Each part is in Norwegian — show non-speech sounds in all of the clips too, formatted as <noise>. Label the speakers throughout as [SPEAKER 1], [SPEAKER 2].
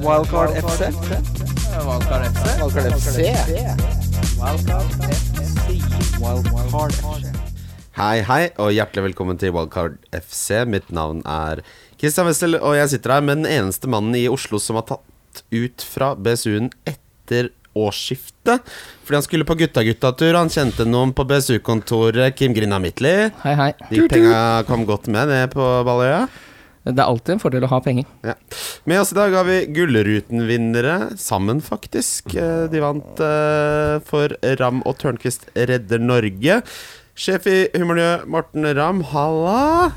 [SPEAKER 1] Wildcard FC.
[SPEAKER 2] Valkar FC.
[SPEAKER 1] Wildcard FC. Wildcard FC.
[SPEAKER 3] Hei, hei, og hjertelig velkommen til Wildcard FC. Mitt navn er Christian Wessel, og jeg sitter her med den eneste mannen i Oslo som har tatt ut fra BSU-en etter årsskiftet. Fordi han skulle på gutta-gutta-tur, han kjente noen på BSU-kontoret, Kim Grina Midtly.
[SPEAKER 2] Hei, hei.
[SPEAKER 3] De penga kom godt med ned på Balløya.
[SPEAKER 2] Det er alltid en fordel å ha penger.
[SPEAKER 3] Ja. Med oss i dag har vi Gullruten-vinnere, sammen faktisk. Eh, De vant eh, for Ram og Tørnquist redder Norge. Sjef i Humormiljø, Morten Ramm, halla.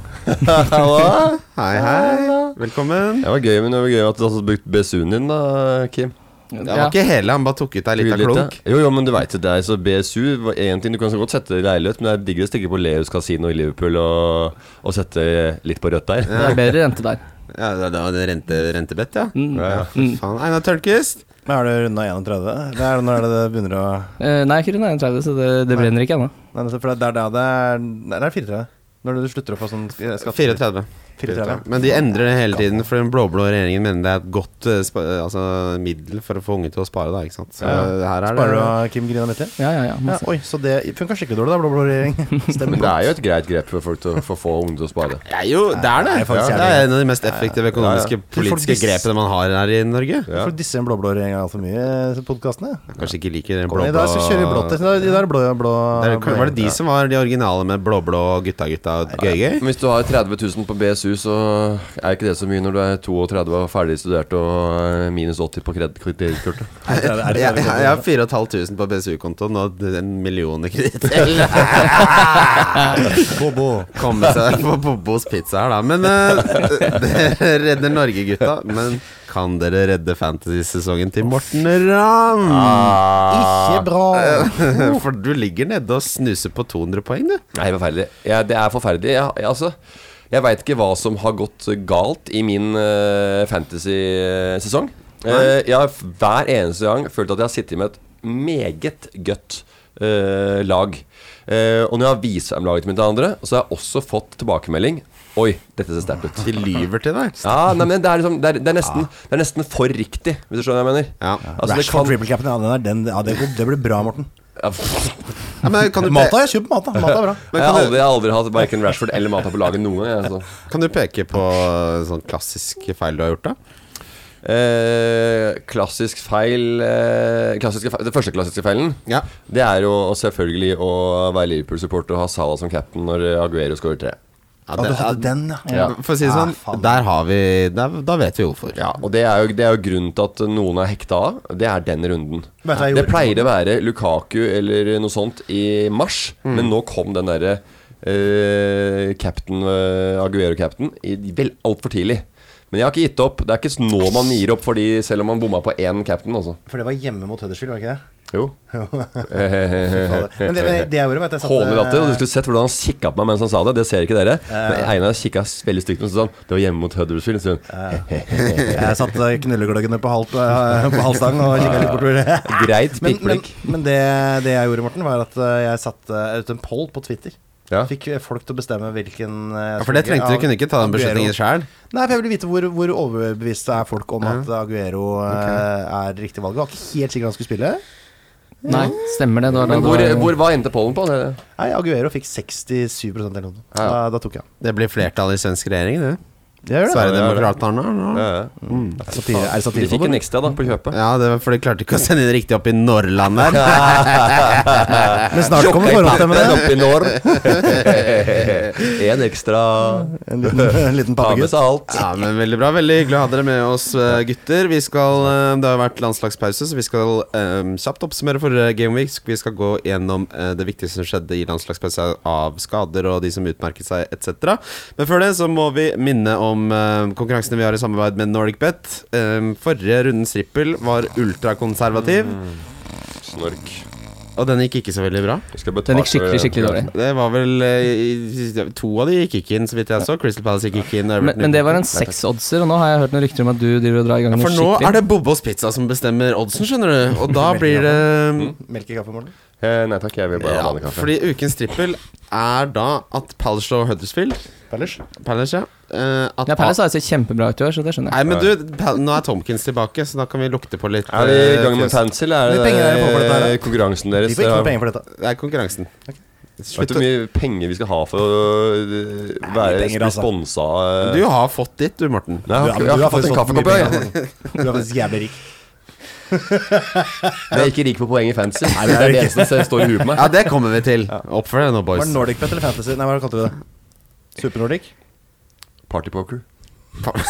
[SPEAKER 4] Halla.
[SPEAKER 3] Hei, hei. Velkommen.
[SPEAKER 4] Det var gøy, men det var gøy at du hadde brukt BSU-en din, da, Kim.
[SPEAKER 3] Det var ikke hele, han bare tok ut ei lita
[SPEAKER 4] Litt, ja.
[SPEAKER 3] klunk.
[SPEAKER 4] Jo, jo, men du veit jo det. er Så BSU var en ting Du kan så godt sette leilighet, men det er diggere å stikke på Leus kasino i Liverpool og, og sette litt på rødt der.
[SPEAKER 2] Det er bedre rente der.
[SPEAKER 3] Ja, det det var det rente, rentebett, <laughs> ja.
[SPEAKER 2] Mm.
[SPEAKER 3] ja for faen. Einar Tørnquist.
[SPEAKER 5] Men er det runda 31? Det er når det begynner å
[SPEAKER 2] Eh, nei, ikke rundt 31, så det, det brenner ikke ennå.
[SPEAKER 5] Nei, nettopp, for det er da det er Nei, det er 34. Når du slutter å få sånn skatt...
[SPEAKER 3] 34.
[SPEAKER 5] 34.
[SPEAKER 3] Men de endrer det hele tiden, for den blå-blå regjeringen mener det er et godt eh, spa altså, middel for å få unge til å spare. Da, ikke sant? Så
[SPEAKER 5] Ja.
[SPEAKER 3] her er
[SPEAKER 5] Sparer du
[SPEAKER 3] det
[SPEAKER 5] av Kim Grina Mittli?
[SPEAKER 2] Ja, ja, ja.
[SPEAKER 5] Ja,
[SPEAKER 2] masse.
[SPEAKER 5] oi, så det funka skikkelig dårlig, da, blå-blå regjering.
[SPEAKER 4] Men det er jo et greit grep for folk til å for å få ungdom til å spare.
[SPEAKER 3] Det er jo det. Er det.
[SPEAKER 5] Nei, faktisk
[SPEAKER 3] ja,
[SPEAKER 5] er
[SPEAKER 3] det
[SPEAKER 5] det.
[SPEAKER 3] er en av de mest effektive økonomiske politiske
[SPEAKER 5] Folk-
[SPEAKER 3] grepene man har her i Norge.
[SPEAKER 4] Ja.
[SPEAKER 5] For å disse en blå-blå regjering altfor mye i podkastene.
[SPEAKER 3] Kanskje ikke liker den blå
[SPEAKER 5] I dag skal vi kjøre blått. I dag- i dag er det blå, blå,
[SPEAKER 3] Der,
[SPEAKER 5] blå
[SPEAKER 3] Var det de
[SPEAKER 5] regjering.
[SPEAKER 3] som var de originale med blå-blå gutta-gutta og
[SPEAKER 5] <laughs>
[SPEAKER 3] gøy-gøy?
[SPEAKER 4] Men Hvis du har 30 000 på BSU, så er ikke det så mye når du er 32 og ferdig studert og eh, minus 80 på kred- kredittkortet.
[SPEAKER 5] Ja, det er det.
[SPEAKER 3] Jeg, jeg, jeg har 4500 på BSU-kontoen og en million i kreditt. <laughs>
[SPEAKER 5] Bobo.
[SPEAKER 3] Komme seg på Bobos pizza her, da. Men eh, <laughs> det redder Norge, gutta. Men kan dere redde fantasy-sesongen til Morten Ramm? Ah.
[SPEAKER 5] Ikke bra.
[SPEAKER 3] <laughs> For du ligger nede og snuser på 200 poeng, du.
[SPEAKER 4] Nei, forferdelig. Ja, det er forferdelig. Jeg, jeg, altså, jeg veit ikke hva som har gått galt i min eh, fantasy-sesong. Eh, jeg har f- hver eneste gang følt at jeg har sittet med et meget godt eh, lag. Eh, og når jeg har vist frem laget mitt til andre, så har jeg også fått tilbakemelding. Oi, dette ser sterkt ut.
[SPEAKER 3] <laughs> De lyver til deg.
[SPEAKER 4] Ja, nei, men det er, liksom, det, er, det, er nesten, det er nesten for riktig, hvis du skjønner hva jeg mener.
[SPEAKER 3] Ja.
[SPEAKER 4] Altså, det
[SPEAKER 5] Rashford
[SPEAKER 4] kan
[SPEAKER 5] triple cap'n, ja, den er den, ja, det, går- det blir bra, Morten.
[SPEAKER 4] ja, pff,
[SPEAKER 3] Ja, men
[SPEAKER 5] <laughs>
[SPEAKER 3] kan du
[SPEAKER 5] Mat har jeg kjøpt, mat da. Mat er bra.
[SPEAKER 4] jeg, har aldri, jeg har aldri hatt verken Rashford eller Mata på laget noen gang. jeg, Altså.
[SPEAKER 3] Kan du peke på sånn klassisk feil du har gjort, da?
[SPEAKER 4] Eh, klassisk feil, eh, klassiske feil Det første klassiske feilen
[SPEAKER 3] Ja.
[SPEAKER 4] Det er jo selvfølgelig å være Liverpool-supporter og ha Salah som cap'n når eh, Aguero scorer tre.
[SPEAKER 5] Ja, du hadde den, ja.
[SPEAKER 4] Ja.
[SPEAKER 3] For å si det
[SPEAKER 5] Ja,
[SPEAKER 3] sånn,
[SPEAKER 5] faen.
[SPEAKER 3] der har vi der, Da vet vi hvorfor.
[SPEAKER 4] Ja, og det er, jo, det er jo grunnen til at noen er hekta av. Det er den runden.
[SPEAKER 5] Vet du hva jeg
[SPEAKER 4] Det
[SPEAKER 5] gjorde?
[SPEAKER 4] pleier å være Lukaku eller noe sånt i mars, men nå kom den derre eh, captain, eh, Aguero-captain i- vel altfor tidlig. Men jeg har ikke gitt opp. Det er ikke nå man gir opp, Fordi selv om man bomma på én captain. Altså.
[SPEAKER 5] For det var hjemme mot Huddersfield, var det ikke <laughs> det?
[SPEAKER 4] Jo.
[SPEAKER 5] Men
[SPEAKER 4] <laughs>
[SPEAKER 5] det, men det jeg gjorde, var eh, at jeg satte
[SPEAKER 4] Hånelatter. Og du skulle sett hvordan han kikka på meg mens han sa det. Det ser ikke dere. Men Einar kikka veldig stygt på meg og sa han, det var hjemme mot Huddersfield. Så
[SPEAKER 5] <laughs> Jeg satte knullegløggene på, halv, på halvstangen og kikka litt bortover.
[SPEAKER 4] greit
[SPEAKER 5] <laughs> Men, men,
[SPEAKER 4] pikkblikk.
[SPEAKER 5] men det, det jeg gjorde, Morten, var at eh, jeg satte ut en poll på Twitter.
[SPEAKER 4] Ja.
[SPEAKER 5] Fikk eh, folk til å bestemme hvilken eh,
[SPEAKER 3] Ja, for det trengte
[SPEAKER 5] av-
[SPEAKER 3] du kunne ikke ta den
[SPEAKER 5] Aguero.
[SPEAKER 3] beslutningen sjøl.
[SPEAKER 5] Nei, for jeg ville vite hvor, hvor overbeviste er folk om at Aguero eh, er riktig valg. Jeg var ikke helt sikker han skulle spille.
[SPEAKER 2] Nei, stemmer det. det, var da det
[SPEAKER 4] Men hvor,
[SPEAKER 2] var-
[SPEAKER 4] hvor var endte pollen på? Det-
[SPEAKER 5] Nei, Aguero fikk 67 eller noe. Da,
[SPEAKER 4] Ja.
[SPEAKER 5] da tok jeg han.
[SPEAKER 3] Det blir flertall i svensk regjering, det.
[SPEAKER 5] Jeg gjør det.
[SPEAKER 3] Sverigedemokraterna. nå.
[SPEAKER 5] Satire, er det
[SPEAKER 4] De Mm. fikk
[SPEAKER 5] satireforbund?
[SPEAKER 4] en ekstra da på kjøpet.
[SPEAKER 3] Ja, det var, for de klarte ikke å sende inn riktig opp i Norrland
[SPEAKER 5] <laughs>
[SPEAKER 3] der.
[SPEAKER 5] Men snart
[SPEAKER 4] <laughs>
[SPEAKER 5] kommer forhåndsstemmene.
[SPEAKER 4] oppi
[SPEAKER 5] <laughs>
[SPEAKER 4] norm. En ekstra.
[SPEAKER 5] En liten,
[SPEAKER 4] <laughs>
[SPEAKER 5] en liten
[SPEAKER 4] Ta med
[SPEAKER 5] pappegutt.
[SPEAKER 4] seg alt.
[SPEAKER 3] Ja, men Veldig bra. Veldig hyggelig å ha dere med oss, eh, gutter. Vi skal, eh, Det har jo vært landslagspause, så vi skal eh, kjapt oppsummere forrige gameweek. Vi skal gå gjennom eh, det viktigste som skjedde i landslagspause av skader og de som utmerket seg, etc. Men før det så må vi minne om eh, konkurransene vi har i samarbeid med Nordic Bet. Eh, Forrige rundens trippel var ultrakonservativ,
[SPEAKER 4] Snork.
[SPEAKER 3] og den gikk ikke så veldig bra.
[SPEAKER 4] Vi skal betale-
[SPEAKER 2] Den gikk skikkelig, skikkelig dårlig.
[SPEAKER 3] Det var vel eh, i- To av de gikk ikke inn, så vidt jeg så. Crystal Palace gikk ikke inn. og
[SPEAKER 2] Men,
[SPEAKER 3] Everton
[SPEAKER 2] men det var en
[SPEAKER 3] gikk ikke inn.
[SPEAKER 2] seks-oddser, og nå har jeg hørt noen rykter om at du driver og drar i gang
[SPEAKER 3] Ja,
[SPEAKER 2] noe
[SPEAKER 3] for nå
[SPEAKER 2] skikkelig.
[SPEAKER 4] Mm.
[SPEAKER 3] er det Bobos Pizza som bestemmer oddsen, skjønner du. Og da blir det
[SPEAKER 5] Melk i kaffen, Morten?
[SPEAKER 4] Eh, nei takk, jeg vil bare ha
[SPEAKER 3] Ja,
[SPEAKER 4] vanlig kaffe.
[SPEAKER 3] fordi ukens trippel er da at Palace slår Huddersfield.
[SPEAKER 5] Palace?
[SPEAKER 3] Palace, ja. Eh, at
[SPEAKER 2] Ja, Palace har jo sett kjempebra ut i år, så det skjønner jeg.
[SPEAKER 3] Nei, men du, Pal nå er Tomkins tilbake, så da kan vi lukte på litt
[SPEAKER 4] Er vi i
[SPEAKER 3] eh,
[SPEAKER 4] gang med
[SPEAKER 3] kunst.
[SPEAKER 4] fans, eller
[SPEAKER 5] Hvor mye
[SPEAKER 4] er
[SPEAKER 5] penger er det på for dette her,
[SPEAKER 4] det
[SPEAKER 5] da?
[SPEAKER 4] konkurransen deres?
[SPEAKER 5] De får ikke noe penger for dette.
[SPEAKER 3] Det er konkurransen.
[SPEAKER 4] Vet
[SPEAKER 3] Slutt
[SPEAKER 4] du hvor
[SPEAKER 3] å
[SPEAKER 4] mye penger vi skal ha for å øh, være
[SPEAKER 5] penger, altså.
[SPEAKER 4] sponsa øh?
[SPEAKER 3] Du har fått ditt, du, Morten.
[SPEAKER 4] Nei, jeg har,
[SPEAKER 5] men
[SPEAKER 4] jeg har fått en
[SPEAKER 5] faktisk fått mye
[SPEAKER 4] kaffekopp, ja.
[SPEAKER 5] penger, altså. <laughs> Du er faktisk jævlig rik.
[SPEAKER 4] Jeg er ikke rik på poeng i fancy.
[SPEAKER 5] Nei,
[SPEAKER 4] det
[SPEAKER 5] det er
[SPEAKER 4] er
[SPEAKER 5] du
[SPEAKER 4] det
[SPEAKER 5] ikke.
[SPEAKER 4] eneste som står i huet på meg.
[SPEAKER 3] Ja, det kommer vi
[SPEAKER 4] <laughs>
[SPEAKER 3] til. Oppfør deg nå,
[SPEAKER 5] Var
[SPEAKER 3] boys.
[SPEAKER 5] det Nordic Bet eller Fantasy? Nei, hva kalte vi det? Super-Nordic?
[SPEAKER 4] Partypoker.
[SPEAKER 3] <laughs>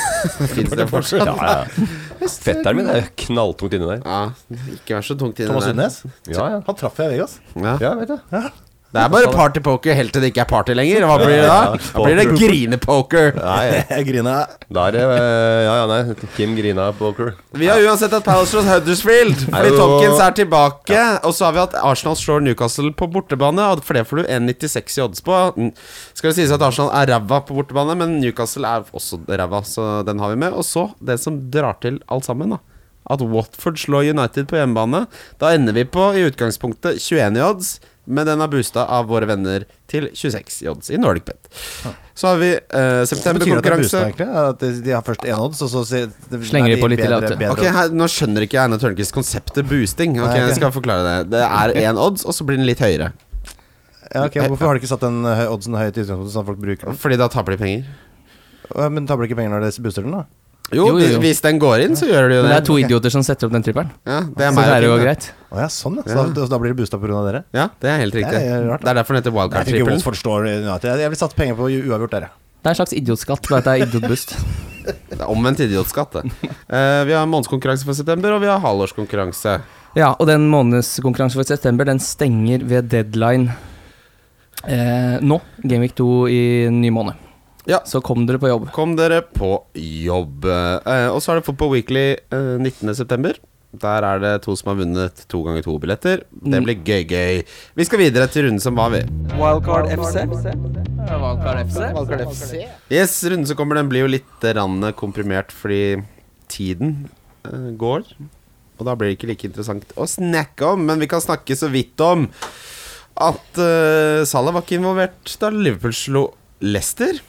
[SPEAKER 3] Finnes det fortsatt?
[SPEAKER 4] Ja, ja. Fetteren min er knalltungt inni der.
[SPEAKER 3] Ja, ikke vær så tungt inne
[SPEAKER 5] Thomas
[SPEAKER 3] der.
[SPEAKER 5] Sundnes?
[SPEAKER 4] Ja, ja.
[SPEAKER 5] Han traff jeg i Vegas.
[SPEAKER 3] Ja.
[SPEAKER 4] Ja, vet jeg.
[SPEAKER 3] Det er bare partypoker helt til det ikke er party lenger. Hva blir det da? Da blir det
[SPEAKER 4] <laughs>
[SPEAKER 3] grinepoker.
[SPEAKER 4] Nei,
[SPEAKER 5] <laughs> Jeg grina.
[SPEAKER 4] da er det øh, Ja, ja, nei. Kim grina poker.
[SPEAKER 3] Vi har uansett hatt Palace slåss Huddersfield, fordi
[SPEAKER 4] Hallo.
[SPEAKER 3] Tomkins er tilbake. Og så har vi hatt Arsenal slår Newcastle på bortebane, og for det får du 1,96 i odds på. Mm. Skal det sies at Arsenal er ræva på bortebane, men Newcastle er også ræva, så den har vi med. Og så det som drar til alt sammen, da. At Watford slår United på hjemmebane. Da ender vi på i utgangspunktet 21 i odds, men den er boosta av våre venner til 26 i odds i Nordic Bet. Så har vi eh,
[SPEAKER 5] Hva betyr det at det er
[SPEAKER 3] septemberkonkurranse.
[SPEAKER 5] boostet, egentlig? At de- de har først én odds, og så sier-
[SPEAKER 2] Slenger de
[SPEAKER 5] er
[SPEAKER 2] på litt til,
[SPEAKER 5] bedre-
[SPEAKER 2] vet du.
[SPEAKER 5] bedre
[SPEAKER 3] Ok, her, Nå skjønner ikke Einar Tørnquist konseptet boosting. Ok,
[SPEAKER 5] Nei, ok.
[SPEAKER 3] Jeg skal forklare Det Det
[SPEAKER 2] <laughs>
[SPEAKER 3] er én odds, og så blir den litt høyere.
[SPEAKER 5] Ja, ok, Hvorfor har de ikke satt den eh, oddsen høyt i utgangspunktet, sånn at folk bruker den?
[SPEAKER 3] Fordi da taper de penger.
[SPEAKER 5] Å, Men taper de ikke penger når de booster den, da?
[SPEAKER 3] Jo,
[SPEAKER 2] Jo, jo, jo.
[SPEAKER 3] hvis den går inn, så gjør de jo
[SPEAKER 2] Men
[SPEAKER 3] det.
[SPEAKER 2] det er to idioter som setter opp den trippelen.
[SPEAKER 3] Ja, det
[SPEAKER 2] Så
[SPEAKER 3] er
[SPEAKER 2] det
[SPEAKER 3] meg.
[SPEAKER 2] pleier å
[SPEAKER 3] og
[SPEAKER 2] gå
[SPEAKER 3] Kim, da.
[SPEAKER 2] greit.
[SPEAKER 5] Å ja, sånn, ja. Så
[SPEAKER 3] Ja.
[SPEAKER 5] da, så da blir det boosta pga. dere?
[SPEAKER 3] Ja, det er helt riktig.
[SPEAKER 5] Det
[SPEAKER 3] Det
[SPEAKER 5] er
[SPEAKER 3] er,
[SPEAKER 5] rart, da.
[SPEAKER 3] derfor den heter
[SPEAKER 5] Jeg tror ikke Wolf
[SPEAKER 3] wildcard-trippel.
[SPEAKER 5] forstår United. Jeg- Jeg ville satt penger på u- uavgjort der, jeg.
[SPEAKER 2] Det er en slags idiotskatt. Du vet det er idiotbust.
[SPEAKER 3] <laughs> Omvendt idiotskatt. det. Eh, vi har månedskonkurranse for september, og vi har halvårskonkurranse.
[SPEAKER 2] Ja, og den månedskonkurransen for september, den stenger ved deadline eh, nå. Gameweek 2 i ny måned.
[SPEAKER 3] Ja.
[SPEAKER 2] Så kom dere på jobb.
[SPEAKER 3] Kom dere på jobb. Eh, og så er det Football Weekly eh, 19. september Der er det to som har vunnet to ganger to billetter.
[SPEAKER 2] Mm.
[SPEAKER 3] Det blir gøy-gøy. Vi skal videre til runden som var, vi.
[SPEAKER 1] Wildcard FC.
[SPEAKER 3] Yes, runden som kommer, den blir jo litt rann komprimert fordi tiden eh, går. Og da blir det ikke like interessant å snakke om, men vi kan snakke så vidt om at eh, Salah var ikke involvert da Liverpool slo Leicester.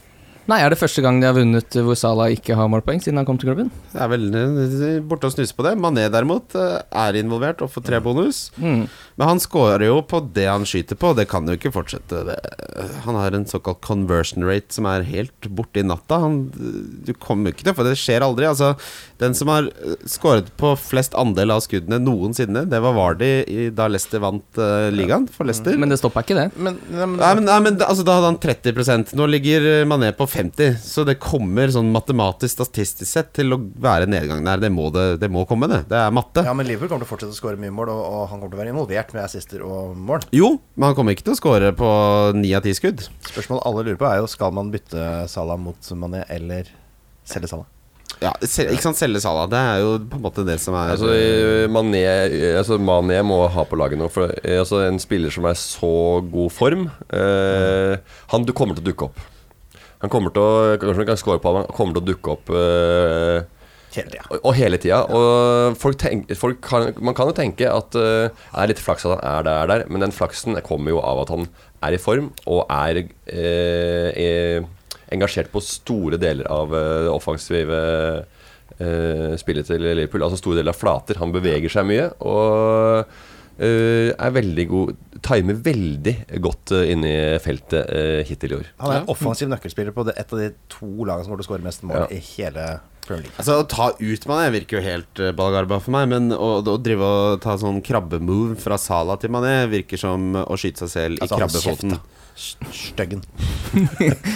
[SPEAKER 2] Nei, er det første gang de har vunnet hvor Salah ikke har målpoeng siden han kom til klubben?
[SPEAKER 3] Det er vel eh, borte å snuse på det. Mané derimot eh, er involvert og får tre bonus.
[SPEAKER 2] Mm.
[SPEAKER 3] Men han scorer jo på det han skyter på, det kan jo ikke fortsette. Det. Han har en såkalt conversion rate som er helt borte i natta. Han, du kommer jo ikke til å få det, skjer aldri. Altså, den som har eh, scoret på flest andel av skuddene noensinne, det var Vardy i- da Leicester vant eh, ligaen for Leicester.
[SPEAKER 2] Men det stoppa ikke det.
[SPEAKER 5] Men,
[SPEAKER 3] Nei, men, nei, men da- altså, Da hadde han 30 Nå ligger eh, Mané på 50 Så det kommer sånn matematisk, statistisk sett til å være nedgang der. Det må, det, det må komme, det. Det er matte.
[SPEAKER 5] ja, men Liverpool kommer til å fortsette å skåre mye mål, og, og han kommer til å være involvert med assister og mål.
[SPEAKER 3] Jo, men han kommer ikke til å score på ni av ti skudd.
[SPEAKER 5] Spørsmålet alle lurer på, er jo skal man bytte Salah mot Mané eller selge Salah?
[SPEAKER 3] Ja, se, ikke sant, selge Salah. Det er jo på en måte det som er
[SPEAKER 4] Altså, eh, Mané, eh, altså, Mané må ha på laget nå. For, eh, altså, en spiller som er i så god form eh, Han du kommer til å dukke opp. Han kommer til å Kanskje han kan score på ham, han kommer til å dukke opp. Eh,
[SPEAKER 5] Hele tida.
[SPEAKER 4] og, og hele tida. Og folk tenk, folk kan, man kan jo tenke at eh, det er litt flaks at han er der, der, men den flaksen kommer jo av at han er i form og er, eh, eh, engasjert på store deler av eh, det offensive eh, spillet til Liverpool. Altså store deler av flater. Han beveger seg mye og eh, er veldig god Timer veldig godt eh, inne i feltet eh, hittil i år.
[SPEAKER 5] Han er en offensiv nøkkelspiller på det, et av de to lagene som kommer til å skåre mest mål i hele Premier League.
[SPEAKER 3] Altså Å ta ut Mané virker jo helt eh, balgarba for meg, men å, å drive og ta sånn krabbemove fra Salah til Mané virker som å skyte seg selv i
[SPEAKER 5] Altså, hold kjeft,
[SPEAKER 3] krabbefoten.
[SPEAKER 5] da. Styggen.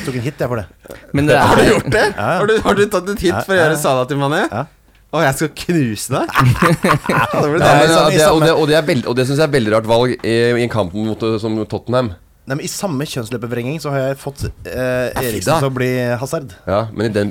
[SPEAKER 5] Tok en hit, jeg, for det.
[SPEAKER 2] Men det
[SPEAKER 3] Har du
[SPEAKER 2] er
[SPEAKER 3] gjort det?
[SPEAKER 5] ja.
[SPEAKER 3] Har, du, har du tatt et hit for å gjøre Salah til Mané?
[SPEAKER 5] Ja.
[SPEAKER 3] Å, jeg skal knuse deg? det blir
[SPEAKER 4] <laughs> Ja,
[SPEAKER 5] Nei,
[SPEAKER 3] deilig.
[SPEAKER 4] men,
[SPEAKER 5] sånn i
[SPEAKER 4] det, og
[SPEAKER 5] samme-
[SPEAKER 4] det, og det, er veld- og det syns jeg er et veldig rart valg i, i en kamp mot eh, som Tottenham.
[SPEAKER 5] Nei, men I samme kjønnsløpevrenging så har jeg fått eh,
[SPEAKER 3] da.
[SPEAKER 5] Eriksen til å bli Hazard.
[SPEAKER 4] Ja, men i den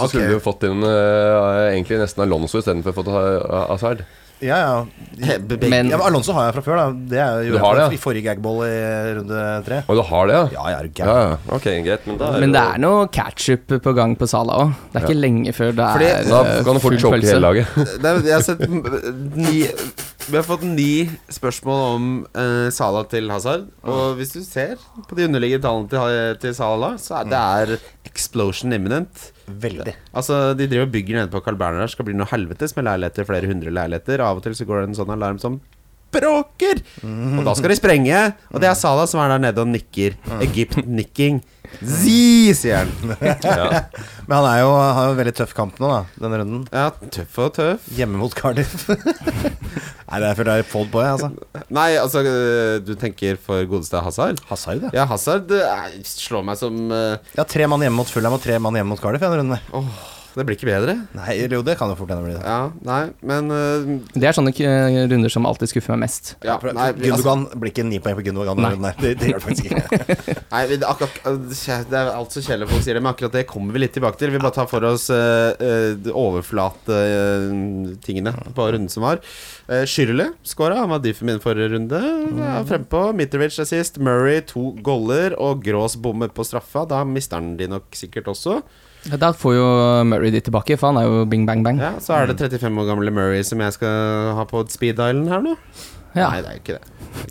[SPEAKER 3] Ja,
[SPEAKER 4] så skulle
[SPEAKER 3] ok.
[SPEAKER 4] du jo fått inn eh, egentlig nesten Alonso istedenfor fått ha- eh, Hazard.
[SPEAKER 5] Ja, ja.
[SPEAKER 3] He- be-
[SPEAKER 2] Men-
[SPEAKER 5] ja men Alonso har jeg fra før, da. Det er jo
[SPEAKER 4] Du har det, ja.
[SPEAKER 5] i forrige gagball i runde tre.
[SPEAKER 4] Og du har det, ja?
[SPEAKER 5] Ja, jeg er jo
[SPEAKER 4] Ja,
[SPEAKER 5] gæren.
[SPEAKER 4] ja. Ok, greit, men da
[SPEAKER 2] men det er noe catch-up på gang på Salah òg. Det er ikke lenge før det er
[SPEAKER 3] Fordi-
[SPEAKER 2] eh,
[SPEAKER 4] Da kan du fort
[SPEAKER 2] full
[SPEAKER 3] <laughs>
[SPEAKER 4] choke
[SPEAKER 2] pølse.
[SPEAKER 4] hele laget.
[SPEAKER 3] Det, er- jeg har sett m- ni Vi har fått ni spørsmål om eh, Sala til Hazard.
[SPEAKER 5] Mm.
[SPEAKER 3] Og hvis du ser på de underliggende tallene til, til Sala, så
[SPEAKER 5] Mm.
[SPEAKER 3] er det er explosion imminent.
[SPEAKER 5] Veldig.
[SPEAKER 3] Altså, De driver og bygger nede på Carl Berner her. Skal bli noe helvetes med leiligheter. Flere hundre leiligheter. Av og til så går det en sånn alarm som bråker! Og da skal de sprenge. Og det er Sala som er der nede og nikker. Egypt-nikking. Zi, sier han.
[SPEAKER 5] Men han er jo, har jo en veldig tøff kamp nå, da, denne runden.
[SPEAKER 3] Ja, tøff og tøff.
[SPEAKER 5] Hjemme mot Cardiff. <laughs> Nei, det er fordi jeg er fold på, jeg, altså.
[SPEAKER 3] Nei, altså, eh, du tenker for godeste Hazard?
[SPEAKER 5] Hazard, ja.
[SPEAKER 3] Ja, Hazard eh, slår meg som eh,
[SPEAKER 5] Jeg har tre mann hjemme mot Fulham og tre mann hjemme mot Cardiff i denne runden.
[SPEAKER 3] Det blir ikke bedre.
[SPEAKER 5] Nei, eller jo, det kan jo fort hende bli det.
[SPEAKER 3] Ja, nei, men eh,
[SPEAKER 2] Det er sånne eh, runder som alltid skuffer meg mest.
[SPEAKER 3] ja, nei, vi- altså,
[SPEAKER 5] Gundogan blir ikke ni poeng på Gundogan. denne
[SPEAKER 2] Nei.
[SPEAKER 5] runden her. Det, det gjør det faktisk ikke.
[SPEAKER 3] nei, vi- akkurat, øh, Det er alt så kjedelig folk sier det, men akkurat det kommer vi litt tilbake til. Vi bare tar for oss eh, eh, de overflate-tingene på runden som var. Uh, Shirley skåra, han var diffen min forrige runde.
[SPEAKER 5] Mm.
[SPEAKER 3] Ja, Frempå. Mitrovic er sist. Murray to goller, og Grås bommer på straffa. Da mister han de nok sikkert også.
[SPEAKER 2] Da får jo Murray de tilbake, for han er jo bing bang bang.
[SPEAKER 3] Ja, Så er det
[SPEAKER 5] Mm.
[SPEAKER 3] 35 år gamle Murray som jeg skal ha på speed-dialen her nå?
[SPEAKER 2] Ja.
[SPEAKER 3] Nei, det er jo ikke det.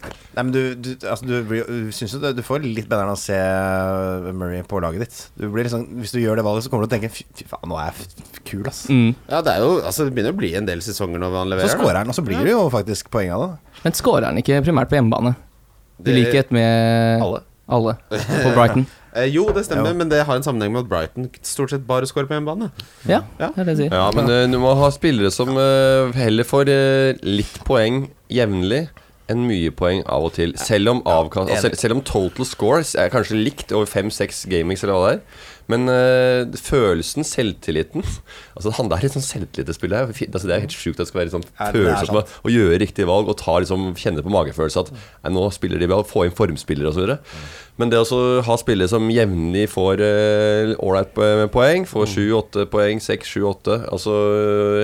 [SPEAKER 5] <laughs> Nei, men du, du, altså, du, blir- du syns jo det- du får litt bedre enn å se eh, Murray på laget ditt. Du blir liksom, hvis du gjør det valget, så kommer du til å tenke fy fy faen, nå er jeg f- f- kul, ass.
[SPEAKER 2] Mm.
[SPEAKER 3] Ja, det er jo Altså, det begynner å bli en del sesonger når han
[SPEAKER 5] Så
[SPEAKER 3] leverer. da.
[SPEAKER 5] scorer han, og så blir det jo faktisk poeng av det.
[SPEAKER 2] Men skårer han ikke primært på hjemmebane? I
[SPEAKER 3] Det-
[SPEAKER 2] likhet med alle, på Brighton.
[SPEAKER 3] Eh, jo, det stemmer,
[SPEAKER 5] Ja.
[SPEAKER 3] men det har en sammenheng med at Brighton stort sett bare scorer på hjemmebane.
[SPEAKER 2] Ja,
[SPEAKER 3] Ja.
[SPEAKER 2] det er det jeg sier.
[SPEAKER 4] Ja, men eh, du må ha spillere som eh, heller får eh, litt poeng jevnlig enn mye poeng av og til. Selv om, avkast, altså, selv, selv om total scores er kanskje likt over fem-seks gamings eller hva det er. Men eh, følelsen, selvtilliten <laughs> Altså Han der er et sånn selvtillitsspill her. Fi- Altså, det er helt sjukt at det skal være sånn
[SPEAKER 5] Ja, det er
[SPEAKER 4] følelse
[SPEAKER 5] sant.
[SPEAKER 4] av å gjøre riktige valg og ta, liksom, kjenne på magefølelse at nei, nå spiller de bra, få inn formspillere osv. Men det å så ha spillere som jevnlig får eh, ålreit poeng, får sju-åtte poeng, seks, sju-åtte Altså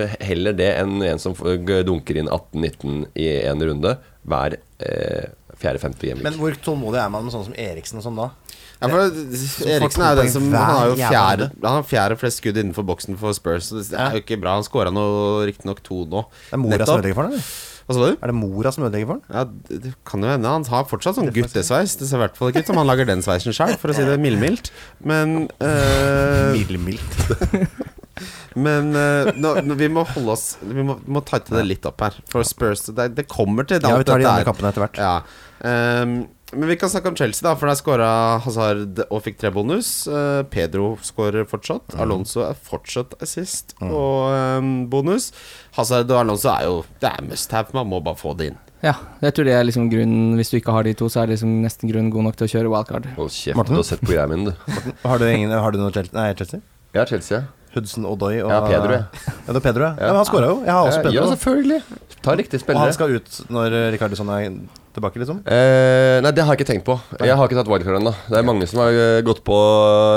[SPEAKER 4] eh, heller det enn en som får- g- dunker inn 18-19 i én runde hver eh, fjerde-femte game.
[SPEAKER 5] Men hvor tålmodig er man med sånne som Eriksen og sånn da?
[SPEAKER 3] Ja, for Eriksen er jo den som
[SPEAKER 5] Hver
[SPEAKER 3] Han har jo
[SPEAKER 5] jævla
[SPEAKER 3] fjerde,
[SPEAKER 5] runde.
[SPEAKER 3] han har fjerde flest skudd innenfor boksen for Spurs. Så det er jo ikke bra. Han scora riktignok to nå.
[SPEAKER 5] Det er mora som ødelegger for han, eller?
[SPEAKER 3] Hva sa du?
[SPEAKER 5] Er det mora som ødelegger for han?
[SPEAKER 3] Ja, det det kan jo hende. Han har fortsatt sånn guttesveis. Det ser i hvert fall ikke ut som han lager den sveisen sjøl, for å si det mildmildt. Men
[SPEAKER 5] Øh.
[SPEAKER 3] eh,
[SPEAKER 5] Middelmildt.
[SPEAKER 3] Men eh, nå, nå, vi må holde oss Vi må, må tighte det litt opp her. For Spurs Det, det kommer til
[SPEAKER 5] Ja, vi tar de andre
[SPEAKER 3] dette her.
[SPEAKER 5] kampene etter hvert.
[SPEAKER 3] Ja. Ehm, men vi kan snakke om Chelsea, da for der skåra Hazard og fikk tre bonus. Eh, Pedro skårer fortsatt.
[SPEAKER 5] Mhm.
[SPEAKER 3] Alonso er fortsatt assist og ehm, bonus. Hazard og Alonso er jo Det er must have. Man må bare få det inn.
[SPEAKER 2] Ja, jeg tror det er liksom grunnen Hvis du ikke har de to, så er det liksom nesten grunnen god nok til å kjøre wildcard.
[SPEAKER 4] Hold kjeft,
[SPEAKER 5] Morten?
[SPEAKER 4] du har sett på greia min, du.
[SPEAKER 5] <laughs> Har du, ingen, har du noe Chelsea? Nei, Chelsea?
[SPEAKER 4] Ja, Chelsea.
[SPEAKER 5] Hudson Odoi og
[SPEAKER 4] Ja, Pedro, ja.
[SPEAKER 5] <laughs> Ja, det er Pedro, ja. ja. Men han scora jo. Jeg har også
[SPEAKER 4] Ja,
[SPEAKER 5] Pedro.
[SPEAKER 4] ja,
[SPEAKER 5] da.
[SPEAKER 4] selvfølgelig. Ta riktig
[SPEAKER 5] og
[SPEAKER 4] spillere.
[SPEAKER 5] han skal ut når eh, Rikardisson er tilbake, liksom.
[SPEAKER 4] Eh, nei, det har jeg ikke tenkt på. Jeg har ikke tatt wildcard ennå. Det er mange som har eh, gått på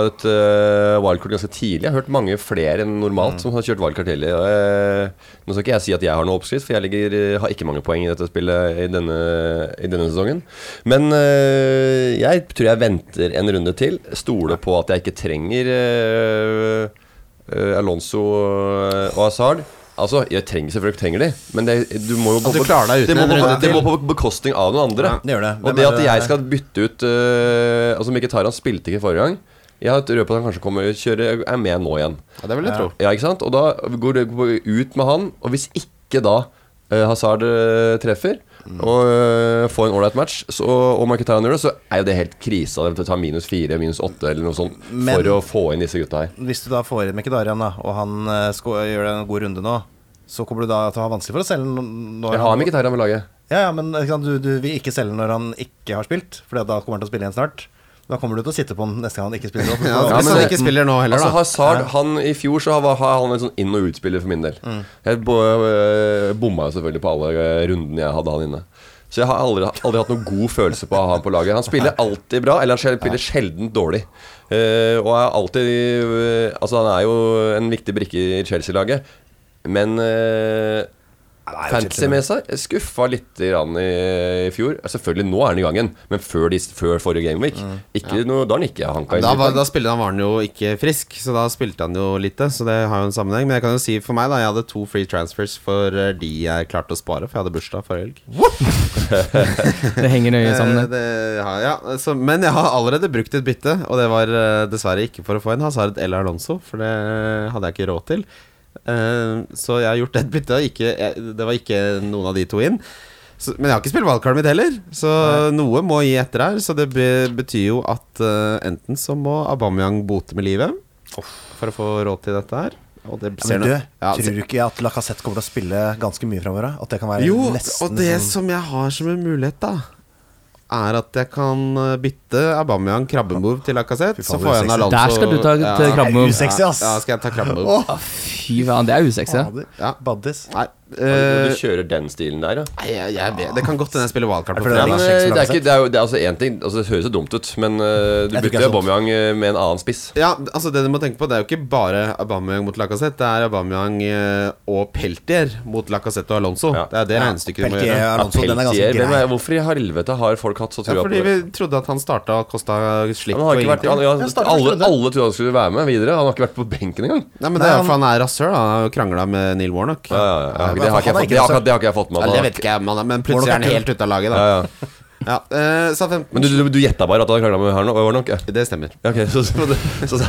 [SPEAKER 4] et eh, wildcard ganske tidlig. Jeg har hørt mange flere enn
[SPEAKER 3] Mm.
[SPEAKER 4] normalt som har kjørt wildcard tidlig. Og, eh, nå skal ikke jeg si at jeg har noe oppskrift, for jeg ligger, eh, har ikke mange poeng i dette spillet i denne, i denne sesongen. Men eh, jeg tror jeg venter en runde til. Stoler på at jeg ikke trenger eh, eh, Alonso og Hazard. Altså, jeg trenger selvfølgelig trenger de, men det, du må jo
[SPEAKER 3] At Altså, du klarer deg uten
[SPEAKER 4] det må,
[SPEAKER 3] en
[SPEAKER 4] på,
[SPEAKER 3] runde
[SPEAKER 4] det må
[SPEAKER 3] til.
[SPEAKER 4] på bekostning av noen andre.
[SPEAKER 5] Ja, det gjør det. Hvem
[SPEAKER 4] Og det
[SPEAKER 5] er
[SPEAKER 4] at
[SPEAKER 5] det-
[SPEAKER 4] jeg skal bytte ut øh, Altså Mkhitaryan spilte ikke forrige gang. Jeg har et rød på at han kanskje kommer kjøre, er med nå igjen.
[SPEAKER 3] Ja, det vil jeg tro.
[SPEAKER 4] Ja, ikke sant? Og da går det ut med han, og hvis ikke da eh, Hazard eh, treffer
[SPEAKER 5] Mm.
[SPEAKER 4] og eh, får en ålreit match, så, og Mkhitaryan gjør det, så er jo det helt krise av dem til å ta minus fire, minus åtte eller noe sånt
[SPEAKER 5] Men-
[SPEAKER 4] for å få inn disse gutta her.
[SPEAKER 5] Hvis du da får inn Mekkedarian, da, og han eh, sko- gjør en god runde nå, så kommer du da til å ha vanskelig for å selge n- når
[SPEAKER 4] Jeg har Mkhitaryan med laget.
[SPEAKER 5] Ja, ja, men ikke sant, du, du vil ikke selge når han ikke har spilt, for da kommer han til å spille igjen snart. Da kommer du til å sitte på han neste gang han ikke spiller.
[SPEAKER 3] <laughs> Ja,
[SPEAKER 5] Og-
[SPEAKER 4] men
[SPEAKER 3] hvis han
[SPEAKER 4] det-
[SPEAKER 3] ikke spiller nå heller,
[SPEAKER 4] Altså
[SPEAKER 3] da.
[SPEAKER 4] Hazard, han I fjor så var har han en sånn inn- og utspiller for min del.
[SPEAKER 3] Mm.
[SPEAKER 4] Jeg bo, øh, bomma jo selvfølgelig på alle øh, rundene jeg hadde han inne. Så jeg har aldri, aldri hatt noen god følelse på å ha han på laget. Han
[SPEAKER 3] <laughs>
[SPEAKER 4] spiller alltid bra, eller han spiller sjelden dårlig. Eh, og er alltid eh, øh, Altså, han er jo en viktig brikke i Chelsea-laget, men øh,
[SPEAKER 5] Nei, det er jo kjedelig.
[SPEAKER 4] Fantasy-messa skuffa litt grann i, i fjor. Selvfølgelig, nå er den i gang igjen, men før, de, før forrige Game Week ikke noe, Da nikket jeg hanka
[SPEAKER 3] Mm. Da, var,
[SPEAKER 4] inn.
[SPEAKER 3] da spilte han, var han jo ikke frisk, så da spilte han jo lite. Så det har jo en sammenheng. Men jeg kan jo si for meg, da. Jeg hadde to free transfers fordi jeg klarte å spare, for jeg hadde bursdag forrige helg.
[SPEAKER 2] Det henger nøye
[SPEAKER 3] <laughs>
[SPEAKER 2] sammen.
[SPEAKER 3] Eh,
[SPEAKER 2] det.
[SPEAKER 3] det har jeg. Så, men jeg har allerede brukt et bytte, og det var eh, dessverre ikke for å få en Hazard eller Alonso, for det hadde jeg ikke råd til. Eh, så jeg har gjort et bytte, og ikke, jeg, det var ikke noen av de to inn. Så, men jeg har ikke spilt valgkartet mitt heller, så noe må gi etter her. Så det be, betyr jo at eh, enten så må Aubameyang bote med livet for å få råd til dette her. Og det
[SPEAKER 5] Men du,
[SPEAKER 3] noe- Ja, altså,
[SPEAKER 5] tror du ikke at Lacassette kommer til å spille ganske mye framover? At det kan være
[SPEAKER 3] jo,
[SPEAKER 5] nesten
[SPEAKER 3] og det
[SPEAKER 5] sånn-
[SPEAKER 3] som jeg har som en mulighet, da er at jeg kan eh, bytte Aubameyang krabbemove til Lacassette.
[SPEAKER 5] Fy
[SPEAKER 3] Så
[SPEAKER 5] faen,
[SPEAKER 3] får jeg en
[SPEAKER 5] det er
[SPEAKER 3] Alonso
[SPEAKER 2] Der skal du ta-
[SPEAKER 3] altså- ja,
[SPEAKER 2] til krabbemove.
[SPEAKER 5] Det er usexy, ass.
[SPEAKER 3] Ja, skal jeg ta krabbemove?
[SPEAKER 2] Å, fy faen, det er usexy.
[SPEAKER 5] Fader.
[SPEAKER 3] Ja.
[SPEAKER 5] Baddis.
[SPEAKER 3] Nei,
[SPEAKER 4] Du
[SPEAKER 3] eh,
[SPEAKER 4] kjører den stilen der, ja.
[SPEAKER 3] nei, jeg, jeg vet Det kan godt hende jeg spiller wildcard
[SPEAKER 5] Er det
[SPEAKER 3] på
[SPEAKER 5] fordi det er
[SPEAKER 4] Ja,
[SPEAKER 3] fredag.
[SPEAKER 4] men,
[SPEAKER 5] Lars Jackson
[SPEAKER 4] eh, det, er
[SPEAKER 5] Lacassette.
[SPEAKER 4] ikke, det, er jo, det, er altså, en ting, altså, det høres jo dumt ut, men eh, du
[SPEAKER 5] Jeg tror ikke det er
[SPEAKER 4] bytter jo
[SPEAKER 5] sant.
[SPEAKER 4] Aubameyang eh, med en annen spiss.
[SPEAKER 3] Ja, altså Det du må tenke på, det er jo ikke bare Aubameyang mot Lacassette. Det er Aubameyang eh, og Peltier mot Lacassette og Alonso.
[SPEAKER 4] Ja.
[SPEAKER 3] Det er det regnestykket du må
[SPEAKER 5] Peltier
[SPEAKER 3] gjøre.
[SPEAKER 5] og Alonso, den
[SPEAKER 4] Ja,
[SPEAKER 5] er
[SPEAKER 4] Peltier,
[SPEAKER 5] ganske
[SPEAKER 4] hvem
[SPEAKER 5] grei.
[SPEAKER 4] er- Hvorfor i helvete har folk hatt så
[SPEAKER 3] Ja,
[SPEAKER 4] trua på
[SPEAKER 3] fordi vi
[SPEAKER 4] det?
[SPEAKER 3] trodde at han starta og kosta slipp
[SPEAKER 4] Han
[SPEAKER 3] og
[SPEAKER 4] har ikke vært,
[SPEAKER 3] ingenting.
[SPEAKER 4] han, ja,
[SPEAKER 5] Jeg starter med
[SPEAKER 4] alle,
[SPEAKER 5] Frode.
[SPEAKER 4] alle trodde han skulle være med videre. Han har ikke vært på benken engang.
[SPEAKER 3] Nei, men
[SPEAKER 5] Nei,
[SPEAKER 3] det er
[SPEAKER 5] han-
[SPEAKER 3] for han er rasshøl. Han har jo krangla med Neil Warnock. Eh,
[SPEAKER 4] Ja, ja, ja.
[SPEAKER 5] men
[SPEAKER 4] Det har
[SPEAKER 5] han
[SPEAKER 4] ikke jeg
[SPEAKER 5] er
[SPEAKER 4] fått-
[SPEAKER 5] ikke
[SPEAKER 4] det har
[SPEAKER 5] så-
[SPEAKER 4] ikke- det har ikke jeg fått med
[SPEAKER 3] Ja, det
[SPEAKER 4] meg.
[SPEAKER 3] vet ikke jeg, men, men plutselig
[SPEAKER 5] Warnock
[SPEAKER 3] er han
[SPEAKER 5] er
[SPEAKER 3] helt ute av laget, da.
[SPEAKER 4] Ja,
[SPEAKER 3] Ja,
[SPEAKER 4] ja.
[SPEAKER 3] eh, sa 15.
[SPEAKER 4] Men du, du, du gjetta bare at han krangla med her nå? Var det nok? Ja.
[SPEAKER 3] det stemmer.
[SPEAKER 4] Ja, ok, så, så, så, så,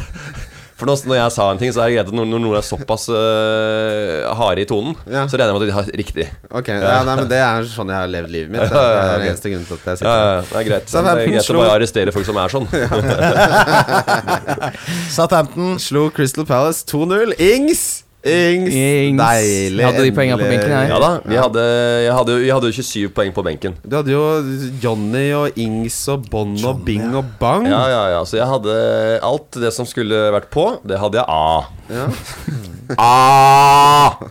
[SPEAKER 4] for når, når jeg sa en ting, så er det greit at når, når noen er såpass øh, harde i tonen,
[SPEAKER 3] Ja.
[SPEAKER 4] så regner jeg med at de har riktig.
[SPEAKER 3] Ok, ja, nei, men Det er sånn jeg har levd livet mitt. Det
[SPEAKER 4] Ja, ja, ja,
[SPEAKER 3] er den
[SPEAKER 4] ok.
[SPEAKER 3] eneste grunnen til at jeg
[SPEAKER 4] Ja,
[SPEAKER 3] sitter
[SPEAKER 4] ja,
[SPEAKER 3] her.
[SPEAKER 4] ja, det er
[SPEAKER 3] Så
[SPEAKER 4] greit. Men Det
[SPEAKER 3] Southampton
[SPEAKER 4] er greit
[SPEAKER 3] slo-
[SPEAKER 4] å bare arrestere folk som er
[SPEAKER 3] <laughs>
[SPEAKER 4] sånn.
[SPEAKER 5] Southampton.
[SPEAKER 3] Slo Crystal Palace 2-0. Ings! Ings!
[SPEAKER 2] Ings.
[SPEAKER 3] Deilig.
[SPEAKER 2] Jeg hadde de poengene på
[SPEAKER 3] endelig.
[SPEAKER 2] benken, jeg.
[SPEAKER 4] Ja da, vi hadde, jeg, hadde, jo- jeg hadde jo 27 poeng på benken.
[SPEAKER 3] Du hadde jo Johnny og Ings og Bon og Bing og Bang.
[SPEAKER 4] Ja, ja, ja, Så jeg hadde alt det som skulle vært på, det hadde jeg A.
[SPEAKER 3] Ja.
[SPEAKER 4] A!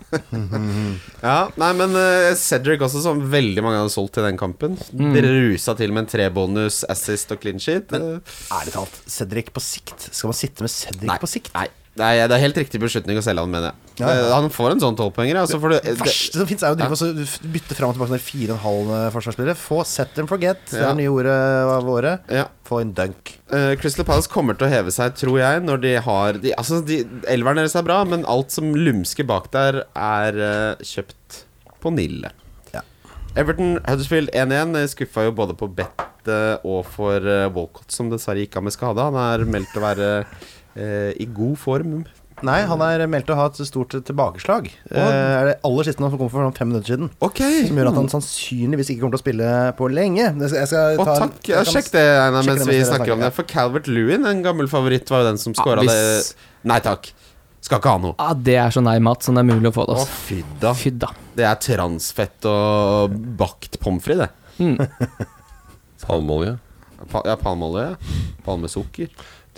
[SPEAKER 3] Ja, nei, men eh, Cedric også, som veldig mange hadde solgt til den kampen. Dere rusa til med en trebonus, assist og clean sheet. Eh,
[SPEAKER 5] Ærlig talt, Cedric på sikt? Skal man sitte med Cedric på sikt?
[SPEAKER 3] Nei, det er, det er helt riktig beslutning å selge han, mener jeg.
[SPEAKER 5] Ja, ja.
[SPEAKER 3] Eh, Han får en sånn tolvpoenger. Altså, for
[SPEAKER 5] Det
[SPEAKER 3] du- det-
[SPEAKER 5] verste som fins, er jo å drive og så f- bytte fram og tilbake når fire og en halv eh, forsvarsspillere. Få set and forget, det
[SPEAKER 3] Ja.
[SPEAKER 5] er det nye ordet av året.
[SPEAKER 3] ja.
[SPEAKER 5] Få en dunk.
[SPEAKER 3] Eh, Crystal Palace kommer til å heve seg, tror jeg, når de har de, Altså, de, elveren deres er bra, men alt som lumsker bak der, er eh, kjøpt på Nille.
[SPEAKER 5] Ja.
[SPEAKER 3] Everton Huddersfield 1-1 eh, skuffa jo både på bettet og for eh, Walcott, som dessverre gikk av med skade. Han er meldt å være eh, i god form.
[SPEAKER 5] Nei, han er meldt å ha et stort tilbakeslag. Det er det aller siste han kom for sånn fem minutter siden.
[SPEAKER 3] Ok!
[SPEAKER 5] Som gjør at han sannsynligvis ikke kommer til å spille på lenge. Jeg skal, jeg skal
[SPEAKER 3] Mm. Å,
[SPEAKER 5] ta-
[SPEAKER 3] takk.
[SPEAKER 5] jeg
[SPEAKER 3] Ja,
[SPEAKER 5] kan-
[SPEAKER 3] sjekk det, Einar,
[SPEAKER 5] sjekke det
[SPEAKER 3] mens
[SPEAKER 5] mens
[SPEAKER 3] vi
[SPEAKER 5] dere
[SPEAKER 3] snakker om
[SPEAKER 5] snakker,
[SPEAKER 3] det. For Calvert Lewin, en gammel favoritt, var jo den som skåra
[SPEAKER 2] hvis-
[SPEAKER 3] det Nei takk. Skal ikke ha noe.
[SPEAKER 2] Ja, det er så nei mat som det er mulig å få det.
[SPEAKER 3] Å,
[SPEAKER 2] Altså.
[SPEAKER 3] fy da.
[SPEAKER 2] Fy da.
[SPEAKER 3] Det er transfett og bakt pommes frites, det.
[SPEAKER 4] Palmeolje.
[SPEAKER 3] Pa ja, palmeolje. ja. Palmesukker.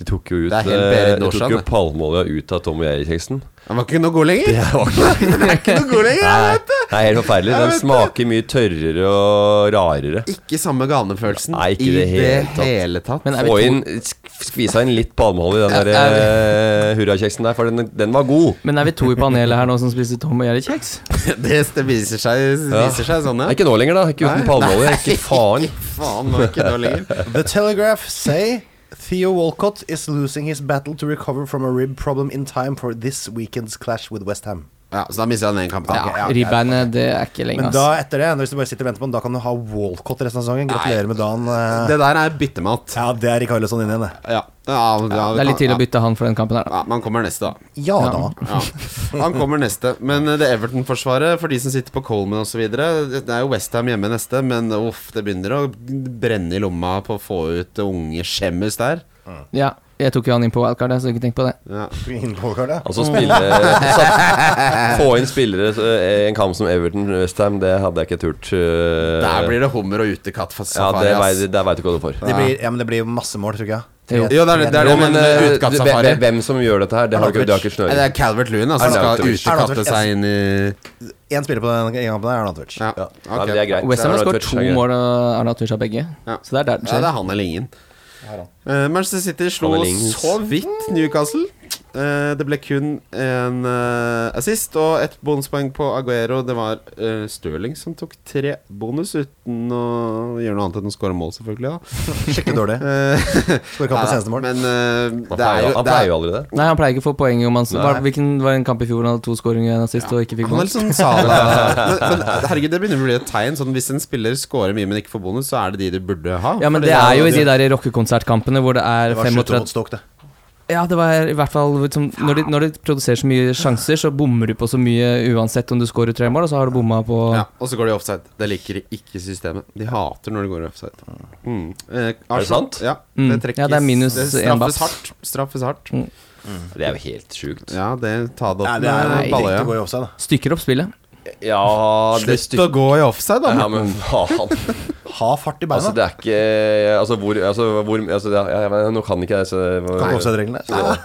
[SPEAKER 4] De tok jo ut,
[SPEAKER 3] Det er helt
[SPEAKER 4] eh,
[SPEAKER 3] Berit
[SPEAKER 4] de tok jo
[SPEAKER 3] Norsan, det.
[SPEAKER 4] palmeolja ut av Tom og Jerry-kjeksen.
[SPEAKER 3] Den var ikke noe god lenger.
[SPEAKER 4] Det var
[SPEAKER 3] <laughs>
[SPEAKER 4] ikke
[SPEAKER 3] Den er ikke noe god lenger jeg
[SPEAKER 4] Nei,
[SPEAKER 3] vet det.
[SPEAKER 4] det er helt forferdelig.
[SPEAKER 3] Jeg
[SPEAKER 4] Den
[SPEAKER 3] vet det.
[SPEAKER 4] smaker mye tørrere og rarere.
[SPEAKER 3] Ikke samme ganefølelsen
[SPEAKER 4] Nei, ikke
[SPEAKER 3] i det
[SPEAKER 4] det hele
[SPEAKER 3] hele,
[SPEAKER 4] tatt.
[SPEAKER 3] tatt.
[SPEAKER 2] Men er vi
[SPEAKER 4] Få
[SPEAKER 2] to-
[SPEAKER 4] inn, sk- skvisa inn litt palmeolje i den der eh, hurrakjeksen der, for den, den var god.
[SPEAKER 2] Men er vi to i panelet her nå som spiser Tom og Jerry-kjeks?
[SPEAKER 3] <laughs> det, det viser seg, viser seg sånn,
[SPEAKER 4] Nei,
[SPEAKER 3] ja.
[SPEAKER 4] ikke nå lenger, da. Ikke uten palmeolje. Ikke faen.
[SPEAKER 3] Faen, nå er ikke noe lenger.
[SPEAKER 5] The Telegraph say Theo Walcott is losing his battle to recover from a rib problem in time for this weekend's clash with West Ham.
[SPEAKER 3] Ja, Så da mister han den kampen.
[SPEAKER 5] Ja.
[SPEAKER 2] Ja, Ribbeinet, det er ikke lenge,
[SPEAKER 5] Men
[SPEAKER 2] ass.
[SPEAKER 5] da etter det, når du bare sitter og venter på den, da kan du ha Walcott resten av sesongen. Gratulerer med dagen. eh.
[SPEAKER 3] Det der er byttemat.
[SPEAKER 5] Ja, det er Rikarlison inn igjen, det.
[SPEAKER 3] Ja. Ja, ja, vi
[SPEAKER 2] Det er
[SPEAKER 3] kan-
[SPEAKER 2] litt tidlig å
[SPEAKER 3] ja.
[SPEAKER 2] bytte han for den kampen her, da.
[SPEAKER 3] Ja, Man kommer neste, da.
[SPEAKER 5] Ja da.
[SPEAKER 3] Ja. Han kommer neste. Men eh, det Everton-forsvaret, for de som sitter på Coleman osv. Det er jo Westham hjemme neste, men uff, det begynner å brenne i lomma på å få ut unge Shemus der.
[SPEAKER 2] Ja, jeg tok jo han inn på wildcard, jeg, så ikke tenk på det.
[SPEAKER 3] Ja.
[SPEAKER 5] Inn på Walcott, ja.
[SPEAKER 4] Altså spille satt- Få inn spillere eh, en kamp som Everton Westham, det hadde jeg ikke turt. eh,
[SPEAKER 3] Der blir det hummer og utekatt for
[SPEAKER 4] ja,
[SPEAKER 3] safari.
[SPEAKER 4] det
[SPEAKER 3] ass.
[SPEAKER 4] veit der veit du ikke hva du får.
[SPEAKER 5] Det blir, ja, men det blir jo masse mål, tror ikke jeg.
[SPEAKER 2] Jo.
[SPEAKER 3] Jo, det er det, det, er
[SPEAKER 4] Jo,
[SPEAKER 3] det men,
[SPEAKER 4] eh, du-
[SPEAKER 3] utekatt-safari.
[SPEAKER 4] hvem- Hvem som gjør dette her, det har du ikke, det har ikke
[SPEAKER 3] Nei,
[SPEAKER 4] snøring.
[SPEAKER 3] Det er Calvert Lewin altså,
[SPEAKER 4] Arnautovic.
[SPEAKER 3] skal utekatte
[SPEAKER 5] Arnautovic, yes.
[SPEAKER 3] seg inn i
[SPEAKER 5] Én spiller på den ene kampen, der er Arnatovic.
[SPEAKER 3] Ja,
[SPEAKER 4] Ja.
[SPEAKER 3] ok.
[SPEAKER 4] Ja, det er greit.
[SPEAKER 2] Westham har skåret
[SPEAKER 4] Arnautovic,
[SPEAKER 2] to
[SPEAKER 4] det er greit.
[SPEAKER 2] mål og Arna Tush har begge.
[SPEAKER 3] Ja.
[SPEAKER 2] Så det er der det
[SPEAKER 3] Ja, det
[SPEAKER 2] skjer.
[SPEAKER 3] er han eller ingen.
[SPEAKER 5] Har han.
[SPEAKER 3] Eh, Manchester City slo
[SPEAKER 4] Han eller ingen.
[SPEAKER 3] så vidt Newcastle. Eh, det ble kun en eh, assist og ett bonuspoeng på Aguero. Det var eh, Stirling som tok tre bonus uten å gjøre noe annet enn å skåre mål, selvfølgelig. Da.
[SPEAKER 5] Skikkelig dårlig.
[SPEAKER 3] Eh,
[SPEAKER 5] Skal ikke ha på
[SPEAKER 3] <laughs> ja,
[SPEAKER 5] seneste mål.
[SPEAKER 3] Men eh, det
[SPEAKER 4] Han
[SPEAKER 3] er
[SPEAKER 4] pleier
[SPEAKER 3] jo,
[SPEAKER 4] jo- han
[SPEAKER 3] det
[SPEAKER 4] pleier
[SPEAKER 3] er,
[SPEAKER 4] jo aldri det.
[SPEAKER 2] Nei, han pleier ikke å få poeng om han
[SPEAKER 4] Nei.
[SPEAKER 2] var, Hvilken var en kamp i fjor han hadde to skåringer en assist og ikke fikk
[SPEAKER 3] han er
[SPEAKER 2] bonus?
[SPEAKER 3] litt sånn sala men, men herregud, det begynner å bli et tegn. Sånn, hvis en spiller scorer mye, men ikke får bonus, så er det de du burde ha.
[SPEAKER 2] Ja, men
[SPEAKER 3] Fordi
[SPEAKER 2] det
[SPEAKER 3] da-
[SPEAKER 2] er jo i de der rockekonsertkampene hvor det er
[SPEAKER 5] Det var slutt
[SPEAKER 2] 35
[SPEAKER 5] mot Stoke, det.
[SPEAKER 2] Ja, det var i hvert fall liksom, når, de, når de produserer så mye sjanser, så bommer du på så mye uansett om du scorer tre mål, og så har du bomma på
[SPEAKER 3] Ja, og så går de i offside. Det liker ikke systemet. De hater når det går i offside. Mm. Eh, Arsenal-
[SPEAKER 4] sant?
[SPEAKER 3] Ja,
[SPEAKER 2] Mm.
[SPEAKER 3] det trekkes
[SPEAKER 2] Ja, det er minus
[SPEAKER 3] det
[SPEAKER 2] en
[SPEAKER 3] straffes
[SPEAKER 2] baps.
[SPEAKER 3] hardt. Straffes hardt.
[SPEAKER 4] Det er jo helt sjukt.
[SPEAKER 3] Ja, det ta det opp
[SPEAKER 5] Nei, det er
[SPEAKER 2] Nei,
[SPEAKER 3] med
[SPEAKER 5] direkte å
[SPEAKER 3] balløya.
[SPEAKER 5] gå i offside, da.
[SPEAKER 2] Stykker opp spillet.
[SPEAKER 4] Ja, det
[SPEAKER 3] Slutt å gå i offside, da.
[SPEAKER 4] Ja, men
[SPEAKER 3] <laughs>
[SPEAKER 4] faen.
[SPEAKER 5] Ha fart i beina.
[SPEAKER 4] Altså, det er ikke Altså, hvor, altså, hvor altså, det er, jeg, jeg, Nå kan ikke jeg så, eh,
[SPEAKER 5] Kan ikke
[SPEAKER 4] hva,
[SPEAKER 5] offside-reglene.
[SPEAKER 4] så,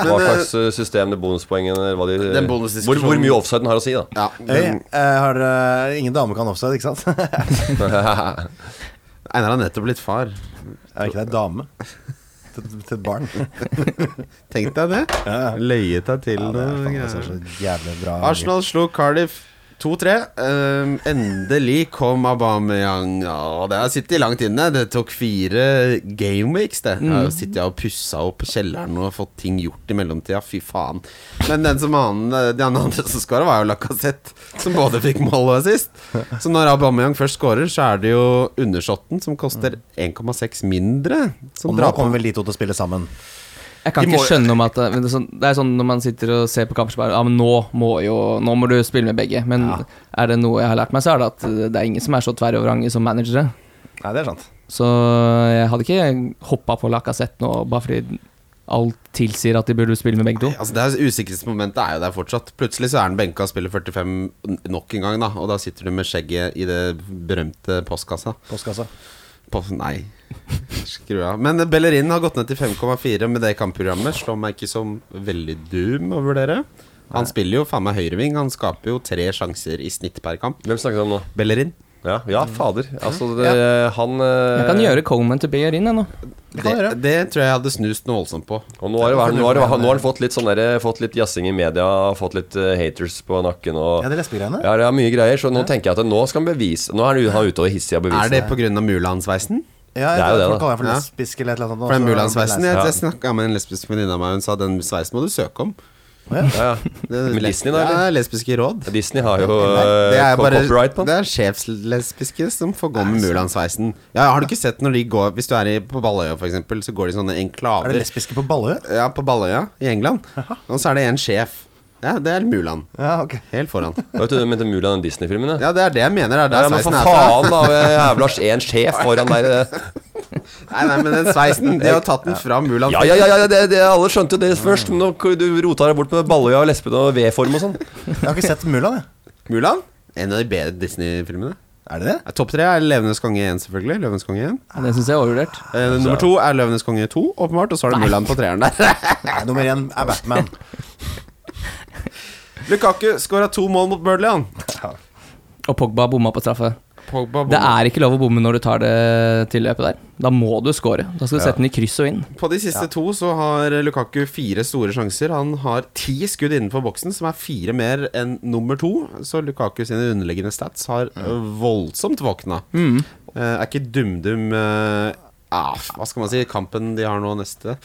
[SPEAKER 4] hva slags eh, system det bonuspoengene eller hva de,
[SPEAKER 3] Den
[SPEAKER 4] hvor,
[SPEAKER 3] bonusdiskusjonen-
[SPEAKER 4] hvor mye offsiden har å si, da. <laughs>
[SPEAKER 3] Ja,
[SPEAKER 5] Hey,
[SPEAKER 3] den,
[SPEAKER 5] eh, har, eh, ingen dame kan offside, ikke sant? <laughs> er
[SPEAKER 3] Einar har nettopp blitt far.
[SPEAKER 5] ikke det en dame? Til, til et barn.
[SPEAKER 3] Tenk deg det.
[SPEAKER 5] Ja,
[SPEAKER 3] Løyet deg til
[SPEAKER 5] <laughs> Ja, det er
[SPEAKER 3] noe
[SPEAKER 5] faen, altså,
[SPEAKER 3] greier.
[SPEAKER 5] så jævlig bra
[SPEAKER 3] Arsenal slo Cardiff 2-3. Um, endelig kom Aubameyang. Ja, det har sittet langt inne. Det tok fire gameweeks, det. Jeg har
[SPEAKER 5] Mm.
[SPEAKER 3] jo sittet og pussa opp kjelleren og fått ting gjort i mellomtida. Fy faen. Men den som annen, de andre som skåra, var jo Lacassette, som både fikk mål og assist. Så når Aubameyang først skårer, så er det jo undersåtten, som koster 1,6 mindre,
[SPEAKER 5] Mm.
[SPEAKER 3] som
[SPEAKER 5] Og nå
[SPEAKER 3] drar på.
[SPEAKER 5] kommer vel de to til å spille sammen.
[SPEAKER 2] Jeg kan
[SPEAKER 3] De må
[SPEAKER 2] ikke
[SPEAKER 3] jo-
[SPEAKER 2] skjønne om at det, men det, er sånn, det er sånn når man sitter og ser på kamper så bare Ja, men nå må jo Nå må du spille med begge. Men er det noe jeg har lært meg, så er det at eh, det er ingen som er så tverr over ange som managere.
[SPEAKER 5] Nei, det er sant.
[SPEAKER 2] Så jeg hadde ikke hoppa på Lacassette nå bare fordi alt tilsier at de burde spille med begge to.
[SPEAKER 3] Altså det er Usikkerhetsmomentet er jo der fortsatt. Plutselig så er han benka og spiller 45 n- nok en gang, da. Og da sitter du med skjegget i det berømte postkassa.
[SPEAKER 5] Postkassa.
[SPEAKER 3] På, nei, skru av. Men Bellerin har gått ned til 5,4 med det kampprogrammet. Slår meg ikke som veldig doom å vurdere. Han spiller jo faen meg høyreving. Han skaper jo tre sjanser i snitt per kamp.
[SPEAKER 4] Hvem snakker du om nå?
[SPEAKER 3] Bellerin.
[SPEAKER 4] Ja, ja fader. Altså, det, han eh,
[SPEAKER 2] Jeg kan gjøre Coleman til Beyer inn, jeg nå.
[SPEAKER 5] Det
[SPEAKER 3] Det,
[SPEAKER 5] kan jeg gjøre.
[SPEAKER 3] det tror jeg jeg hadde snust noe voldsomt på.
[SPEAKER 4] Og nå har, det vært, nå, har det, vært- nå har han fått litt sånn derre- Fått litt jazzing i media, fått litt eh, haters på nakken og
[SPEAKER 5] Ja, det er lesbegreiene.
[SPEAKER 4] Ja, det er mye greier, så nå tenker jeg at nå skal han bevise Nå er han u- han er ute og hissig av bevis.
[SPEAKER 3] Er det pga. mulansveisen?
[SPEAKER 5] Ja,
[SPEAKER 4] Det er jo det, da.
[SPEAKER 5] Folk kaller meg for
[SPEAKER 3] Ja.
[SPEAKER 5] lesbisk eller et eller annet.
[SPEAKER 3] For den mulansveisen Jeg,
[SPEAKER 5] ja.
[SPEAKER 4] Ja.
[SPEAKER 3] jeg snakka med en lesbisk venninne av meg, hun sa den sveisen må du søke om.
[SPEAKER 4] Ja,
[SPEAKER 3] <laughs> Det,
[SPEAKER 4] Med Disney, da, eller?
[SPEAKER 3] Ja, lesbiske råd.
[SPEAKER 4] ja. Disney har jo
[SPEAKER 3] Nei, det
[SPEAKER 4] eh,
[SPEAKER 3] er
[SPEAKER 4] co-
[SPEAKER 3] bare
[SPEAKER 4] copyright på den.
[SPEAKER 3] Det er sjefslesbiske som får gå med mulansveisen. Ja, har du ikke sett når de går Hvis du er i, på Balløya, for eksempel så går de i sånne
[SPEAKER 5] Er det
[SPEAKER 3] enklaver.
[SPEAKER 5] lesbiske på Ballø?
[SPEAKER 3] Ja, på Balløya i England. Og så er det en sjef. Ja, det er Mulan.
[SPEAKER 5] Ja, <laughs> ok.
[SPEAKER 3] Helt foran.
[SPEAKER 4] Vet du, du mente Mulan den Disney-filmen? Ja.
[SPEAKER 3] Ja, det er det jeg mener. Det er der
[SPEAKER 4] Ja, men for
[SPEAKER 3] sveisen er fra.
[SPEAKER 4] faen, da! Jævla en sjef foran der. eh.
[SPEAKER 3] Nei, nei, men den sveisen De har jo tatt den fra Mulan.
[SPEAKER 4] Ja, ja, ja, ja det, det, alle skjønte det først. men Nå k- du rota deg bort med Balløya og Lesben og V-form og sånn.
[SPEAKER 5] Jeg har ikke sett Mulan, jeg.
[SPEAKER 3] Mulan? En av de bedre Disney-filmene.
[SPEAKER 5] Er det det?
[SPEAKER 3] Ja, Eh, Topp tre er Løvenes konge 1, selvfølgelig. Løvenes konge 1.
[SPEAKER 2] Det syns jeg er overvurdert.
[SPEAKER 3] Eh, nummer to er Løvenes konge 2, åpenbart. Og så er det Mulan på treeren der. <laughs>
[SPEAKER 5] Nei, nummer én er Batman.
[SPEAKER 3] Lukaku skåra to mål mot Burnley, han.
[SPEAKER 2] Og Pogba bomma på straffe.
[SPEAKER 3] Pogba
[SPEAKER 2] Det er ikke lov å bomme når du tar det tilløpet der. Da må du score. Da skal du sette den i kryss og inn.
[SPEAKER 3] På de siste to så har Lukaku fire store sjanser. Han har ti skudd innenfor boksen, som er fire mer enn nummer to. Så Lukaku sine underliggende stats har øh, voldsomt våkna. Eh, er ikke DumDum eh, ah, Hva skal man si? Kampen de har nå neste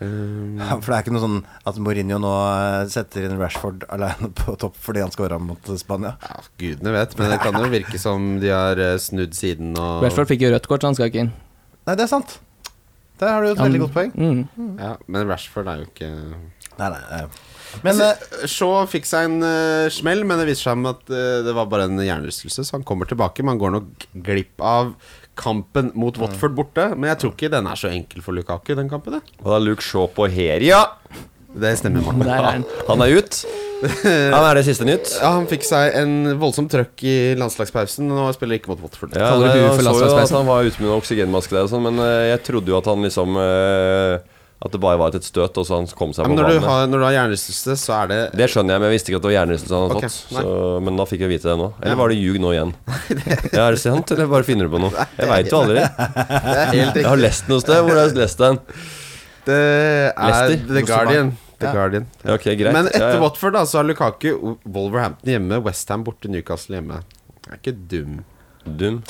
[SPEAKER 3] Eh,
[SPEAKER 5] Ja, For det er ikke noe sånn at Mourinho nå eh, setter inn Rashford alene på topp fordi han scora mot Spania.
[SPEAKER 3] ja, ah, Gudene vet, men det kan jo virke som de har eh, snudd siden og
[SPEAKER 2] Rashford fikk jo rødt kort, så han skal ikke inn.
[SPEAKER 5] Nei, det er sant. Der har du jo et
[SPEAKER 4] Um,
[SPEAKER 2] Han-
[SPEAKER 5] veldig godt poeng.
[SPEAKER 2] Mm.
[SPEAKER 3] ja, Men Rashford er jo ikke
[SPEAKER 5] Nei, nei, nei. Men eh,
[SPEAKER 3] Shaw fikk seg en eh, smell, men det viste seg med at eh, det var bare en hjernerystelse, så han kommer tilbake. Man går nok glipp av kampen mot Watford borte, men jeg tror ikke den er så enkel for Lukaku, den kampen. Det,
[SPEAKER 4] Og da Luke Shaw på Heria.
[SPEAKER 3] det stemmer, Morten.
[SPEAKER 2] Der er den.
[SPEAKER 4] Han er ut. Han er det siste nytt.
[SPEAKER 3] Ja, han fikk seg en voldsom trøkk i landslagspausen, og nå spiller han ikke mot Watford.
[SPEAKER 4] Ja,
[SPEAKER 2] Kaller du
[SPEAKER 4] nei,
[SPEAKER 2] bue for
[SPEAKER 4] han så jo at
[SPEAKER 2] landslagspressen?
[SPEAKER 4] han var ute med en oksygenmaske der og sånn, men eh, jeg trodde jo at han liksom eh, At det bare var et støt, og så han kom seg
[SPEAKER 3] Ja,
[SPEAKER 4] på
[SPEAKER 3] men når du,
[SPEAKER 4] banen.
[SPEAKER 3] har, når du har hjernerystelse, så er det
[SPEAKER 4] Det skjønner jeg, men jeg visste ikke at det var hjernerystelse han hadde
[SPEAKER 3] Ok,
[SPEAKER 4] fått.
[SPEAKER 3] nei.
[SPEAKER 4] Så, men da fikk jeg vite det nå. Eller var det ljug nå igjen? Ja, er det sant, eller bare finner du på noe? Jeg veit jo aldri.
[SPEAKER 3] det er helt
[SPEAKER 4] <laughs> Jeg har lest noe sted. Hvor har jeg lest den?
[SPEAKER 3] Det er
[SPEAKER 4] Leicester.
[SPEAKER 3] The Guardian. The Guardian.
[SPEAKER 4] Ja, ok, greit.
[SPEAKER 3] Men etter
[SPEAKER 4] Ja, ja.
[SPEAKER 3] Watford da, så har Lukaku Wolverhampton hjemme, Westham borte, Newcastle hjemme. Det er ikke dum.
[SPEAKER 4] Dum.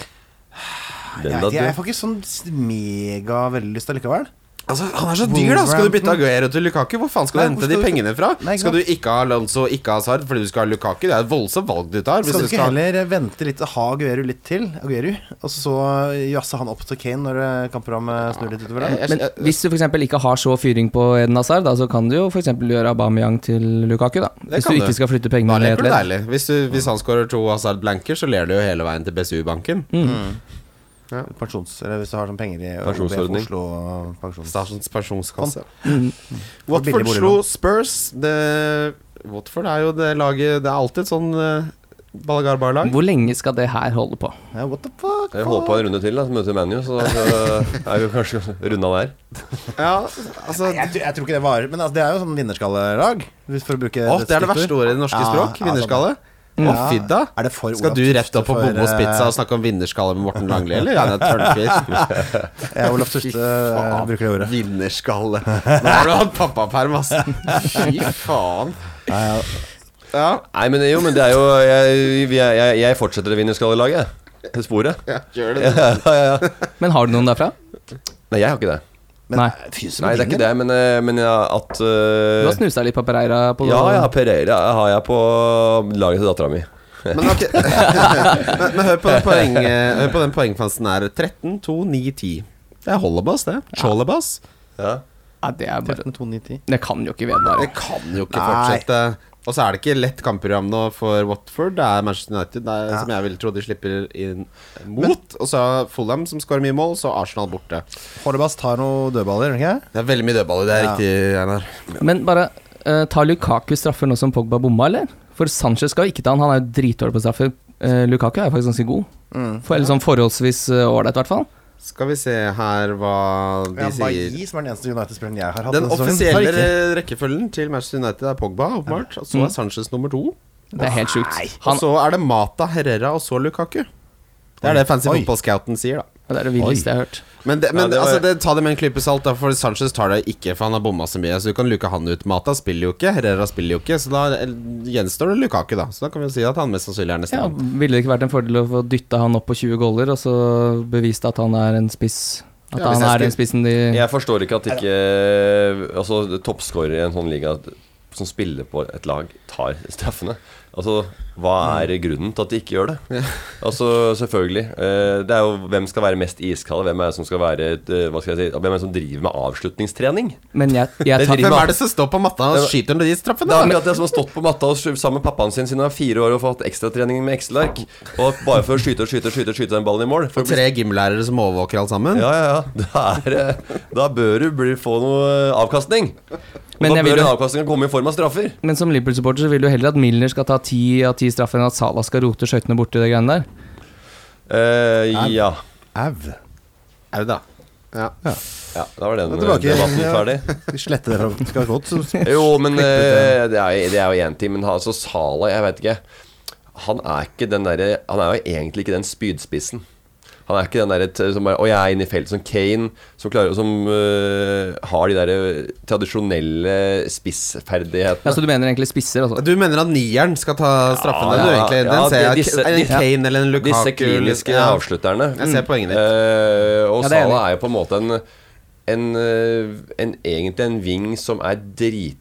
[SPEAKER 5] Jeg,
[SPEAKER 4] Den da,
[SPEAKER 5] vet ikke, jeg
[SPEAKER 4] dum.
[SPEAKER 5] får ikke sånn s- mega veldig lyst allikevel.
[SPEAKER 3] Altså, Han er så dyr, da! Skal du bytte Aguero til Lukaku? Hvor faen skal
[SPEAKER 5] Nei,
[SPEAKER 3] du
[SPEAKER 5] hvor
[SPEAKER 3] hente de
[SPEAKER 5] skal du-
[SPEAKER 3] pengene fra?
[SPEAKER 5] Nei, ikke
[SPEAKER 3] skal du
[SPEAKER 5] sant.
[SPEAKER 3] ikke ha Lonzo, ikke ha Sard fordi du skal ha Lukaku? Det er et voldsomt valg du tar. hvis
[SPEAKER 5] Skal du ikke
[SPEAKER 3] skal-
[SPEAKER 5] heller vente litt og ha Aguero litt til, Aguero, og så jazze han opp til Kane når eh, kampprogrammet snur litt utover der?
[SPEAKER 3] Jeg-
[SPEAKER 2] Men
[SPEAKER 3] jeg-
[SPEAKER 2] hvis du f.eks. ikke har så fyring på Eden Hazard, da, så kan du jo f.eks. gjøre Aubameyang til Lukaku, da. Hvis
[SPEAKER 3] kan
[SPEAKER 2] du
[SPEAKER 3] du.
[SPEAKER 2] ikke skal flytte
[SPEAKER 3] Da
[SPEAKER 2] pengene ned et
[SPEAKER 3] leker du
[SPEAKER 2] ledd.
[SPEAKER 3] deilig. Hvis, du, hvis han skårer to Hazard blanker, så ler du jo hele veien til BSU-banken.
[SPEAKER 5] Mm. Pensjons... Eller hvis du har sånn penger i
[SPEAKER 4] Pensjonsordning.
[SPEAKER 5] Oslo pensjons...
[SPEAKER 3] Statens pensjonskasse.
[SPEAKER 2] Mm.
[SPEAKER 3] Watford
[SPEAKER 5] Sånn. Billig
[SPEAKER 3] slo
[SPEAKER 5] boliglån.
[SPEAKER 3] Spurs. Det, Watford er jo det laget Det er alltid et sånn eh, Balagarbar-lag.
[SPEAKER 2] Hvor lenge skal det her holde på?
[SPEAKER 5] Ja, what the fuck?
[SPEAKER 4] Jeg holder på en runde til, da, så møter vi ManU. Så da så er vi kanskje runda der.
[SPEAKER 3] Ja, altså
[SPEAKER 5] Nei, Jeg, tror- jeg tror ikke det varer, men altså, det er jo sånn vinnerskallelag. hvis- For å bruke
[SPEAKER 3] Åh, det er det
[SPEAKER 5] stikkord.
[SPEAKER 3] verste ordet i det norske
[SPEAKER 5] Ja,
[SPEAKER 3] språk.
[SPEAKER 5] ja,
[SPEAKER 3] Vinnerskalle.
[SPEAKER 5] sånn.
[SPEAKER 3] Å, fy da.
[SPEAKER 5] Er det for
[SPEAKER 3] Skal
[SPEAKER 5] Olav
[SPEAKER 3] du rett
[SPEAKER 5] Tufte
[SPEAKER 3] opp på
[SPEAKER 5] for,
[SPEAKER 3] Bombos
[SPEAKER 5] eh,
[SPEAKER 3] Pizza altså? og snakke om vinnerskalle med Morten Langli, eller? Han er <laughs> tørnfis.
[SPEAKER 5] <laughs> Ja, Olav Tufte eh,
[SPEAKER 3] faen.
[SPEAKER 5] bruker det ordet.
[SPEAKER 3] <laughs> Vinnerskalle. Nå har du hatt pappaperm, ass. Fy faen. Ja,
[SPEAKER 4] Nei, men, jo, men det er jo Jeg, vi er- jeg, jeg fortsetter det vinnerskallelaget. Det sporet.
[SPEAKER 3] ja, gjør det.
[SPEAKER 4] Ja, ja, ja.
[SPEAKER 2] Men har du noen derfra?
[SPEAKER 4] Nei, jeg har ikke det.
[SPEAKER 5] Men
[SPEAKER 2] Nei.
[SPEAKER 5] fy som
[SPEAKER 4] Nei, det er ikke
[SPEAKER 5] vinner.
[SPEAKER 4] det, men, eh, men ja, at eh,
[SPEAKER 2] Du har snusa litt på Pereira? På
[SPEAKER 4] Ja, ja, Pereira har jeg på laget til dattera mi.
[SPEAKER 3] Men, ok <laughs> men, men hør på den, poeng, eh, hør på den poengfansen her. 13, 2, 9, 10. Det er Hollebas, det. Cholebas.
[SPEAKER 4] Ja.
[SPEAKER 2] Ja, det er bare
[SPEAKER 5] 13, 2, 9, 10.
[SPEAKER 2] Det kan jo ikke vedvare.
[SPEAKER 3] Det kan jo ikke
[SPEAKER 5] Nei.
[SPEAKER 3] fortsette. Og så er det ikke lett kampprogram nå for Watford. Det er Manchester United det er, som jeg vil tro de slipper inn mot. Og så er Fulham som skårer mye mål, så Arsenal borte.
[SPEAKER 5] Horvath tar noen dødballer, gjør han ikke?
[SPEAKER 3] Det er veldig mye dødballer, det er
[SPEAKER 5] Ja.
[SPEAKER 3] riktig, Einar.
[SPEAKER 2] Men bare, eh, tar Lukaku straffer nå som Pogba bomma, eller? For Sanchez skal jo ikke ta han, han er jo dritdårlig på straffer. Eh, Lukaku er jo faktisk ganske god. For, eller sånn forholdsvis eh, ålreit, i hvert fall.
[SPEAKER 3] Skal vi se her hva de
[SPEAKER 5] Ja,
[SPEAKER 3] sier.
[SPEAKER 5] Bailly, som er den eneste United-spilleren jeg har hatt
[SPEAKER 3] Den
[SPEAKER 5] denne sesongen, har
[SPEAKER 3] offisielle
[SPEAKER 5] ikke-
[SPEAKER 3] rekkefølgen til Manchester United er Pogba, åpenbart. Og så
[SPEAKER 2] Mm.
[SPEAKER 3] er Sanchez nummer to.
[SPEAKER 2] Det er helt sjukt.
[SPEAKER 3] Og
[SPEAKER 2] Han,
[SPEAKER 3] så er det Mata, Herrera og så Lukaku. Det er det fancy
[SPEAKER 5] Oi.
[SPEAKER 3] fotballscouten sier, da.
[SPEAKER 2] det er det villeste jeg har hørt.
[SPEAKER 3] Men, det, men
[SPEAKER 4] Ja, det var-
[SPEAKER 3] altså, det, ta det med en klype salt, da, for Sanchez tar det ikke, for han har bomma så mye. Så du kan luke han ut. Mata spiller jo ikke, Herrera spiller jo ikke, så da eh, gjenstår det Lukaku, da. Så da kan vi jo si at han mest sannsynlig er neste.
[SPEAKER 2] Ja, ville det ikke vært en fordel å få dytta han opp på 20 goller, og så bevist at han er en spiss? At
[SPEAKER 3] Ja, hvis
[SPEAKER 2] han
[SPEAKER 3] jeg
[SPEAKER 2] er
[SPEAKER 3] skulle-
[SPEAKER 2] den spissen de
[SPEAKER 4] Jeg forstår ikke at ikke Altså, toppskårer i en sånn liga som spiller på et lag, tar straffene. Altså, hva er grunnen til at de ikke gjør det? Altså, selvfølgelig. eh, Det er jo hvem skal være mest iskald, hvem er det som skal være eh, Hva skal jeg si Hvem er det som driver med avslutningstrening?
[SPEAKER 2] Men jeg, jeg
[SPEAKER 4] Det
[SPEAKER 2] tar
[SPEAKER 3] Hvem er det som står på matta og
[SPEAKER 4] Det-
[SPEAKER 3] skyter når de
[SPEAKER 4] Det er
[SPEAKER 3] straffene?
[SPEAKER 4] akkurat det som har stått på matta og skjø- sammen med pappaen sin siden han var fire år og fått ekstratrening med Excel-ark. Og bare for å skyte og skyte og skyte, skyte den ballen i mål. For å bli
[SPEAKER 3] Tre gymlærere som overvåker alt sammen?
[SPEAKER 4] Ja, ja, ja. Da, er, det- da bør du bli, få noe eh, avkastning. Og
[SPEAKER 2] Men
[SPEAKER 4] da
[SPEAKER 2] jeg vil
[SPEAKER 4] bør den
[SPEAKER 2] jo-
[SPEAKER 4] avkastningen komme i form av straffer.
[SPEAKER 2] Men som Liverpool-supporter så vil du heller at Milner skal ta ti av ti straffer enn at Salah skal rote skøytene borti det greiene der.
[SPEAKER 4] Eh, ja.
[SPEAKER 5] Au.
[SPEAKER 3] Au, da. Ja.
[SPEAKER 4] ja. Da var den
[SPEAKER 5] Det var ikke-
[SPEAKER 4] debatten ferdig.
[SPEAKER 5] Vi sletter det fra Skal godt så-
[SPEAKER 4] <laughs> Jo, men eh, det er jo- det er jo én ting. Men han- altså Sala, jeg vet ikke Han er ikke den derre Han er jo egentlig ikke den spydspissen. Han er ikke den derre t- som bare Å, jeg er inne i feltet som Kane, som, klarer, som eh, har de derre tradisjonelle spissferdighetene.
[SPEAKER 2] Ja, så du mener egentlig spisser, altså?
[SPEAKER 3] Du mener at nieren skal ta straffene?
[SPEAKER 4] Ja,
[SPEAKER 3] du,
[SPEAKER 4] ja,
[SPEAKER 3] egentlig? Den
[SPEAKER 4] ja,
[SPEAKER 3] ser jeg.
[SPEAKER 4] de- disse-
[SPEAKER 3] en
[SPEAKER 4] de-
[SPEAKER 3] Kane eller en Lukaku
[SPEAKER 4] Disse kliniske
[SPEAKER 3] ja.
[SPEAKER 4] avslutterne. Mm.
[SPEAKER 3] Jeg ser poenget ditt.
[SPEAKER 4] Eh, og
[SPEAKER 2] Ja, det er
[SPEAKER 4] Sala
[SPEAKER 2] enig.
[SPEAKER 4] er jo på en måte en, en, eh, en egentlig en ving som er dritrask.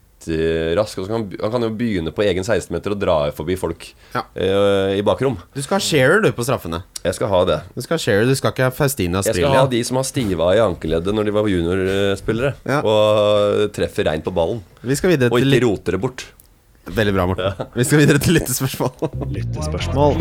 [SPEAKER 4] og så kan Han, han kan jo begynne på egen 16-meter og dra forbi folk
[SPEAKER 3] Ja.
[SPEAKER 4] eh, i bakrom.
[SPEAKER 3] Du skal ha Shearer, du, på straffene.
[SPEAKER 4] Jeg skal ha det.
[SPEAKER 3] Du skal ha Shearer, du skal ikke ha Faustina
[SPEAKER 4] Jeg skal
[SPEAKER 3] Aprilia.
[SPEAKER 4] ha de som har stiva i ankeleddet når de var juniorspillere,
[SPEAKER 3] Ja.
[SPEAKER 4] og treffer reint på ballen.
[SPEAKER 3] Vi skal videre
[SPEAKER 4] Og
[SPEAKER 3] til
[SPEAKER 4] ikke
[SPEAKER 3] litt...
[SPEAKER 4] roter det bort.
[SPEAKER 3] Veldig bra, Morten. Vi skal videre til lyttespørsmål.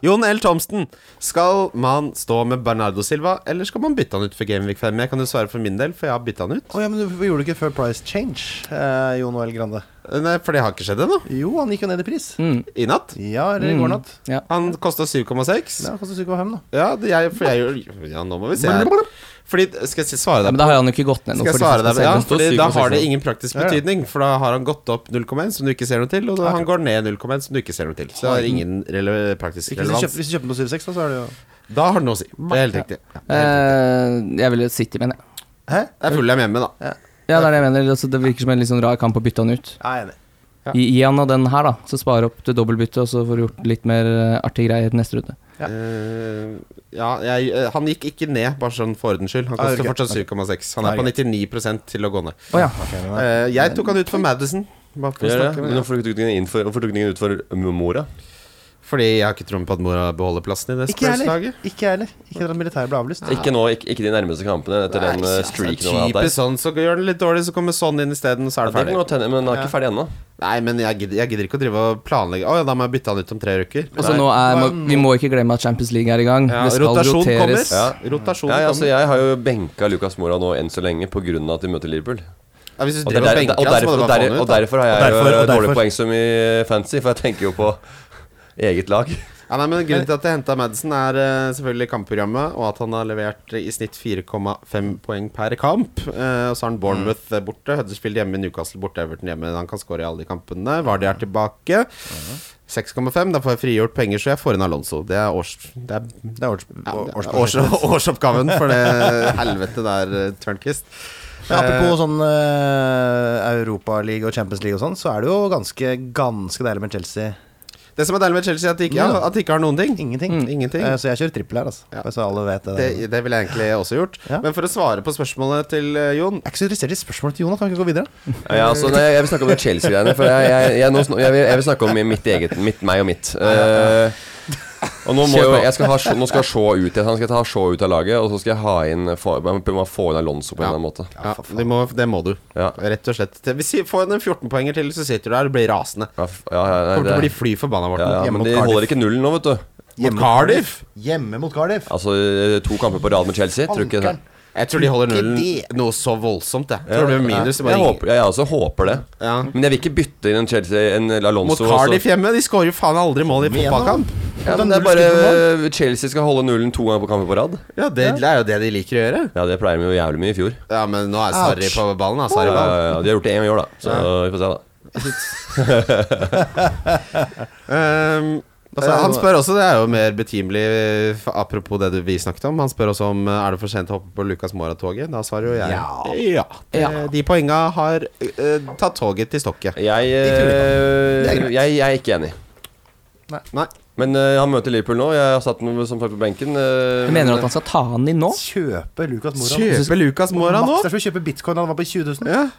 [SPEAKER 3] Jon L. Thomsen. Skal man stå med Bernardo Silva, eller skal man bytte han ut for Gameweek 5? Jeg kan jo svare for min del, for jeg har bytta han ut.
[SPEAKER 5] Å ja, men du gjorde det ikke før Price Change, eh, Jon Noel Grande.
[SPEAKER 3] Nei, For det har ikke skjedd ennå.
[SPEAKER 5] Jo, han gikk jo ned i pris.
[SPEAKER 2] Mm.
[SPEAKER 3] I natt.
[SPEAKER 5] Ja, eller i går natt.
[SPEAKER 2] Ja.
[SPEAKER 3] Han kosta 7,6.
[SPEAKER 5] Ja, Koster 7,5, da.
[SPEAKER 3] Ja, det jeg, for jeg gjør Ja, nå må vi se her. Fordi Skal jeg si- svare
[SPEAKER 2] Ja,
[SPEAKER 3] deg
[SPEAKER 2] men da har han jo ikke gått ned noe.
[SPEAKER 3] Skal jeg
[SPEAKER 2] for liksom de som
[SPEAKER 3] svare deg ja,
[SPEAKER 2] selge.
[SPEAKER 3] fordi
[SPEAKER 4] syv
[SPEAKER 3] Da
[SPEAKER 4] og
[SPEAKER 3] har
[SPEAKER 4] seks,
[SPEAKER 3] det
[SPEAKER 4] da.
[SPEAKER 3] ingen praktisk
[SPEAKER 5] Ja, ja.
[SPEAKER 3] betydning, for da har han gått opp 0,1, som du ikke ser noe til, og da han går ned 0,1, som du ikke ser noe til. Så det har ingen rele praktisk
[SPEAKER 5] Ikke Hvis du kjøper,
[SPEAKER 3] relevans.
[SPEAKER 5] hvis du kjøper den på 7,6, da, så er det jo
[SPEAKER 3] Da har det noe å si. Det er helt riktig.
[SPEAKER 2] Eh, jeg ville City, mener jeg.
[SPEAKER 5] Hæ?
[SPEAKER 3] Det er Fulham hjemme, da.
[SPEAKER 2] Ja, det er det jeg mener. Altså, det virker som en litt sånn rar kamp å bytte han ut.
[SPEAKER 5] Jeg er enig.
[SPEAKER 3] Ja.
[SPEAKER 2] I, I en av den her, da, så sparer opp til dobbeltbytte, og så får du gjort litt mer eh, artige greier til neste runde.
[SPEAKER 5] Ja.
[SPEAKER 3] Eh, ja, jeg, eh, han gikk ikke ned, bare sånn for ordens skyld. Han
[SPEAKER 5] Ah,
[SPEAKER 3] koster
[SPEAKER 5] ok.
[SPEAKER 3] fortsatt 7,6. Han er
[SPEAKER 5] Ah,
[SPEAKER 3] på 99 til å gå ned.
[SPEAKER 2] Å ja.
[SPEAKER 5] Ok, men da-
[SPEAKER 3] Eh, jeg tok han ut for Madison. Bare for å
[SPEAKER 4] Ja, ja.
[SPEAKER 3] snakke med-
[SPEAKER 4] Men hvorfor tok du ikke den inn for- hvorfor tok du ikke den ut for mora?
[SPEAKER 3] Fordi jeg har ikke troen på at Mora beholder plassen i det
[SPEAKER 5] Ikke jeg
[SPEAKER 3] Spurs-laget.
[SPEAKER 5] heller. Ikke jeg heller. Ikke at militæret ble avlyst.
[SPEAKER 4] Ikke nå, ikke, ikke de nærmeste kampene etter den eh, streaken han har hatt der.
[SPEAKER 3] Typisk sånn, så gjør den litt dårlig, så kommer sånn inn isteden, så
[SPEAKER 4] Ja,
[SPEAKER 3] er det ferdig.
[SPEAKER 4] det kan godt hende, men den er ikke ferdig ennå.
[SPEAKER 3] Nei, men jeg gidder, jeg gidder ikke å drive og planlegge Å ja, da må jeg bytte han ut om tre uker.
[SPEAKER 2] Og så nå er, må, Vi må ikke glemme at Champions League er i gang.
[SPEAKER 3] Ja,
[SPEAKER 2] det skal
[SPEAKER 3] rotasjon
[SPEAKER 2] roteres.
[SPEAKER 3] kommer. Rotasjon
[SPEAKER 4] Ja, ja, altså,
[SPEAKER 3] kommer.
[SPEAKER 4] jeg har jo benka Lucas Mora nå enn så lenge pga. at de møter Liverpool.
[SPEAKER 3] Ja, hvis du
[SPEAKER 4] Og,
[SPEAKER 3] driver og
[SPEAKER 4] det er der,
[SPEAKER 3] benker han, så
[SPEAKER 4] og, derfor,
[SPEAKER 3] må du
[SPEAKER 4] og,
[SPEAKER 3] bare få han
[SPEAKER 4] der, og
[SPEAKER 3] ut. da.
[SPEAKER 4] derfor har jeg
[SPEAKER 5] Og derfor-
[SPEAKER 4] jo
[SPEAKER 5] og derfor.
[SPEAKER 4] dårlig poeng som i fancy, for jeg tenker jo på <laughs> eget lag.
[SPEAKER 3] Ja, nei, men Grunnen til at jeg henta Madison, er eh, selvfølgelig kampprogrammet, og at han har levert eh, i snitt 4,5 poeng per kamp. Eh, og så har han Bournemouth eh, borte, Huddersfield hjemme, Newcastle borte, Everton hjemme. Han kan skåre i alle de kampene. Vardy er tilbake. 6,5. Da får jeg frigjort penger, så jeg får inn Alonso. Det er, års, det er
[SPEAKER 5] Det er års-
[SPEAKER 3] ja, det er
[SPEAKER 5] årsprosjektet.
[SPEAKER 3] års, <laughs> årsoppgaven for det helvete der, eh, Tørnquist.
[SPEAKER 5] Men apropos sånn uh, Europaliga og Champions League og sånn, så er det jo ganske, ganske deilig med Chelsea.
[SPEAKER 3] Det som er deilig med Chelsea, er at de ikke, ja, at de ikke har noen ting.
[SPEAKER 5] Ingenting.
[SPEAKER 3] Ingenting.
[SPEAKER 5] Eh, så jeg kjører trippel her, altså.
[SPEAKER 3] Ja.
[SPEAKER 5] Bare Så alle vet det.
[SPEAKER 3] Det,
[SPEAKER 5] der.
[SPEAKER 3] det ville jeg egentlig også gjort.
[SPEAKER 5] Ja.
[SPEAKER 3] Men for å svare på spørsmålet til eh, Jon
[SPEAKER 5] Jeg er ikke så interessert i spørsmålet til Jonas, kan vi ikke gå videre?
[SPEAKER 4] Ja, altså, nei, jeg vil snakke om det Chelsea-greiene. For jeg, jeg, jeg, nå sn- jeg, vil, jeg vil snakke om mitt eget, mitt, meg og mitt. Eh, og nå, må
[SPEAKER 2] Kjør
[SPEAKER 4] jo,
[SPEAKER 2] på.
[SPEAKER 4] jeg skal ha, Shaw- nå skal jeg ha Shaw ut igjen. Han skal ta Shaw ut av laget, og så skal jeg ha inn, få, man må få inn Alonso på en
[SPEAKER 3] Ja.
[SPEAKER 4] eller annen måte.
[SPEAKER 3] Ja, det, må, det må du.
[SPEAKER 4] Ja.
[SPEAKER 3] Rett og slett. Hvis vi får en 14-poenger til, så sitter du der og blir rasende.
[SPEAKER 4] Ja, f- ja, ja, nei,
[SPEAKER 3] Kommer til å
[SPEAKER 4] det-
[SPEAKER 3] bli fly forbanna, Morten.
[SPEAKER 4] ja, ja,
[SPEAKER 5] hjemme
[SPEAKER 4] men
[SPEAKER 5] mot
[SPEAKER 4] de
[SPEAKER 5] Cardiff.
[SPEAKER 4] holder ikke nullen nå, vet du.
[SPEAKER 3] Mot Cardiff?
[SPEAKER 5] Hjemme mot Cardiff.
[SPEAKER 4] Altså eh, to kamper på rad med Chelsea. Tror du ikke det?
[SPEAKER 5] Ankeren.
[SPEAKER 3] Jeg tror de holder
[SPEAKER 5] Ikke
[SPEAKER 3] nullen
[SPEAKER 5] det.
[SPEAKER 3] noe så voldsomt, jeg. Tror det blir minus.
[SPEAKER 4] jeg, håper, jeg også håper det.
[SPEAKER 3] Ja.
[SPEAKER 4] Men jeg vil ikke bytte inn en Chelsea En
[SPEAKER 3] Mot
[SPEAKER 4] Alonso.
[SPEAKER 3] Cardiff hjemme? De skårer jo faen aldri mål i
[SPEAKER 5] igjen,
[SPEAKER 3] fotballkamp.
[SPEAKER 4] Ja, men det er bare Chelsea skal holde nullen to ganger på kamper på rad.
[SPEAKER 3] Ja, det, det er jo det de liker å gjøre.
[SPEAKER 4] Ja, det pleier de jo jævlig mye i fjor.
[SPEAKER 3] Ja, men nå er Sarri
[SPEAKER 5] Ouch.
[SPEAKER 3] på ballen. Da. Sarri
[SPEAKER 4] Ja,
[SPEAKER 3] ball.
[SPEAKER 4] ja, ja, de har gjort det én gang i år, da. Så vi får se, da.
[SPEAKER 3] Ehm,
[SPEAKER 5] sa jeg
[SPEAKER 3] han
[SPEAKER 5] nå?
[SPEAKER 3] spør også, det er jo mer betimelig eh, for- Apropos det du, vi snakket om. Han spør også om eh, er det for sent å hoppe på Lucas Mora-toget. Da svarer jo jeg
[SPEAKER 5] Ja.
[SPEAKER 3] det-
[SPEAKER 2] Ja.
[SPEAKER 3] De poenga har eh, tatt toget til stokket.
[SPEAKER 4] Jeg,
[SPEAKER 3] Det er
[SPEAKER 4] eh,
[SPEAKER 3] greit.
[SPEAKER 4] jeg, jeg er ikke enig.
[SPEAKER 3] Nei.
[SPEAKER 4] Men eh, han møter Liverpool nå. Jeg har satt ham som sagt på benken. eh,
[SPEAKER 2] Jeg mener du at han skal ta han inn nå?
[SPEAKER 5] Kjøpe Lucas Moran.
[SPEAKER 3] Kjøpe Lucas Mora nå?
[SPEAKER 5] Maks der skulle kjøpe bitcoin da han var på 20 000.
[SPEAKER 3] Ja.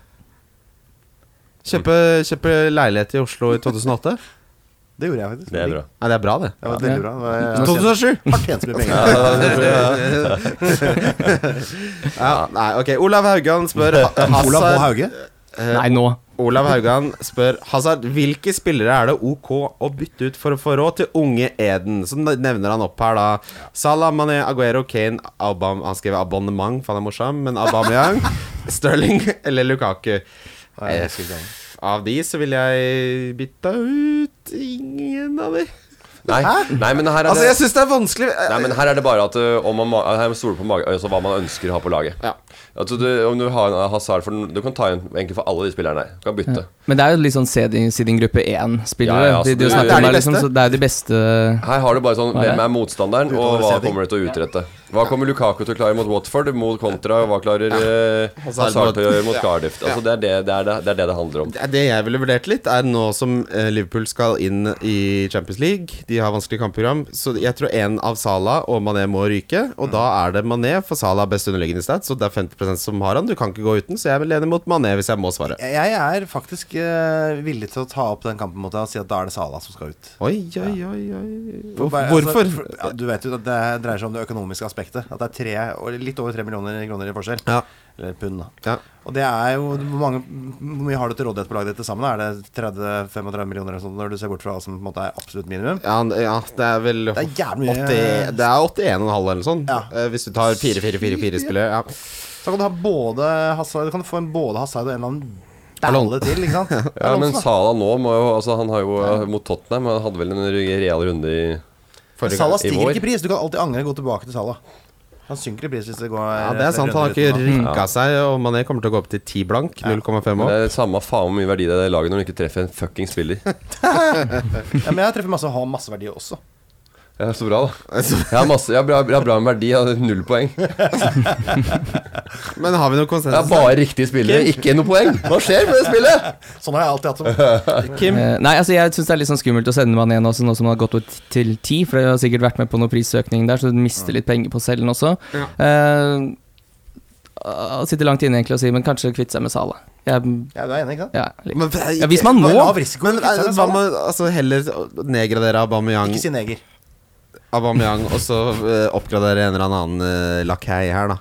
[SPEAKER 3] Kjøpe, kjøpe leilighet i Oslo i 2008?
[SPEAKER 5] Det gjorde jeg faktisk.
[SPEAKER 4] Det er bra.
[SPEAKER 3] Nei, det er bra, det.
[SPEAKER 5] Det var veldig bra. Det var- jeg har tjent-
[SPEAKER 3] 2007!
[SPEAKER 5] har tjent så mye
[SPEAKER 4] <laughs>
[SPEAKER 5] penger.
[SPEAKER 3] <laughs> Ja, nei, ok. Olav Haugan spør Ha-
[SPEAKER 4] altså-
[SPEAKER 5] Olav og
[SPEAKER 3] Hazard,
[SPEAKER 5] Hauge.
[SPEAKER 3] Eh.
[SPEAKER 2] Nei, nå.
[SPEAKER 3] Olav Haugan spør Hazard, hvilke spillere er det OK å bytte ut for å få råd til unge Eden? Så nevner han opp her, da. Salah, Mané, Aguero, Kane Aubame- Han skriver abonnement, for han er morsom, men Aubameyang, <laughs> Sterling eller Lukaku.
[SPEAKER 5] Nei, jeg husker ikke han.
[SPEAKER 3] Av de så vil jeg bytte ut ingen av de.
[SPEAKER 4] Nei, nei, men her er
[SPEAKER 3] Altså,
[SPEAKER 4] det
[SPEAKER 3] jeg syns det er vanskelig.
[SPEAKER 4] Nei, men her er det bare at ø, om man, ma- her stoler på mage, altså hva man ønsker å ha på laget.
[SPEAKER 3] Ja.
[SPEAKER 4] Altså, du, om du har en Hazard for den- Du kan ta en egentlig for alle de spillerne her. Du kan bytte.
[SPEAKER 2] Men det er jo litt sånn seeding- seeding gruppe én-spillere.
[SPEAKER 4] Ja, ja,
[SPEAKER 2] de,
[SPEAKER 4] så
[SPEAKER 2] de
[SPEAKER 4] det-
[SPEAKER 2] snakker
[SPEAKER 3] det er
[SPEAKER 2] om
[SPEAKER 3] de
[SPEAKER 2] her, liksom,
[SPEAKER 3] beste.
[SPEAKER 2] så det er de beste
[SPEAKER 4] Her har du bare sånn
[SPEAKER 2] Hva er det?
[SPEAKER 4] Hvem er motstanderen, og hva kommer det til å utrette? Hva kommer Lukaku til å klare mot Watford, mot kontra, og hva klarer ø,
[SPEAKER 3] <laughs> Hazard
[SPEAKER 4] Hazard til å gjøre mot
[SPEAKER 3] Ja.
[SPEAKER 4] Cardiff? Altså, det, er det, det, er det, det er det det handler om.
[SPEAKER 3] Det er Det jeg ville vurdert litt, er nå som eh, Liverpool skal inn i Champions League. De har vanskelig kampprogram. Så jeg tror én av Salah og Mané må ryke.
[SPEAKER 5] Mm.
[SPEAKER 3] Og da er det Mané, for Salah har best underliggende stats, og det er 50 som har han. Du kan ikke gå uten, så jeg vil lene mot Mané hvis jeg må svare.
[SPEAKER 5] Jeg- Jeg er faktisk eh, villig til å ta opp den kampen mot deg og si at da er det Sala som skal ut.
[SPEAKER 3] Oi, oi, oi, oi. Hvor-
[SPEAKER 5] Bare-
[SPEAKER 3] Hvorfor?
[SPEAKER 5] Altså, for- ja, du vet jo at det dreier seg om det økonomiske aspektet. At det er tre, og litt over tre millioner kroner i forskjell.
[SPEAKER 3] Ja.
[SPEAKER 5] Eller pund, da.
[SPEAKER 3] ja.
[SPEAKER 5] Og det er jo Hvor, mange, hvor mye har du til rådighet på laget ditt til sammen? Er det 30-35 millioner eller sånt når du ser bort fra hva som på en måte er absolutt minimum?
[SPEAKER 3] Ja, han- ja, det er vel
[SPEAKER 5] Det er jævlig mye.
[SPEAKER 3] 80, Det er 81,5 eller sånn.
[SPEAKER 5] Ja.
[SPEAKER 3] Eh, Hvis du tar 4-4-4-4-spillet. Ja.
[SPEAKER 5] Så kan du ha både Hazard Du kan få en både Hazard og en eller annen balle til, ikke
[SPEAKER 3] <laughs>
[SPEAKER 5] sant? altså.
[SPEAKER 4] Ja, men
[SPEAKER 5] Alonso, da.
[SPEAKER 4] Salah nå må jo Altså, han har jo mot Tottenham Han hadde vel en real runde i
[SPEAKER 3] Forrige
[SPEAKER 5] Salah
[SPEAKER 3] gang.
[SPEAKER 4] i
[SPEAKER 5] stiger
[SPEAKER 4] vår.
[SPEAKER 5] ikke i pris. Du kan alltid angre og gå tilbake til Salah. Han synker i pris hvis det går eh,
[SPEAKER 3] Ja, det er sant. Han har ikke rynka seg, og Mané kommer til å gå opp til 10 blank. 0,5
[SPEAKER 4] Det
[SPEAKER 3] opp.
[SPEAKER 4] er samme faen hvor mye verdi det er i det laget når du ikke treffer en fucking spiller.
[SPEAKER 5] Ja, men jeg treffer masse og har masse verdi også.
[SPEAKER 4] Ja, så bra, da. Jeg har, masse, jeg har, bra, jeg har bra med verdi. Jeg har null poeng. Jeg
[SPEAKER 3] Men har vi noe konsensus?
[SPEAKER 4] har bare riktige spillere, ikke noe poeng. Hva skjer med det spillet?
[SPEAKER 5] Sånn har jeg alltid
[SPEAKER 3] <laughs>
[SPEAKER 5] hatt det.
[SPEAKER 3] Kim?
[SPEAKER 2] Eh, nei, altså jeg syns det er litt sånn skummelt å sende man igjen også, nå som det har gått ut til ti, for jeg har sikkert vært med på noe prisøkning der, så du mister litt penger på cellen også.
[SPEAKER 3] Ja.
[SPEAKER 2] Eh, ah, sitter langt inne egentlig og sier, men kanskje kvitte seg med Sala. Jeg,
[SPEAKER 5] Ja, du er enig, ikke sant?
[SPEAKER 2] ja, litt.
[SPEAKER 3] Men,
[SPEAKER 2] ja, hvis man må
[SPEAKER 5] Det var lav risiko.
[SPEAKER 3] men eh, hva med altså, heller nedgradere Aubameyang,
[SPEAKER 5] Ikke si neger.
[SPEAKER 3] Aubameyang og så eh, oppgradere en eller annen uh, lakei her, da?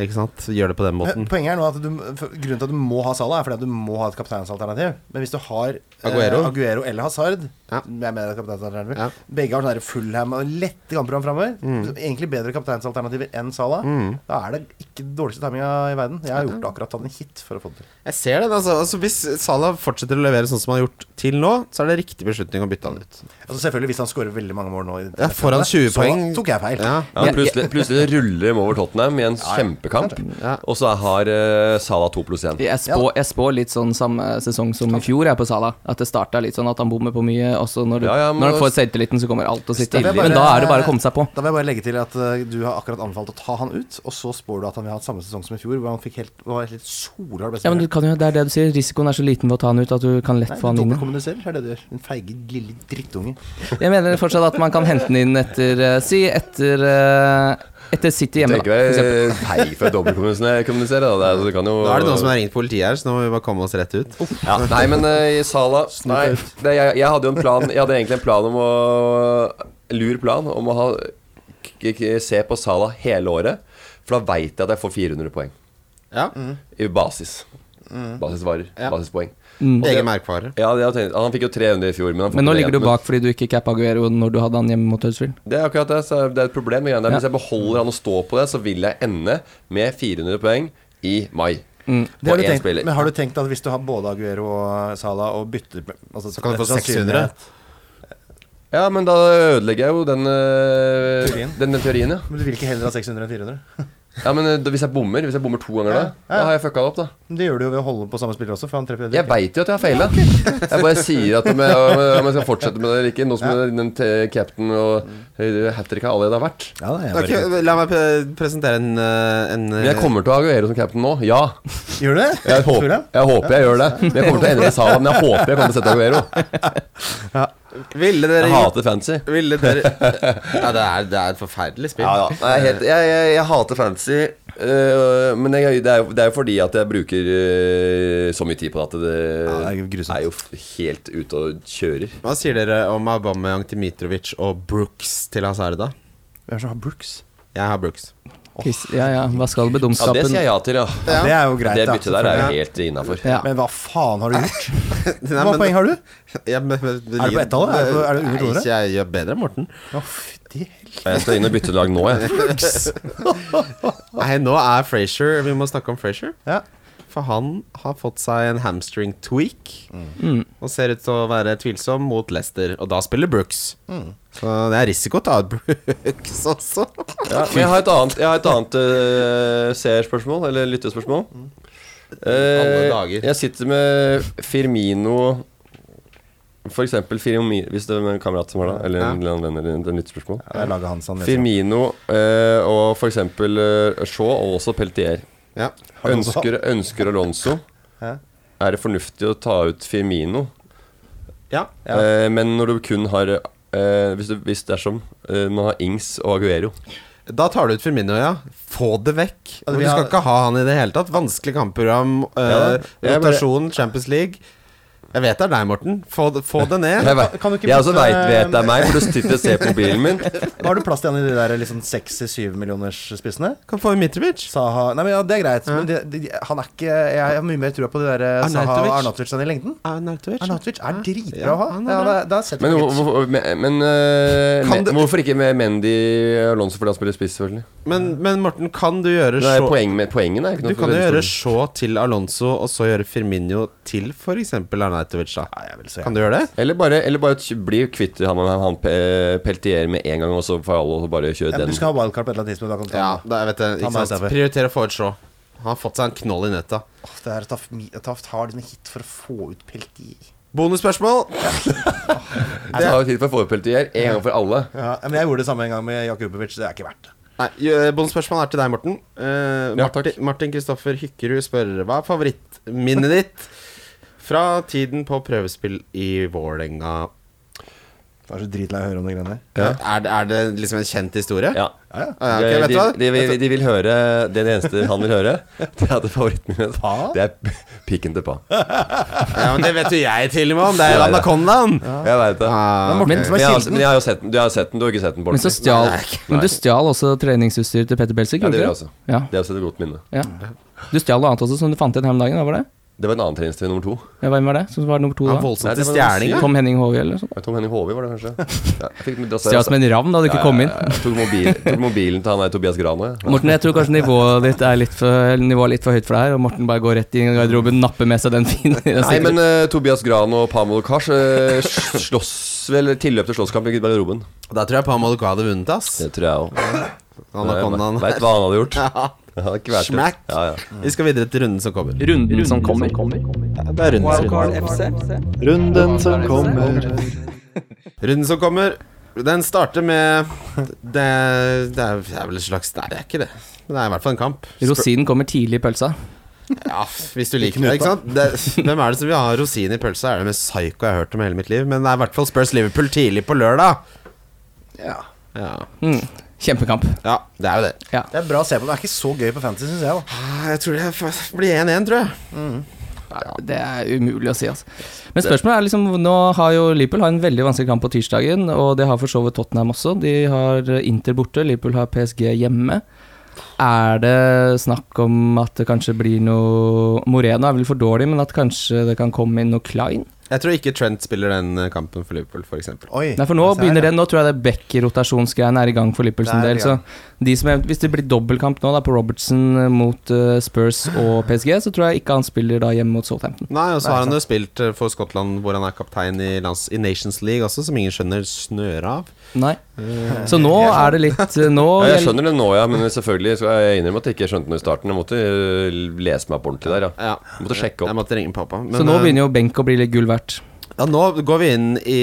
[SPEAKER 3] Ikke sant? Gjør det på den måten.
[SPEAKER 5] Men Eh, Poenget er nå at du, for- grunnen til at du må ha Salah, er fordi at du må ha et kapteinsalternativ. Men hvis du har eh,
[SPEAKER 3] Aguero.
[SPEAKER 5] Aguero eller Hazard
[SPEAKER 3] Ja.
[SPEAKER 5] Jeg mener kapteinsalternativ
[SPEAKER 3] Ja. Mm.
[SPEAKER 5] Begge har sånne der Fulham og lette kampprogram framover. Egentlig bedre kapteinsalternativer enn Salah. Da er det ikke den dårligste timinga i verden. Jeg har gjort akkurat tatt en hit for å få det til.
[SPEAKER 3] Jeg ser den, altså. altså. Hvis Salah fortsetter å levere sånn som han har gjort til nå, så er det riktig beslutning å bytte han ut.
[SPEAKER 5] Altså selvfølgelig Hvis han scorer veldig mange mål nå, i
[SPEAKER 3] Ja, foran 20
[SPEAKER 5] så
[SPEAKER 3] poeng.
[SPEAKER 5] tok jeg feil.
[SPEAKER 3] Ja.
[SPEAKER 4] Ja, men plutselig, plutselig ruller de over Tottenham i en kjempekamp,
[SPEAKER 3] Ja.
[SPEAKER 4] og så har eh, Salah to pluss én.
[SPEAKER 2] Jeg spår, jeg spår litt sånn samme sesong som i fjor jeg på Sala. At det starta litt sånn at han bommer på mye, og så når, du,
[SPEAKER 4] Ja, ja, men
[SPEAKER 2] når han
[SPEAKER 4] da-
[SPEAKER 2] får selvtilliten, så kommer alt til å sitte
[SPEAKER 5] Da vil
[SPEAKER 2] ille.
[SPEAKER 5] jeg
[SPEAKER 2] Men da
[SPEAKER 5] bare-
[SPEAKER 2] er det bare å komme seg på.
[SPEAKER 5] Da vil jeg bare legge til at eh, du har akkurat anbefalt å ta han ut, og så spår du at han vil ha samme sesong som i fjor, hvor han fikk helt, var helt solhard best.
[SPEAKER 2] Ja, men du kan jo, Det er det du sier. Risikoen er så liten ved å ta han ut at du kan lett
[SPEAKER 5] Nei,
[SPEAKER 2] få han
[SPEAKER 5] du
[SPEAKER 2] inn.
[SPEAKER 5] dobbeltkommuniserer, er det du gjør. Den feige, lille drittunge.
[SPEAKER 2] Jeg mener fortsatt at man kan hente den inn etter eh, Si etter eh, etter City hjemme, da.
[SPEAKER 4] Tenker
[SPEAKER 2] for eksempel.
[SPEAKER 4] deg hei for å dobbeltkommunisere, da. Det, er- det kan jo
[SPEAKER 3] Nå er det noen som har ringt politiet her, så nå må vi bare komme oss rett ut.
[SPEAKER 4] ja, Nei, men uh, Salah Nei, det, jeg, jeg hadde jo en plan Jeg hadde egentlig en plan om å Lur plan om å ha k k se på Salah hele året. For da veit jeg at jeg får 400 poeng
[SPEAKER 3] Ja.
[SPEAKER 4] i basis.
[SPEAKER 5] Mm.
[SPEAKER 4] Basisvarer.
[SPEAKER 3] Ja.
[SPEAKER 4] Basispoeng.
[SPEAKER 3] Egen merkevare.
[SPEAKER 4] Ja, det hadde jeg tenkt. Han fikk jo 300 i fjor, men han får
[SPEAKER 2] Mm. Men nå
[SPEAKER 4] ikke det
[SPEAKER 2] ligger du
[SPEAKER 4] igjen.
[SPEAKER 2] bak fordi du ikke cappa Aguero når du hadde han hjemme mot Huddersfield.
[SPEAKER 4] Det er akkurat det. Så det er et problem. med greien der.
[SPEAKER 2] Ja.
[SPEAKER 4] Hvis jeg beholder han og står på det, så vil jeg ende med 400 poeng i mai.
[SPEAKER 2] Mm.
[SPEAKER 5] Det
[SPEAKER 4] På
[SPEAKER 5] har du
[SPEAKER 4] én
[SPEAKER 5] tenkt,
[SPEAKER 4] spiller.
[SPEAKER 5] men har du tenkt at hvis du har både Aguero og Salah og bytter altså,
[SPEAKER 3] Så kan du få
[SPEAKER 5] sannsynlighet-
[SPEAKER 4] Ja, men da ødelegger jeg jo den øh,
[SPEAKER 5] Teorien.
[SPEAKER 4] Den, den teorien, ja.
[SPEAKER 5] Men du vil ikke heller ha 600 enn 400?
[SPEAKER 4] ja men øh, da, hvis jeg bommer hvis jeg bommer to ganger da,
[SPEAKER 5] Ja, ja.
[SPEAKER 4] da har jeg fucka det opp, da.
[SPEAKER 5] Men det gjør du jo ved å holde på samme spiller også, for han treffer
[SPEAKER 4] Jeg veit jo at jeg har feila. <laughs> Jeg bare sier at om jeg, om jeg skal fortsette med det eller ikke, nå som den te- captain og hat trick har allerede har vært.
[SPEAKER 5] Ja, da, jeg
[SPEAKER 3] Ok,
[SPEAKER 5] bare,
[SPEAKER 3] la meg pre- presentere en, eh, en
[SPEAKER 4] Men jeg kommer til å ha Aguero som captain nå, ja.
[SPEAKER 5] Gjør du det?
[SPEAKER 4] Jeg
[SPEAKER 5] Tror
[SPEAKER 4] håper
[SPEAKER 5] jeg.
[SPEAKER 4] jeg, håper jeg gjør det. Men jeg kommer til å endre salen, men jeg håper jeg kommer til å sette Aguero.
[SPEAKER 3] Ville dere
[SPEAKER 4] Jeg
[SPEAKER 3] gitt
[SPEAKER 4] hater fancy.
[SPEAKER 3] Ville dere <laughs> Ja, det er, det er et forferdelig spill.
[SPEAKER 4] Ja, ja. Nei, jeg, er helt, jeg, jeg, jeg hater fantasy, øh, men jeg, det, er, jo- det er jo fordi at jeg bruker øh, så mye tid på det at det,
[SPEAKER 5] Ja, det er grusomt.
[SPEAKER 4] er jo f- helt ute og kjører.
[SPEAKER 3] Hva sier dere om Aubameyang til Mitrovic og Brooks til Hazard, da?
[SPEAKER 5] Hvem er det som har Brooks?
[SPEAKER 3] Jeg har Brooks.
[SPEAKER 2] Chris, ja, ja, hva skal
[SPEAKER 4] Ja, det
[SPEAKER 2] bedumskapen
[SPEAKER 4] sier jeg ja til, ja.
[SPEAKER 5] Ja, det er jo greit,
[SPEAKER 4] Det
[SPEAKER 5] da,
[SPEAKER 4] byttet der er
[SPEAKER 5] selvfølgelig.
[SPEAKER 4] jo helt innafor.
[SPEAKER 2] ja.
[SPEAKER 5] Men hva faen har du gjort?
[SPEAKER 3] Nei,
[SPEAKER 5] Hva
[SPEAKER 3] men-
[SPEAKER 5] poeng har du?
[SPEAKER 3] <laughs> Ja, men- men-
[SPEAKER 5] Er det på ett tallet? Er det på- er det under
[SPEAKER 3] Nei,
[SPEAKER 5] toere?
[SPEAKER 3] ikke jeg gjør bedre enn Morten.
[SPEAKER 5] Å, fytti helvete.
[SPEAKER 4] Jeg skal inn og bytte lag nå, jeg.
[SPEAKER 5] <laughs>
[SPEAKER 3] Nei, nå er Frazier Vi må snakke om Frazier.
[SPEAKER 5] Ja.
[SPEAKER 3] For han har fått seg en hamstring tweak
[SPEAKER 2] Mm.
[SPEAKER 3] og ser ut til å være tvilsom mot Leicester. Og da spiller Brooks.
[SPEAKER 5] Mm.
[SPEAKER 3] Så det er risiko å ta ut Brooks <laughs> også.
[SPEAKER 4] Ja, men jeg har et annet, jeg har et annet øh, seerspørsmål, eller lyttespørsmål.
[SPEAKER 3] Alle
[SPEAKER 4] Eh,
[SPEAKER 3] dager.
[SPEAKER 4] jeg sitter med Firmino For eksempel Firmino Hvis det er en kamerat som har det, eller en, eller annen venn eller en- en lyttespørsmål.
[SPEAKER 5] Det er laget hans han leser.
[SPEAKER 4] Firmino eh, og f.eks. Eh, Shaw og også Peltier.
[SPEAKER 3] Ja.
[SPEAKER 5] Alonso.
[SPEAKER 4] Ønsker, ønsker Alonso.
[SPEAKER 5] Hæ?
[SPEAKER 4] Er det fornuftig å ta ut Firmino?
[SPEAKER 3] ja.
[SPEAKER 4] Eh, men når du kun har eh, hvis, du, hvis dersom eh, man har Ings og Aguero
[SPEAKER 3] Da tar du ut Firmino, ja. Få det vekk.
[SPEAKER 5] Ja, det
[SPEAKER 3] du
[SPEAKER 5] vil
[SPEAKER 3] skal
[SPEAKER 5] ha-
[SPEAKER 3] ikke ha han i det hele tatt. Vanskelig kampprogram,
[SPEAKER 4] Ja,
[SPEAKER 3] eh,
[SPEAKER 4] jeg bare-
[SPEAKER 3] rotasjon, Champions League. Jeg vet det er deg, Morten. Få det, få det ned.
[SPEAKER 4] Jeg, vet,
[SPEAKER 5] kan du ikke
[SPEAKER 4] jeg også
[SPEAKER 5] bytte-
[SPEAKER 4] vet,
[SPEAKER 3] eh,
[SPEAKER 4] vet det er meg, for du sitter og ser på bilen min.
[SPEAKER 5] Da har du plass til han i de der liksom 6-7 millioners spissene.
[SPEAKER 3] Kan få en Mitrovic.
[SPEAKER 5] Saha Nei, men ja, det er greit. Men det, det, han er ikke Jeg har mye mer trua på det der eh, Saha
[SPEAKER 3] Arnautovic.
[SPEAKER 5] og Arnatovic enn i lengden.
[SPEAKER 3] Arnautovic.
[SPEAKER 5] Arnatovic er dritbra
[SPEAKER 3] Ja,
[SPEAKER 5] å ha.
[SPEAKER 3] han er
[SPEAKER 5] Ja,
[SPEAKER 3] bra.
[SPEAKER 5] da, da setter
[SPEAKER 4] Men,
[SPEAKER 5] vi
[SPEAKER 4] hvor-
[SPEAKER 5] litt.
[SPEAKER 4] hvor- men, men eh,
[SPEAKER 3] Kan du-
[SPEAKER 4] men hvorfor ikke med Mendy og Alonso fordi han spiller spiss, selvfølgelig?
[SPEAKER 3] Men, men Morten, kan du gjøre
[SPEAKER 4] Nei,
[SPEAKER 3] så
[SPEAKER 4] poeng med, poengen er ikke
[SPEAKER 3] Du
[SPEAKER 4] noe
[SPEAKER 3] kan jo
[SPEAKER 4] veldig
[SPEAKER 3] gjøre
[SPEAKER 4] stor.
[SPEAKER 3] så til Alonso, og så gjøre Firmino til f.eks. Arnautovic, da.
[SPEAKER 5] Ja, jeg vil se.
[SPEAKER 3] Kan du gjøre det?
[SPEAKER 4] Eller bare, eller bare t- bli kvitt han, han, han pe- Peltier med en gang, og så får alle og bare kjøre
[SPEAKER 5] Ja, men
[SPEAKER 4] den.
[SPEAKER 5] du skal ha wildcard på et eller annet tidspunkt. Da kan du ta
[SPEAKER 3] Ja,
[SPEAKER 5] den.
[SPEAKER 3] da, jeg vet det.
[SPEAKER 5] Ta meg
[SPEAKER 3] Ikke sant?
[SPEAKER 5] utover.
[SPEAKER 3] Prioriter å få ut Shaw. Han har fått seg en knoll i nøtta.
[SPEAKER 5] Åh, det her Taft, Taft har liksom hit for å få ut Peltier.
[SPEAKER 3] Bonusspørsmål.
[SPEAKER 4] Det tar jo tid for forpeltet gjør, en gang for alle.
[SPEAKER 5] Ja, men jeg gjorde det samme en gang med Jakubovic. Det er ikke verdt det.
[SPEAKER 3] Nei, jo, Bonusspørsmålet er til deg, Morten. Eh,
[SPEAKER 4] Ja,
[SPEAKER 3] Martin-
[SPEAKER 4] takk.
[SPEAKER 3] Martin Kristoffer Hykkerud spør hva er favorittminnet ditt fra tiden på prøvespill i Vålerenga.
[SPEAKER 5] Jeg er så dritlei av å høre om de greiene der.
[SPEAKER 3] Er, det- er det liksom en kjent historie?
[SPEAKER 4] Ja.
[SPEAKER 3] Ah, ja, ok, vet
[SPEAKER 4] de,
[SPEAKER 3] du hva?
[SPEAKER 4] de, vil- de vil høre Det eneste han vil
[SPEAKER 3] <laughs>
[SPEAKER 4] høre, det er at favoritten min
[SPEAKER 5] Pa?
[SPEAKER 4] Det er pikken til Pa.
[SPEAKER 3] <laughs> Ja, men det vet jo jeg til og med om. Det
[SPEAKER 4] Ja,
[SPEAKER 3] er
[SPEAKER 4] ja.
[SPEAKER 3] Anakondaen.
[SPEAKER 4] Jeg veit det.
[SPEAKER 3] Ah,
[SPEAKER 5] Det er Morten
[SPEAKER 2] Men-
[SPEAKER 5] som er
[SPEAKER 4] Men jeg, har-
[SPEAKER 5] kilden.
[SPEAKER 4] men jeg har jo sett den. Du har sett den, du har ikke sett den,
[SPEAKER 2] Men,
[SPEAKER 4] Bårdli.
[SPEAKER 2] så stjal, men du stjal også treningsutstyr til Petter Belsic,
[SPEAKER 4] Ja, det gjorde jeg
[SPEAKER 2] gjorde du
[SPEAKER 4] også.
[SPEAKER 2] Ja,
[SPEAKER 4] Det er også et godt minne.
[SPEAKER 2] ja. Du stjal noe annet også som du fant igjen her om dagen, hva var det?
[SPEAKER 4] Det var en annen treningstrening nummer to.
[SPEAKER 2] Ja, hvem var det som var nummer to
[SPEAKER 3] han er
[SPEAKER 2] da?
[SPEAKER 4] Nei,
[SPEAKER 3] voldsomt til
[SPEAKER 4] det var noe
[SPEAKER 3] stjeling.
[SPEAKER 4] sykt.
[SPEAKER 2] Tom Henning Håvi eller noe sånt?
[SPEAKER 4] Ja, Tom Henning Håvi var det <laughs> kanskje. Ja, jeg fikk dratt seg-
[SPEAKER 2] Stjal som en ravn, da hadde ikke
[SPEAKER 4] Ja,
[SPEAKER 2] kommet inn.
[SPEAKER 4] ja, ja. Jeg Tok, mobil, tok mobilen til han der Tobias Gran òg, ja.
[SPEAKER 2] Morten, jeg tror kanskje nivået ditt er litt for, eller nivået er litt for høyt for deg her, og Morten bare går rett inn i garderoben, napper med seg den fine den
[SPEAKER 4] Nei,
[SPEAKER 2] sikkert-
[SPEAKER 4] men eh, Tobias Gran og Pamol Kars uh, slåss vel tilløp til slåsskamp i garderoben.
[SPEAKER 3] Da tror jeg Pamal Kwa hadde vunnet, ass.
[SPEAKER 4] Det tror jeg òg.
[SPEAKER 3] Anakondaen.
[SPEAKER 4] Veit hva <laughs> han hadde gjort.
[SPEAKER 3] <laughs> Ja.
[SPEAKER 4] Det hadde ikke vært det.
[SPEAKER 3] Smack.
[SPEAKER 4] Ja, ja.
[SPEAKER 3] Vi skal videre til runden som kommer.
[SPEAKER 2] Runden som kommer.
[SPEAKER 3] Det er runden som kommer.
[SPEAKER 1] Wildcard FC.
[SPEAKER 6] Runden som kommer.
[SPEAKER 3] Runden som kommer, den starter med Det, det, er, det er vel et slags Nei, det er ikke det. Men det er i hvert fall en kamp.
[SPEAKER 2] Rosinen kommer tidlig i pølsa.
[SPEAKER 3] Ja, hvis du liker det, ikke sant? Det, hvem er det som vil ha rosin i pølsa? Er det mest psycho jeg har hørt om i hele mitt liv? Men det er i hvert fall Spurs Liverpool tidlig på lørdag.
[SPEAKER 5] Ja.
[SPEAKER 3] Ja,
[SPEAKER 2] Mm. Kjempekamp.
[SPEAKER 3] ja det er jo det.
[SPEAKER 2] Ja.
[SPEAKER 5] Det er bra å se på. Det er ikke så gøy på fantasy, syns jeg. da
[SPEAKER 3] Ah, Jeg tror det f- blir 1-1, tror jeg.
[SPEAKER 2] Det er umulig å si, altså. Men spørsmålet er liksom Nå har jo Liverpool har en veldig vanskelig kamp på tirsdagen, og det har for så vidt Tottenham også. De har Inter borte, Liverpool har PSG hjemme. Er det snakk om at det kanskje blir noe Moreno er vel for dårlig, men at kanskje det kan komme inn noe Klein?
[SPEAKER 3] Jeg tror ikke Trent spiller den eh, kampen for Liverpool, f.eks.
[SPEAKER 5] Oi.
[SPEAKER 2] Nei, for nå begynner det Nå tror jeg det Beck-rotasjonsgreiene er i gang for Liverpool sin
[SPEAKER 5] Det er i
[SPEAKER 2] del. Så de som, eventu- hvis det blir dobbeltkamp nå da på Robertson eh, mot eh, Spurs og PSG, så tror jeg ikke han spiller da hjemme mot Southampton.
[SPEAKER 3] Nei, og så
[SPEAKER 5] Nei,
[SPEAKER 3] har han jo spilt eh, for Skottland, hvor han er kaptein i, lands, i Nations League også, som ingen skjønner snøret av.
[SPEAKER 2] Nei. Så nå er det litt eh, Nå
[SPEAKER 4] Ja, jeg skjønner det nå, ja, men selvfølgelig så jeg innrømmer at jeg ikke skjønte noe i starten. Jeg måtte eh, lese meg opp ordentlig der, ja.
[SPEAKER 3] Ja,
[SPEAKER 4] Jeg måtte sjekke
[SPEAKER 3] jeg
[SPEAKER 4] opp.
[SPEAKER 3] måtte ringe pappa.
[SPEAKER 2] Så nå
[SPEAKER 3] eh,
[SPEAKER 2] begynner jo benk å bli litt gull verdt.
[SPEAKER 3] Ja, nå går vi inn i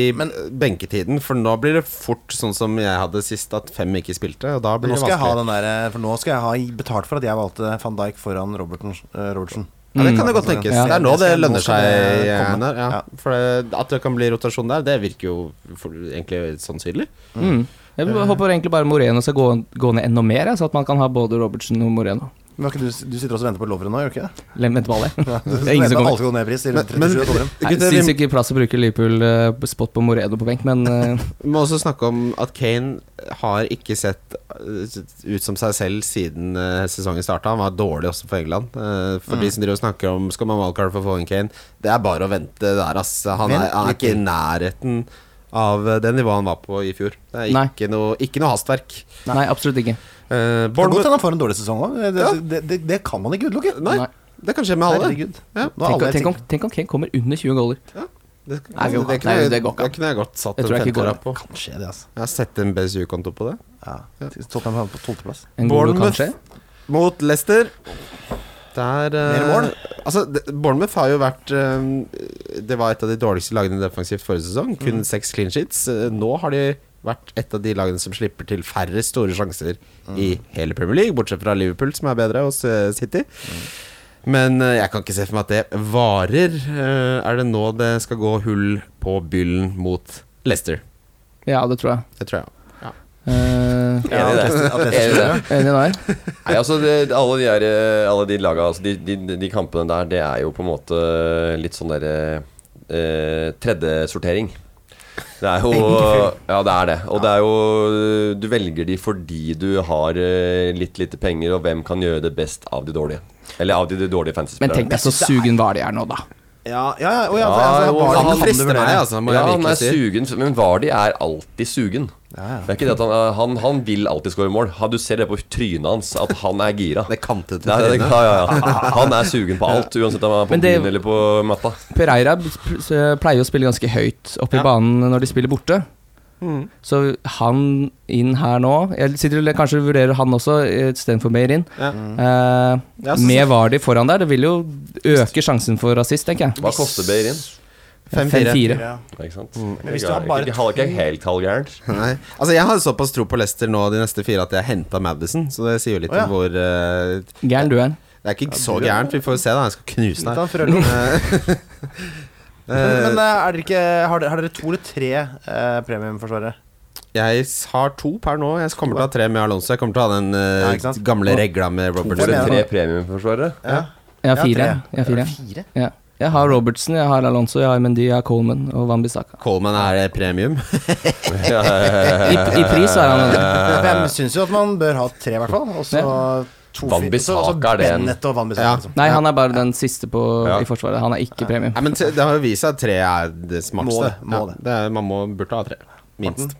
[SPEAKER 3] benketiden, for nå blir det fort sånn som jeg hadde sist, at fem ikke spilte. Og da
[SPEAKER 5] Men
[SPEAKER 3] blir
[SPEAKER 5] nå
[SPEAKER 3] det
[SPEAKER 5] skal jeg ha
[SPEAKER 3] vanskelig.
[SPEAKER 5] den der, eh, For nå skal jeg ha betalt for at jeg valgte van Dijk foran Robertsen. eh, Robertsen.
[SPEAKER 3] Ja, det
[SPEAKER 2] Mm.
[SPEAKER 3] kan det godt tenkes.
[SPEAKER 2] Ja.
[SPEAKER 3] Det er nå
[SPEAKER 5] Jeg
[SPEAKER 3] det
[SPEAKER 5] skal- nå
[SPEAKER 3] lønner
[SPEAKER 5] skal
[SPEAKER 3] seg. eh,
[SPEAKER 5] det komme.
[SPEAKER 3] Einar, ja.
[SPEAKER 5] Ja.
[SPEAKER 3] For det, at det kan bli rotasjon der, det virker jo for, egentlig sannsynlig.
[SPEAKER 2] Mm. Jeg håper egentlig bare Moreno skal gå, gå ned enda mer, jeg, så at man kan ha både Robertsen og Moreno.
[SPEAKER 5] Men har ikke du, du sitter også og venter på Lovren nå, gjør du ikke det?
[SPEAKER 2] Lem vente på alle.
[SPEAKER 5] Du
[SPEAKER 2] Det er ingen
[SPEAKER 5] venter
[SPEAKER 2] som kommer.
[SPEAKER 5] alt skal gå ned i pris til
[SPEAKER 3] Men-
[SPEAKER 5] 37
[SPEAKER 3] men- <laughs>
[SPEAKER 5] dollar.
[SPEAKER 2] Nei,
[SPEAKER 3] Gutter,
[SPEAKER 2] Syns
[SPEAKER 3] vi
[SPEAKER 2] ikke plass å bruke Liverpool eh, spot på Moreno på benk, men eh,
[SPEAKER 3] må også snakke om at Kane har ikke sett eh, ut som seg selv siden eh, sesongen starta. Han var dårlig også for England. Eh, For
[SPEAKER 2] Mm.
[SPEAKER 3] de som driver og snakker om skal man wildcard for å få inn Kane, det er bare å vente der, ass. Han er,
[SPEAKER 5] Vent
[SPEAKER 3] han er
[SPEAKER 5] litt
[SPEAKER 3] ikke i nærheten av eh, det nivået han var på i fjor. Det er
[SPEAKER 2] Nei.
[SPEAKER 3] ikke noe, ikke noe hastverk.
[SPEAKER 2] Nei, absolutt ikke.
[SPEAKER 3] Eh,
[SPEAKER 5] Det kan godt
[SPEAKER 3] Bournemouth
[SPEAKER 5] hende han får en dårlig sesong òg. Det,
[SPEAKER 3] Ja.
[SPEAKER 5] det, det, det kan man ikke utelukke.
[SPEAKER 3] Nei,
[SPEAKER 2] Nei.
[SPEAKER 3] det kan skje med alle.
[SPEAKER 5] Herregud. Nå er
[SPEAKER 3] Ja.
[SPEAKER 2] Tenk,
[SPEAKER 5] alle
[SPEAKER 2] om- tenk, om,
[SPEAKER 5] helt
[SPEAKER 2] tenk om Kane kommer under 20 goaler.
[SPEAKER 3] Det,
[SPEAKER 2] Nei, det går ikke.
[SPEAKER 3] kunne
[SPEAKER 2] Nei,
[SPEAKER 3] jeg-
[SPEAKER 2] det går ikke.
[SPEAKER 3] det kunne jeg godt satt
[SPEAKER 2] Det
[SPEAKER 3] en
[SPEAKER 2] tror jeg ikke går
[SPEAKER 3] femtelapp
[SPEAKER 2] an.
[SPEAKER 3] på.
[SPEAKER 5] sikre. Kan skje det, altså.
[SPEAKER 3] Jeg har sett en BSU-konto på det.
[SPEAKER 5] Ja. Tottenham havnet på tolvteplass.
[SPEAKER 2] En god
[SPEAKER 3] Bournemouth.
[SPEAKER 2] kanskje.
[SPEAKER 3] Mot Leicester Der eh,
[SPEAKER 5] Mer mål?
[SPEAKER 3] Altså, det- Bournemouth har jo vært eh, Det var et av de dårligste lagene defensivt forrige sesong. Kun seks clean sheets. Eh, Nå har de vært et av de lagene som slipper til færre store sjanser i hele Premier League, bortsett fra Liverpool, som er bedre, hos City. Men eh, jeg kan ikke se for meg at det varer. Eh, Er det nå det skal gå hull på byllen mot Leicester?
[SPEAKER 2] Ja, det tror jeg.
[SPEAKER 3] Det tror jeg.
[SPEAKER 2] Eh,
[SPEAKER 5] Ja,
[SPEAKER 4] Ja, det er det.
[SPEAKER 5] Atletico- Atletico
[SPEAKER 4] Er det det?
[SPEAKER 2] Enig der.
[SPEAKER 4] Nei, altså, det, alle de, der, eh, alle de laga, altså, de, de, de kampene der, det er jo på en måte litt sånn derre eh, tredjesortering. Det er jo Ja, det er det. Og det er jo Du velger de fordi du har eh, litt lite penger, og hvem kan gjøre det best av de dårlige? Eller av de, de dårlige
[SPEAKER 2] Men tenk
[SPEAKER 4] fantasy-spillerne.
[SPEAKER 2] deg så sugen var de er nå, da.
[SPEAKER 5] Ja, ja, ja, å ja,
[SPEAKER 4] Ja,
[SPEAKER 5] for, altså,
[SPEAKER 4] jo,
[SPEAKER 5] Bayern
[SPEAKER 4] han
[SPEAKER 5] kan du
[SPEAKER 3] frister
[SPEAKER 5] vurdere.
[SPEAKER 3] meg, altså, må
[SPEAKER 4] Ja,
[SPEAKER 3] jeg
[SPEAKER 4] han
[SPEAKER 3] virkelig
[SPEAKER 4] er
[SPEAKER 3] si.
[SPEAKER 4] sugen, men Vardi er alltid sugen.
[SPEAKER 5] Ja, ja.
[SPEAKER 4] Det er ikke det at han, er- han, han vil alltid skåre mål. Han- Du ser det på trynet hans, at han er gira.
[SPEAKER 3] Det kantete
[SPEAKER 4] Nei, det,
[SPEAKER 3] trynet.
[SPEAKER 4] ja, ja, ja. Han er sugen på alt, uansett om han er på
[SPEAKER 2] Men det-
[SPEAKER 4] byen eller på matta.
[SPEAKER 2] Pereira p- s- pleier å spille ganske høyt oppe
[SPEAKER 3] Ja.
[SPEAKER 2] i banen når de spiller borte. Så han inn her nå Jeg sitter og kanskje vurderer han også eh, istedenfor Meirin.
[SPEAKER 3] Ja.
[SPEAKER 5] Mm.
[SPEAKER 2] Eh,
[SPEAKER 3] Ja, så-
[SPEAKER 2] med Vardi foran der, det vil jo øke sjansen for rasist, tenker jeg.
[SPEAKER 4] Hva koster Beirin?
[SPEAKER 3] 5-4.
[SPEAKER 2] 5-4.
[SPEAKER 4] Ikke sant?
[SPEAKER 5] Mm. Men hvis du har bare
[SPEAKER 4] De har ikke helt halvgærent.
[SPEAKER 3] Nei. Altså, jeg har såpass tro på Leicester nå de neste fire at jeg henta Madison, så det sier jo litt
[SPEAKER 5] Å, ja.
[SPEAKER 3] om hvor eh,
[SPEAKER 2] Gæren du er.
[SPEAKER 3] Det er ikke så gærent. Vi får se, da. Jeg skal
[SPEAKER 5] Litt
[SPEAKER 3] knuse deg.
[SPEAKER 5] av en <laughs> frøl. Men,
[SPEAKER 3] Eh,
[SPEAKER 5] men eh, er dere ikke, har, dere, har dere to eller tre eh, premiumforsvarere?
[SPEAKER 3] jeg har to per nå. Jeg kommer til å ha tre med Alonso. Jeg kommer til å ha den eh,
[SPEAKER 5] Ja, ikke sant?
[SPEAKER 3] gamle regla med Robert.
[SPEAKER 4] Får det
[SPEAKER 5] mener
[SPEAKER 4] tre
[SPEAKER 5] du? <laughs>
[SPEAKER 4] premiumforsvarere?
[SPEAKER 5] Ja.
[SPEAKER 2] Jeg har
[SPEAKER 5] Jeg har
[SPEAKER 2] fire.
[SPEAKER 5] tre.
[SPEAKER 2] Jeg har fire.
[SPEAKER 5] Fire?
[SPEAKER 2] Ja. Jeg har Robertsen, jeg har Alonso, jeg har Mendy, jeg har Coleman og Wambisaka.
[SPEAKER 3] Coleman er eh,
[SPEAKER 5] <laughs>
[SPEAKER 3] premium.
[SPEAKER 4] Ja,
[SPEAKER 2] I, I pris er han
[SPEAKER 5] Hvem syns jo at man bør ha tre, i hvert fall. Og så to
[SPEAKER 4] Van
[SPEAKER 5] fri-
[SPEAKER 4] Bissaka
[SPEAKER 5] og så
[SPEAKER 4] er det en-
[SPEAKER 5] Bennett og Van Bissaka.
[SPEAKER 3] Ja.
[SPEAKER 5] Liksom.
[SPEAKER 2] Nei, han er bare den siste på,
[SPEAKER 4] Ja.
[SPEAKER 2] i Forsvaret. Han er ikke premium.
[SPEAKER 3] Nei, men tre- det har jo vist seg at tre er det
[SPEAKER 5] Må
[SPEAKER 3] smarteste.
[SPEAKER 5] det, Mm. må
[SPEAKER 3] Ja, er, man må, burde ha tre. Minst.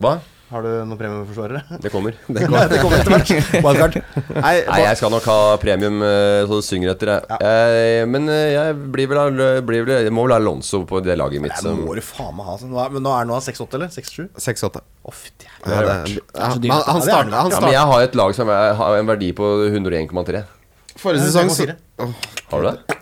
[SPEAKER 4] Hva?
[SPEAKER 5] Har du noen <laughs> premiumforsvarere?
[SPEAKER 4] Det kommer.
[SPEAKER 3] Det går- det kommer etter
[SPEAKER 5] <laughs>
[SPEAKER 3] hvert. Wildcard. Nei,
[SPEAKER 4] Nei, jeg skal nok ha premium eh, så det synger etter. Jeg. Eh, men eh, jeg blir vel, al- blir vel, jeg må vel ha Lonzo på det laget mitt.
[SPEAKER 5] Nei, det
[SPEAKER 4] Som,
[SPEAKER 5] må du faen meg ha. Altså. Nå er, men nå er nå han 6-8, eller? 6-7?
[SPEAKER 3] 6-8.
[SPEAKER 5] Å, fytti helvete.
[SPEAKER 3] Ja, det, ja,
[SPEAKER 2] så dyrt.
[SPEAKER 3] men han starta, han
[SPEAKER 4] ja, men
[SPEAKER 3] starta
[SPEAKER 4] jeg har et lag som er, har en verdi på 101,3.
[SPEAKER 3] Forrige
[SPEAKER 5] Ja,
[SPEAKER 3] sesong, så,
[SPEAKER 5] 5,4.
[SPEAKER 3] Åh,
[SPEAKER 4] Har du det?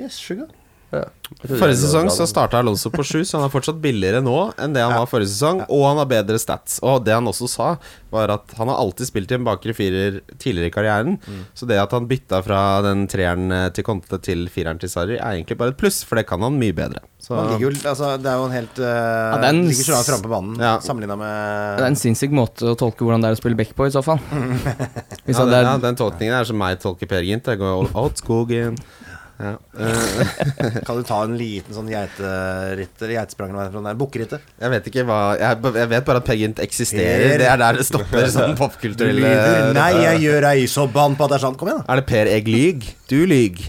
[SPEAKER 5] Yes, sugar.
[SPEAKER 4] Ja.
[SPEAKER 3] forrige sesong så starta Alonso på 7, så han er fortsatt billigere nå enn det han var forrige sesong. Og han har bedre stats. Og det han også sa, var at han har alltid spilt i en bakre firer tidligere i karrieren. Så det at han bytta fra den treeren eh, til Conte til fireren til Sarri, er egentlig bare et pluss, for det kan han mye bedre. Så
[SPEAKER 5] Han ligger jo altså, Det er jo en helt uh,
[SPEAKER 2] det er en
[SPEAKER 5] Ligger så langt framme på banen
[SPEAKER 3] Ja.
[SPEAKER 5] sammenligna
[SPEAKER 2] Det er
[SPEAKER 5] med
[SPEAKER 2] en sinnssyk måte å tolke hvordan det er å spille back på, i så fall. Hvis
[SPEAKER 3] ja,
[SPEAKER 2] han
[SPEAKER 3] den,
[SPEAKER 2] det
[SPEAKER 3] ja,
[SPEAKER 2] er,
[SPEAKER 3] den tolkningen er som meg tolker Per Gynt. Jeg går all out skogen. Ja. Eh,
[SPEAKER 5] Kan du ta en liten sånn geiterytter Geitesprang eller hva det er for noe der? Bukkrytter?
[SPEAKER 3] jeg vet ikke hva jeg, b- jeg vet bare at Per Gynt eksisterer. Det er der det stopper sånn popkulturell
[SPEAKER 5] Lyder, Nei, jeg gjør ei så bann på at det er sant. Kom igjen, da.
[SPEAKER 3] Er det Per Egg lyg? Du lyg.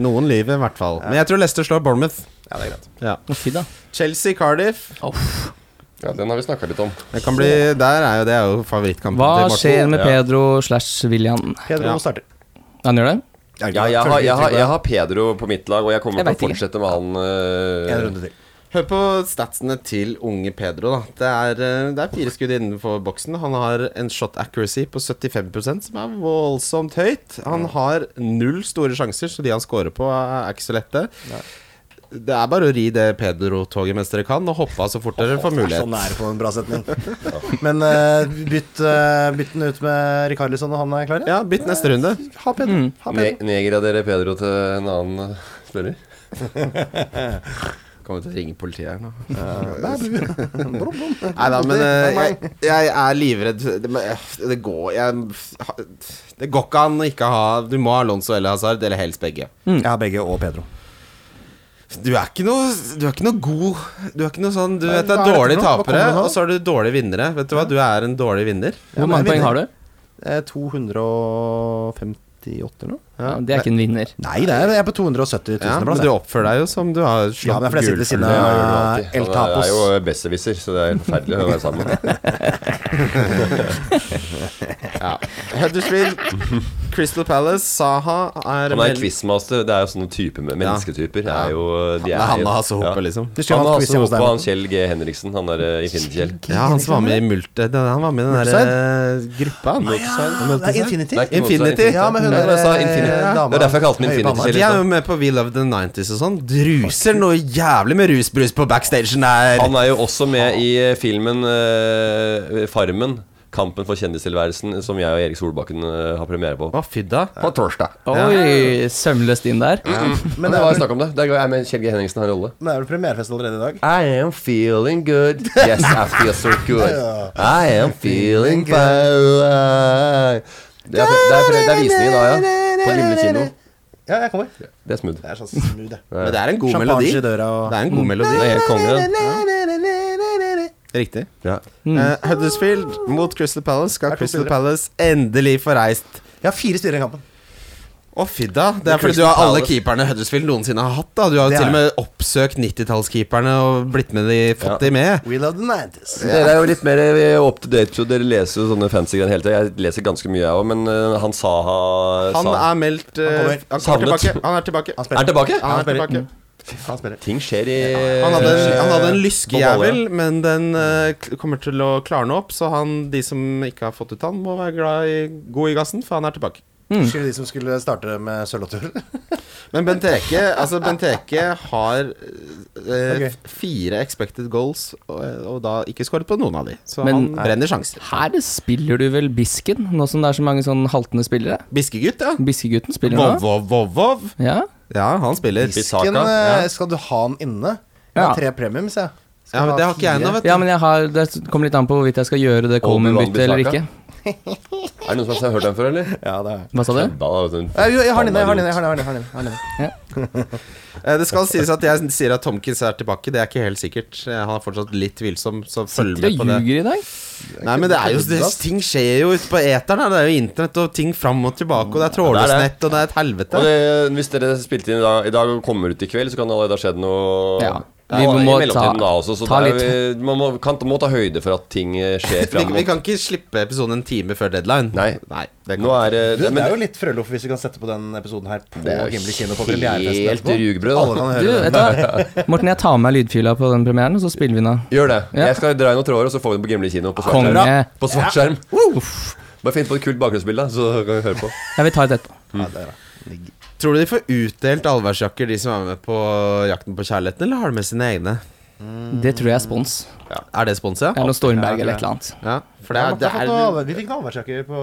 [SPEAKER 3] Noen lyver i hvert fall. Men jeg tror Leicester slår Bournemouth.
[SPEAKER 5] Ja, det er greit.
[SPEAKER 3] Ja.
[SPEAKER 2] Å, fy da.
[SPEAKER 3] Chelsea Cardiff.
[SPEAKER 4] Ja, den har vi snakka litt om.
[SPEAKER 3] Det kan bli, der er jo, det er jo favorittkampen
[SPEAKER 2] Hva
[SPEAKER 3] til Morten.
[SPEAKER 2] skjer med
[SPEAKER 4] Ja.
[SPEAKER 2] Pedro slash William?
[SPEAKER 5] Pedro
[SPEAKER 3] Ja.
[SPEAKER 5] starter.
[SPEAKER 2] Han gjør det?
[SPEAKER 4] Ja, jeg, har, jeg, har, jeg har Pedro på mitt lag, og jeg kommer
[SPEAKER 2] Jeg
[SPEAKER 4] til å
[SPEAKER 2] vet ikke.
[SPEAKER 4] fortsette med han.
[SPEAKER 5] En
[SPEAKER 4] eh,
[SPEAKER 5] runde til.
[SPEAKER 3] Hør på statsene til unge Pedro. da Det er, eh, det er fire skudd innenfor boksen. Han har en shot accuracy på 75 som er voldsomt høyt. Han har null store sjanser, så de han scorer på, er ikke så lette. Det er bare å ri det Pedro-toget mens dere kan, og hoppe av så fort dere får
[SPEAKER 5] Så
[SPEAKER 3] mulighet.
[SPEAKER 5] nære på en bra setning. <laughs> Men eh, bytt, eh, bytt den ut med Rikarlisson og han er klar?
[SPEAKER 3] Ja, bytt neste runde. Ha Pedro. Ha Pedro.
[SPEAKER 4] ne- Nedgradere Pedro til en annen eh, spiller?
[SPEAKER 3] Kommer til å ringe politiet <laughs> her nå. <laughs> Nei da, men eh, jeg, jeg er livredd. Det, men, eh, det går jeg, Det går ikke an å ikke ha Du må ha Alonso eller Hazard, eller helst begge.
[SPEAKER 5] Jeg har begge og Pedro.
[SPEAKER 3] Du er ikke noe, du er ikke noe god Du er ikke noe sånn Du
[SPEAKER 5] Nei,
[SPEAKER 3] vet det
[SPEAKER 5] hva
[SPEAKER 3] er
[SPEAKER 5] er
[SPEAKER 3] dårlige
[SPEAKER 5] dette for noe? Hva
[SPEAKER 3] tapere,
[SPEAKER 5] kommer det nå?
[SPEAKER 3] og så er du dårlige vinnere. Vet du hva, du er en dårlig vinner.
[SPEAKER 2] Hvor
[SPEAKER 5] men
[SPEAKER 2] mange
[SPEAKER 5] jeg
[SPEAKER 2] poeng
[SPEAKER 5] vinner.
[SPEAKER 2] har du?
[SPEAKER 5] Eh, 258 eller noe?
[SPEAKER 2] Ja, det er ikke en vinner.
[SPEAKER 5] Nei, det er, jeg er på 270 000
[SPEAKER 3] Ja, men
[SPEAKER 5] plass.
[SPEAKER 3] du
[SPEAKER 5] jeg.
[SPEAKER 3] oppfører deg jo som du har
[SPEAKER 5] Ja, men
[SPEAKER 3] slått
[SPEAKER 5] jeg sitter ved siden
[SPEAKER 4] Det gjør du
[SPEAKER 5] av
[SPEAKER 4] alltid.
[SPEAKER 5] El
[SPEAKER 4] Han er
[SPEAKER 5] Tapos.
[SPEAKER 4] jo eh, besserwisser, så det er forferdelig å være
[SPEAKER 5] <laughs>
[SPEAKER 4] sammen med.
[SPEAKER 3] <laughs> Huddersfield, Crystal Palace, Saha er
[SPEAKER 4] Han er
[SPEAKER 3] meld-
[SPEAKER 4] quizmaster. Det er jo sånne type, mennesketyper. Er jo, de
[SPEAKER 3] Det
[SPEAKER 4] er,
[SPEAKER 3] er han
[SPEAKER 4] jo-
[SPEAKER 3] og Hasse Hoppe,
[SPEAKER 4] ja.
[SPEAKER 3] liksom.
[SPEAKER 5] Du skulle
[SPEAKER 4] Han
[SPEAKER 5] hatt
[SPEAKER 4] har
[SPEAKER 5] quiz
[SPEAKER 4] også
[SPEAKER 5] hjemme hos
[SPEAKER 4] hoppet
[SPEAKER 5] deg.
[SPEAKER 4] han Kjell G. Henriksen. Han der eh, Infinity-Kjell.
[SPEAKER 3] Ja, han som var med i Mult... den- Han var med i den der eh, gruppa. han.
[SPEAKER 5] Ja, det er Infinity.
[SPEAKER 4] Nei, ikke noe
[SPEAKER 3] Infinity.
[SPEAKER 4] som er
[SPEAKER 5] Ja, men hun
[SPEAKER 4] Ja,
[SPEAKER 5] er-
[SPEAKER 4] jeg sa Infinity.
[SPEAKER 5] eh,
[SPEAKER 4] liksom.
[SPEAKER 5] dama.
[SPEAKER 4] Det er derfor jeg kalte den
[SPEAKER 5] Høye
[SPEAKER 4] Infinity
[SPEAKER 5] panna.
[SPEAKER 3] De
[SPEAKER 4] Kjell.
[SPEAKER 3] er jo
[SPEAKER 4] liksom.
[SPEAKER 3] med på We Love the 90s og sånn. Druser noe jævlig med rusbrus på backstagen der.
[SPEAKER 4] Han er jo også med i eh, filmen eh, Farmen. Kampen for kjendistilværelsen, som jeg og Erik Solbakken eh, har premiere på.
[SPEAKER 3] Hva fydda?
[SPEAKER 4] På torsdag.
[SPEAKER 2] Oi, sømløst inn der.
[SPEAKER 4] Men det var jo snakk om det. Der går jeg med Kjell G. Henriksen har en rolle.
[SPEAKER 5] Men det er vel premierefest allerede i dag?
[SPEAKER 4] I am feeling good. Yes, I feel so <laughs> good. I am feeling fine. Det er, det er, det er visning i dag, ja. På Gimle kino.
[SPEAKER 5] Ja, jeg kommer.
[SPEAKER 4] Det er smooth.
[SPEAKER 5] Det er sånn smooth, det.
[SPEAKER 3] Men det er en god
[SPEAKER 5] Champagne
[SPEAKER 3] melodi.
[SPEAKER 5] i døra og-
[SPEAKER 3] Det er en
[SPEAKER 4] Mm.
[SPEAKER 3] god melodi.
[SPEAKER 4] Det er helt konge. den.
[SPEAKER 3] Riktig.
[SPEAKER 4] Ja.
[SPEAKER 3] Eh, Huddersfield mot Crystal Palace. Skal
[SPEAKER 5] to
[SPEAKER 3] Crystal
[SPEAKER 5] spillere.
[SPEAKER 3] Palace endelig få reist
[SPEAKER 5] Jeg har fire styrer i kampen.
[SPEAKER 3] Å, fydda! Det er
[SPEAKER 4] Men
[SPEAKER 3] fordi du
[SPEAKER 4] Crystal
[SPEAKER 3] har alle
[SPEAKER 4] Palace-
[SPEAKER 3] keeperne Huddersfield noensinne har hatt. da Du har jo
[SPEAKER 5] Det
[SPEAKER 3] til
[SPEAKER 5] er
[SPEAKER 3] og med oppsøkt 90-tallskeeperne og blitt med de, fått de med.
[SPEAKER 5] We love the 90s.
[SPEAKER 4] Dere er jo litt mer eh, up to date, så dere leser jo sånne fancy greier hele tida. Jeg leser ganske mye, jeg òg, men eh, han Saha
[SPEAKER 3] Han
[SPEAKER 4] Saha-
[SPEAKER 3] er meldt eh,
[SPEAKER 5] Han kommer.
[SPEAKER 3] Han kommer
[SPEAKER 4] Savnet.
[SPEAKER 3] tilbake. Han er tilbake.
[SPEAKER 5] Han
[SPEAKER 4] Er han tilbake?
[SPEAKER 3] Han er
[SPEAKER 5] spiller. Mm.
[SPEAKER 3] tilbake.
[SPEAKER 5] Han spiller.
[SPEAKER 4] Ting skjer i
[SPEAKER 3] Han hadde,
[SPEAKER 4] eh,
[SPEAKER 3] han hadde en
[SPEAKER 4] på baller,
[SPEAKER 3] lyskejævel, men den eh, k- kommer til å klarne opp. Så han, de som ikke har fått ut han, må være glad i, god i gassen, for han er tilbake.
[SPEAKER 2] Mm.
[SPEAKER 5] Skulle de som skulle starte med sølvlåter.
[SPEAKER 3] Men Benteke altså Benteke har eh,
[SPEAKER 5] Ok.
[SPEAKER 3] f- fire expected goals, og, og da ikke skåret på noen av de. Så han
[SPEAKER 2] Men-
[SPEAKER 3] brenner sjanser.
[SPEAKER 2] Her spiller du vel Bisken, nå som det er så mange sånn haltende spillere?
[SPEAKER 3] Biskegutt, ja.
[SPEAKER 2] Biskegutten spiller
[SPEAKER 3] Vov,
[SPEAKER 2] nå.
[SPEAKER 3] vov, vov, vov.
[SPEAKER 2] Ja.
[SPEAKER 3] Ja, han spiller.
[SPEAKER 4] Bissaka,
[SPEAKER 5] Fisken, eh,
[SPEAKER 4] ja.
[SPEAKER 5] Skal du ha den inne? Jeg har
[SPEAKER 2] Ja.
[SPEAKER 5] tre premium, sier jeg. Skal
[SPEAKER 3] Ja,
[SPEAKER 5] du
[SPEAKER 3] men
[SPEAKER 5] ha
[SPEAKER 3] det har ikke jeg
[SPEAKER 5] fire?
[SPEAKER 3] ennå, vet du.
[SPEAKER 2] ja, men jeg har, det kommer litt an på hvorvidt jeg skal gjøre det Coleman-byttet eller ikke.
[SPEAKER 4] Er det noen som har hørt den før, <laughs> eller?
[SPEAKER 5] Ja, det er
[SPEAKER 2] Hva sa du?
[SPEAKER 4] Kødda, da, vet du.
[SPEAKER 5] Eh, jo, jeg har den inne, jeg har den inne. Jeg har den, jeg har den, jeg har den, jeg har den.
[SPEAKER 3] Eh, Det skal sies at jeg sier at Tomkins er tilbake, det er ikke helt sikkert. Eh, Han er fortsatt litt tvilsom, så følg
[SPEAKER 2] Sitter og
[SPEAKER 3] med på det.
[SPEAKER 2] ljuger i dag.
[SPEAKER 3] Nei, men det er jo det,
[SPEAKER 5] Køddas.
[SPEAKER 3] Ting skjer jo ute på eteren. her. Det er jo internett og ting fram og tilbake, og det er
[SPEAKER 4] det.
[SPEAKER 3] trådløst nett, og det er et helvete. <laughs>
[SPEAKER 4] Og det, hvis dere spilte inn i dag, i dag og kommer ut i kveld, så kan det allerede ha skjedd noe
[SPEAKER 2] Ja.
[SPEAKER 4] Ja,
[SPEAKER 2] Vi
[SPEAKER 4] i
[SPEAKER 2] må
[SPEAKER 4] mellomtiden
[SPEAKER 2] ta-
[SPEAKER 4] da også, så
[SPEAKER 2] ta
[SPEAKER 4] det er-
[SPEAKER 2] litt.
[SPEAKER 4] vi- man må, kan, må ta høyde for at ting eh,
[SPEAKER 3] vi,
[SPEAKER 4] skjer
[SPEAKER 3] vi
[SPEAKER 4] framover.
[SPEAKER 3] kan ikke slippe episoden en time før deadline.
[SPEAKER 4] Nei.
[SPEAKER 3] det kan
[SPEAKER 4] Nå er det,
[SPEAKER 5] Du,
[SPEAKER 4] men,
[SPEAKER 5] det er jo litt Frølof hvis vi kan sette på den episoden her på
[SPEAKER 4] er jo
[SPEAKER 5] Himmelig kino. På
[SPEAKER 4] helt
[SPEAKER 5] premierefesten etterpå.
[SPEAKER 4] rugbrød, da.
[SPEAKER 5] Alle kan
[SPEAKER 2] Du,
[SPEAKER 5] høre det.
[SPEAKER 2] vet du hva? Morten, jeg tar med meg lydfila på den premieren, og så spiller vi den av.
[SPEAKER 4] Gjør det.
[SPEAKER 2] Ja.
[SPEAKER 4] Jeg skal dra i noen tråder, og så får vi den på Gimli kino. På svart
[SPEAKER 2] Konge.
[SPEAKER 4] skjerm. På svart skjerm. Bare finn på et kult bakgrunnsbilde, så kan vi høre på.
[SPEAKER 2] Jeg vil ta et etterpå.
[SPEAKER 5] Ja, det er bra.
[SPEAKER 3] Tror du de får utdelt allværsjakker, de som er med på Jakten på kjærligheten, eller har de med sine egne?
[SPEAKER 2] Det tror jeg er spons.
[SPEAKER 3] Er det sponset?
[SPEAKER 2] Eller noe Stormberg eller et eller annet.
[SPEAKER 3] Ja, for det
[SPEAKER 5] Ja,
[SPEAKER 3] er,
[SPEAKER 5] man
[SPEAKER 3] det
[SPEAKER 5] får
[SPEAKER 3] er,
[SPEAKER 5] fått noe- Vi fikk noen avværsjakker på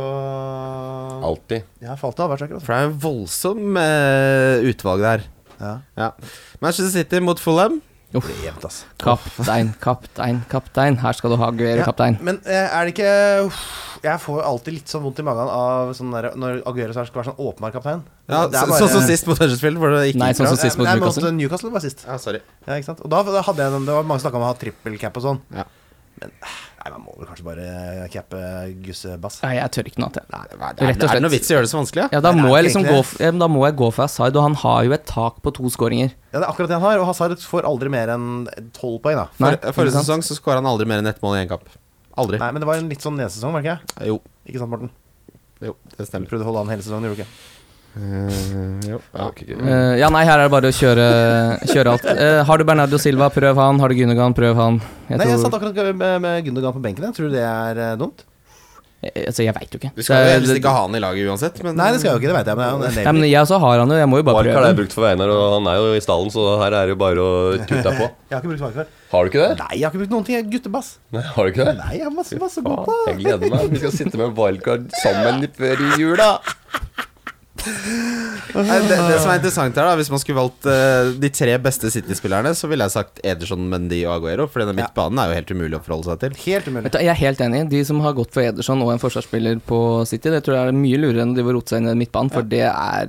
[SPEAKER 4] Alltid.
[SPEAKER 5] Ja, falt det avværsjakker. altså.
[SPEAKER 3] for det er en voldsom eh, utvalg der.
[SPEAKER 5] Ja.
[SPEAKER 3] Ja. Manchester City mot Fulham.
[SPEAKER 5] Det er jevnt, altså.
[SPEAKER 2] Kaptein, kaptein, kaptein. Her skal du ha Guero,
[SPEAKER 5] Ja,
[SPEAKER 2] kaptein.
[SPEAKER 5] Men eh, er det ikke uff, Jeg får alltid litt sånn vondt i magen av sånn der, når Aguero skal være sånn åpenbar kaptein.
[SPEAKER 3] Ja,
[SPEAKER 5] Det er
[SPEAKER 3] så-
[SPEAKER 5] bare-
[SPEAKER 3] Sånn som sist mot Huddersfield, hvor det ikke
[SPEAKER 2] Nei,
[SPEAKER 3] gikk
[SPEAKER 2] sånn
[SPEAKER 3] bra.
[SPEAKER 2] som sist mot
[SPEAKER 5] Nei, men
[SPEAKER 2] Newcastle.
[SPEAKER 5] mot eh, Newcastle var sist.
[SPEAKER 3] Ja, sorry.
[SPEAKER 5] Ja, ikke sant? Og da, da hadde jeg den Det var mange som snakka om å ha trippel cap og sånn.
[SPEAKER 3] Ja.
[SPEAKER 5] Men eh, nei, man må vel kanskje bare cappe gussebass.
[SPEAKER 2] Nei, jeg tør ikke noe annet. jeg.
[SPEAKER 3] Nei, hva-
[SPEAKER 2] Rett og
[SPEAKER 3] er, det- er
[SPEAKER 2] slett.
[SPEAKER 3] det noe vits i å gjøre det så vanskelig? Ja?
[SPEAKER 2] Ja,
[SPEAKER 5] Nei, det
[SPEAKER 2] da
[SPEAKER 5] er
[SPEAKER 2] må
[SPEAKER 5] ikke
[SPEAKER 2] jeg liksom
[SPEAKER 5] egentlig
[SPEAKER 2] gå, f- ja, men da må jeg gå for Asaid, og han har jo et tak på to skåringer.
[SPEAKER 5] Ja, det er akkurat det han har, og Hazard får aldri mer enn tolv poeng, da.
[SPEAKER 2] Nei,
[SPEAKER 3] For, forrige
[SPEAKER 2] ikke sant?
[SPEAKER 3] sesong så skåra han aldri mer enn ett mål i én kamp. Aldri.
[SPEAKER 5] Nei, men det var en litt sånn nedsesong, var det ikke?
[SPEAKER 3] Jo,
[SPEAKER 5] Ikke sant, Morten?
[SPEAKER 3] jo, det
[SPEAKER 5] Du
[SPEAKER 3] stemmer.
[SPEAKER 5] prøvde å holde an hele sesongen, gjorde du ikke?
[SPEAKER 3] Eh, jo, ja.
[SPEAKER 4] Ok, ok.
[SPEAKER 2] Eh, ja, nei, her er det bare å kjøre, kjøre alt. Eh, har du Bernardo Silva, prøv han. Har du Gunogan, prøv han. Jeg
[SPEAKER 5] Nei, jeg
[SPEAKER 2] tror-
[SPEAKER 5] satt akkurat med, med Gundogan på benken. Jeg tror du det er eh, dumt.
[SPEAKER 2] Eh, Altså, jeg veit jo ikke.
[SPEAKER 3] Du skal jo
[SPEAKER 2] Det-
[SPEAKER 3] helst ikke ha han i laget uansett, men
[SPEAKER 5] Nei, det skal jeg jo ikke, det veit jeg, men det er jo en
[SPEAKER 2] Ja, men
[SPEAKER 5] enabler.
[SPEAKER 2] jeg også har han jo, jeg må jo bare
[SPEAKER 4] Mark har
[SPEAKER 2] prøve.
[SPEAKER 4] jeg brukt for Einar, og han er jo i stallen, så her er det jo bare å tutte deg på.
[SPEAKER 5] Jeg har ikke brukt markfør.
[SPEAKER 4] Har du ikke det?
[SPEAKER 5] Nei, jeg har ikke brukt noen ting. Jeg er guttebass.
[SPEAKER 4] Nei, har du ikke det?
[SPEAKER 5] Nei, jeg er masse, masse god på
[SPEAKER 4] Faen, jeg gleder meg. Vi skal sitte med wildcard sammen før i jula.
[SPEAKER 3] Nei, det, det som er interessant her da Hvis man skulle valgt eh, de tre beste City-spillerne, så ville jeg sagt Ederson, Mendy og Aguero. For denne midtbanen er jo helt umulig å forholde seg til.
[SPEAKER 5] Helt umulig.
[SPEAKER 2] Vet du, jeg er helt enig. De som har gått for Ederson og en forsvarsspiller på City, det tror jeg er mye lurere enn å drive og rote seg inn i midtbanen, for det er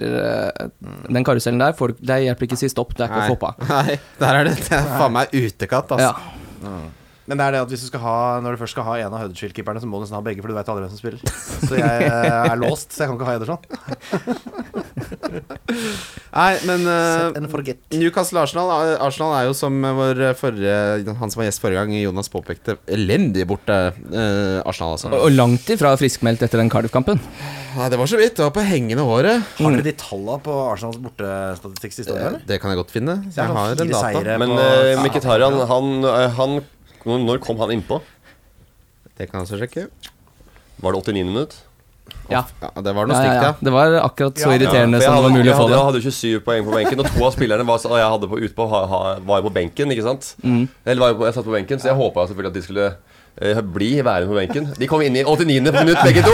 [SPEAKER 2] eh, Den karusellen der får, det hjelper ikke sist opp, det er ikke å få på.
[SPEAKER 3] <laughs> Nei, der er det, det er faen meg utekatt, altså.
[SPEAKER 2] Ja.
[SPEAKER 5] Men det er det at hvis du skal ha når du først skal ha en av Huddersfield-keeperne, så må du nesten ha begge, for du veit aldri hvem som
[SPEAKER 2] <laughs>
[SPEAKER 5] spiller. Så jeg eh, er låst, så jeg kan ikke ha Ederson.
[SPEAKER 3] Nei, men eh,
[SPEAKER 5] And forget.
[SPEAKER 3] Newcastle-Arsenal eh, Arsenal er jo som vår forrige Han som var gjest forrige gang, Jonas påpekte, elendig borte eh, Arsenal, altså.
[SPEAKER 2] Og, og langt ifra friskmeldt etter den Cardiff-kampen.
[SPEAKER 3] Nei, det var så vidt. Det var på hengende håret.
[SPEAKER 5] Har dere de talla på Arsenals bortestatistikk siste år,
[SPEAKER 3] Eh,
[SPEAKER 5] eller?
[SPEAKER 3] Det kan jeg godt finne.
[SPEAKER 5] Det er
[SPEAKER 3] Jeg
[SPEAKER 5] sånn
[SPEAKER 3] har
[SPEAKER 5] fire
[SPEAKER 3] en data.
[SPEAKER 5] seire.
[SPEAKER 4] Men
[SPEAKER 5] på-
[SPEAKER 4] uh, Mkhitarian, han, eh, han Når kom han innpå?
[SPEAKER 3] Det kan jeg også sjekke.
[SPEAKER 4] Var det 89 minutter?
[SPEAKER 2] Ja.
[SPEAKER 3] Ja, det var noe
[SPEAKER 2] Ja, ja,
[SPEAKER 3] stygt,
[SPEAKER 2] ja.
[SPEAKER 3] ja.
[SPEAKER 2] Det var akkurat så
[SPEAKER 5] Ja.
[SPEAKER 2] irriterende
[SPEAKER 4] for jeg
[SPEAKER 2] som det
[SPEAKER 4] hadde-
[SPEAKER 2] var mulig å få det.
[SPEAKER 4] Jeg hadde jo 27 poeng på benken, og to av spillerne var, jeg hadde på, ute på, ha, ha, var jo på benken. ikke sant?
[SPEAKER 2] Mm.
[SPEAKER 4] Eller var jo på, jeg satt på benken, så jeg håpa selvfølgelig at de skulle eh, bli værende på benken. De kom inn i 89. minutt, begge to!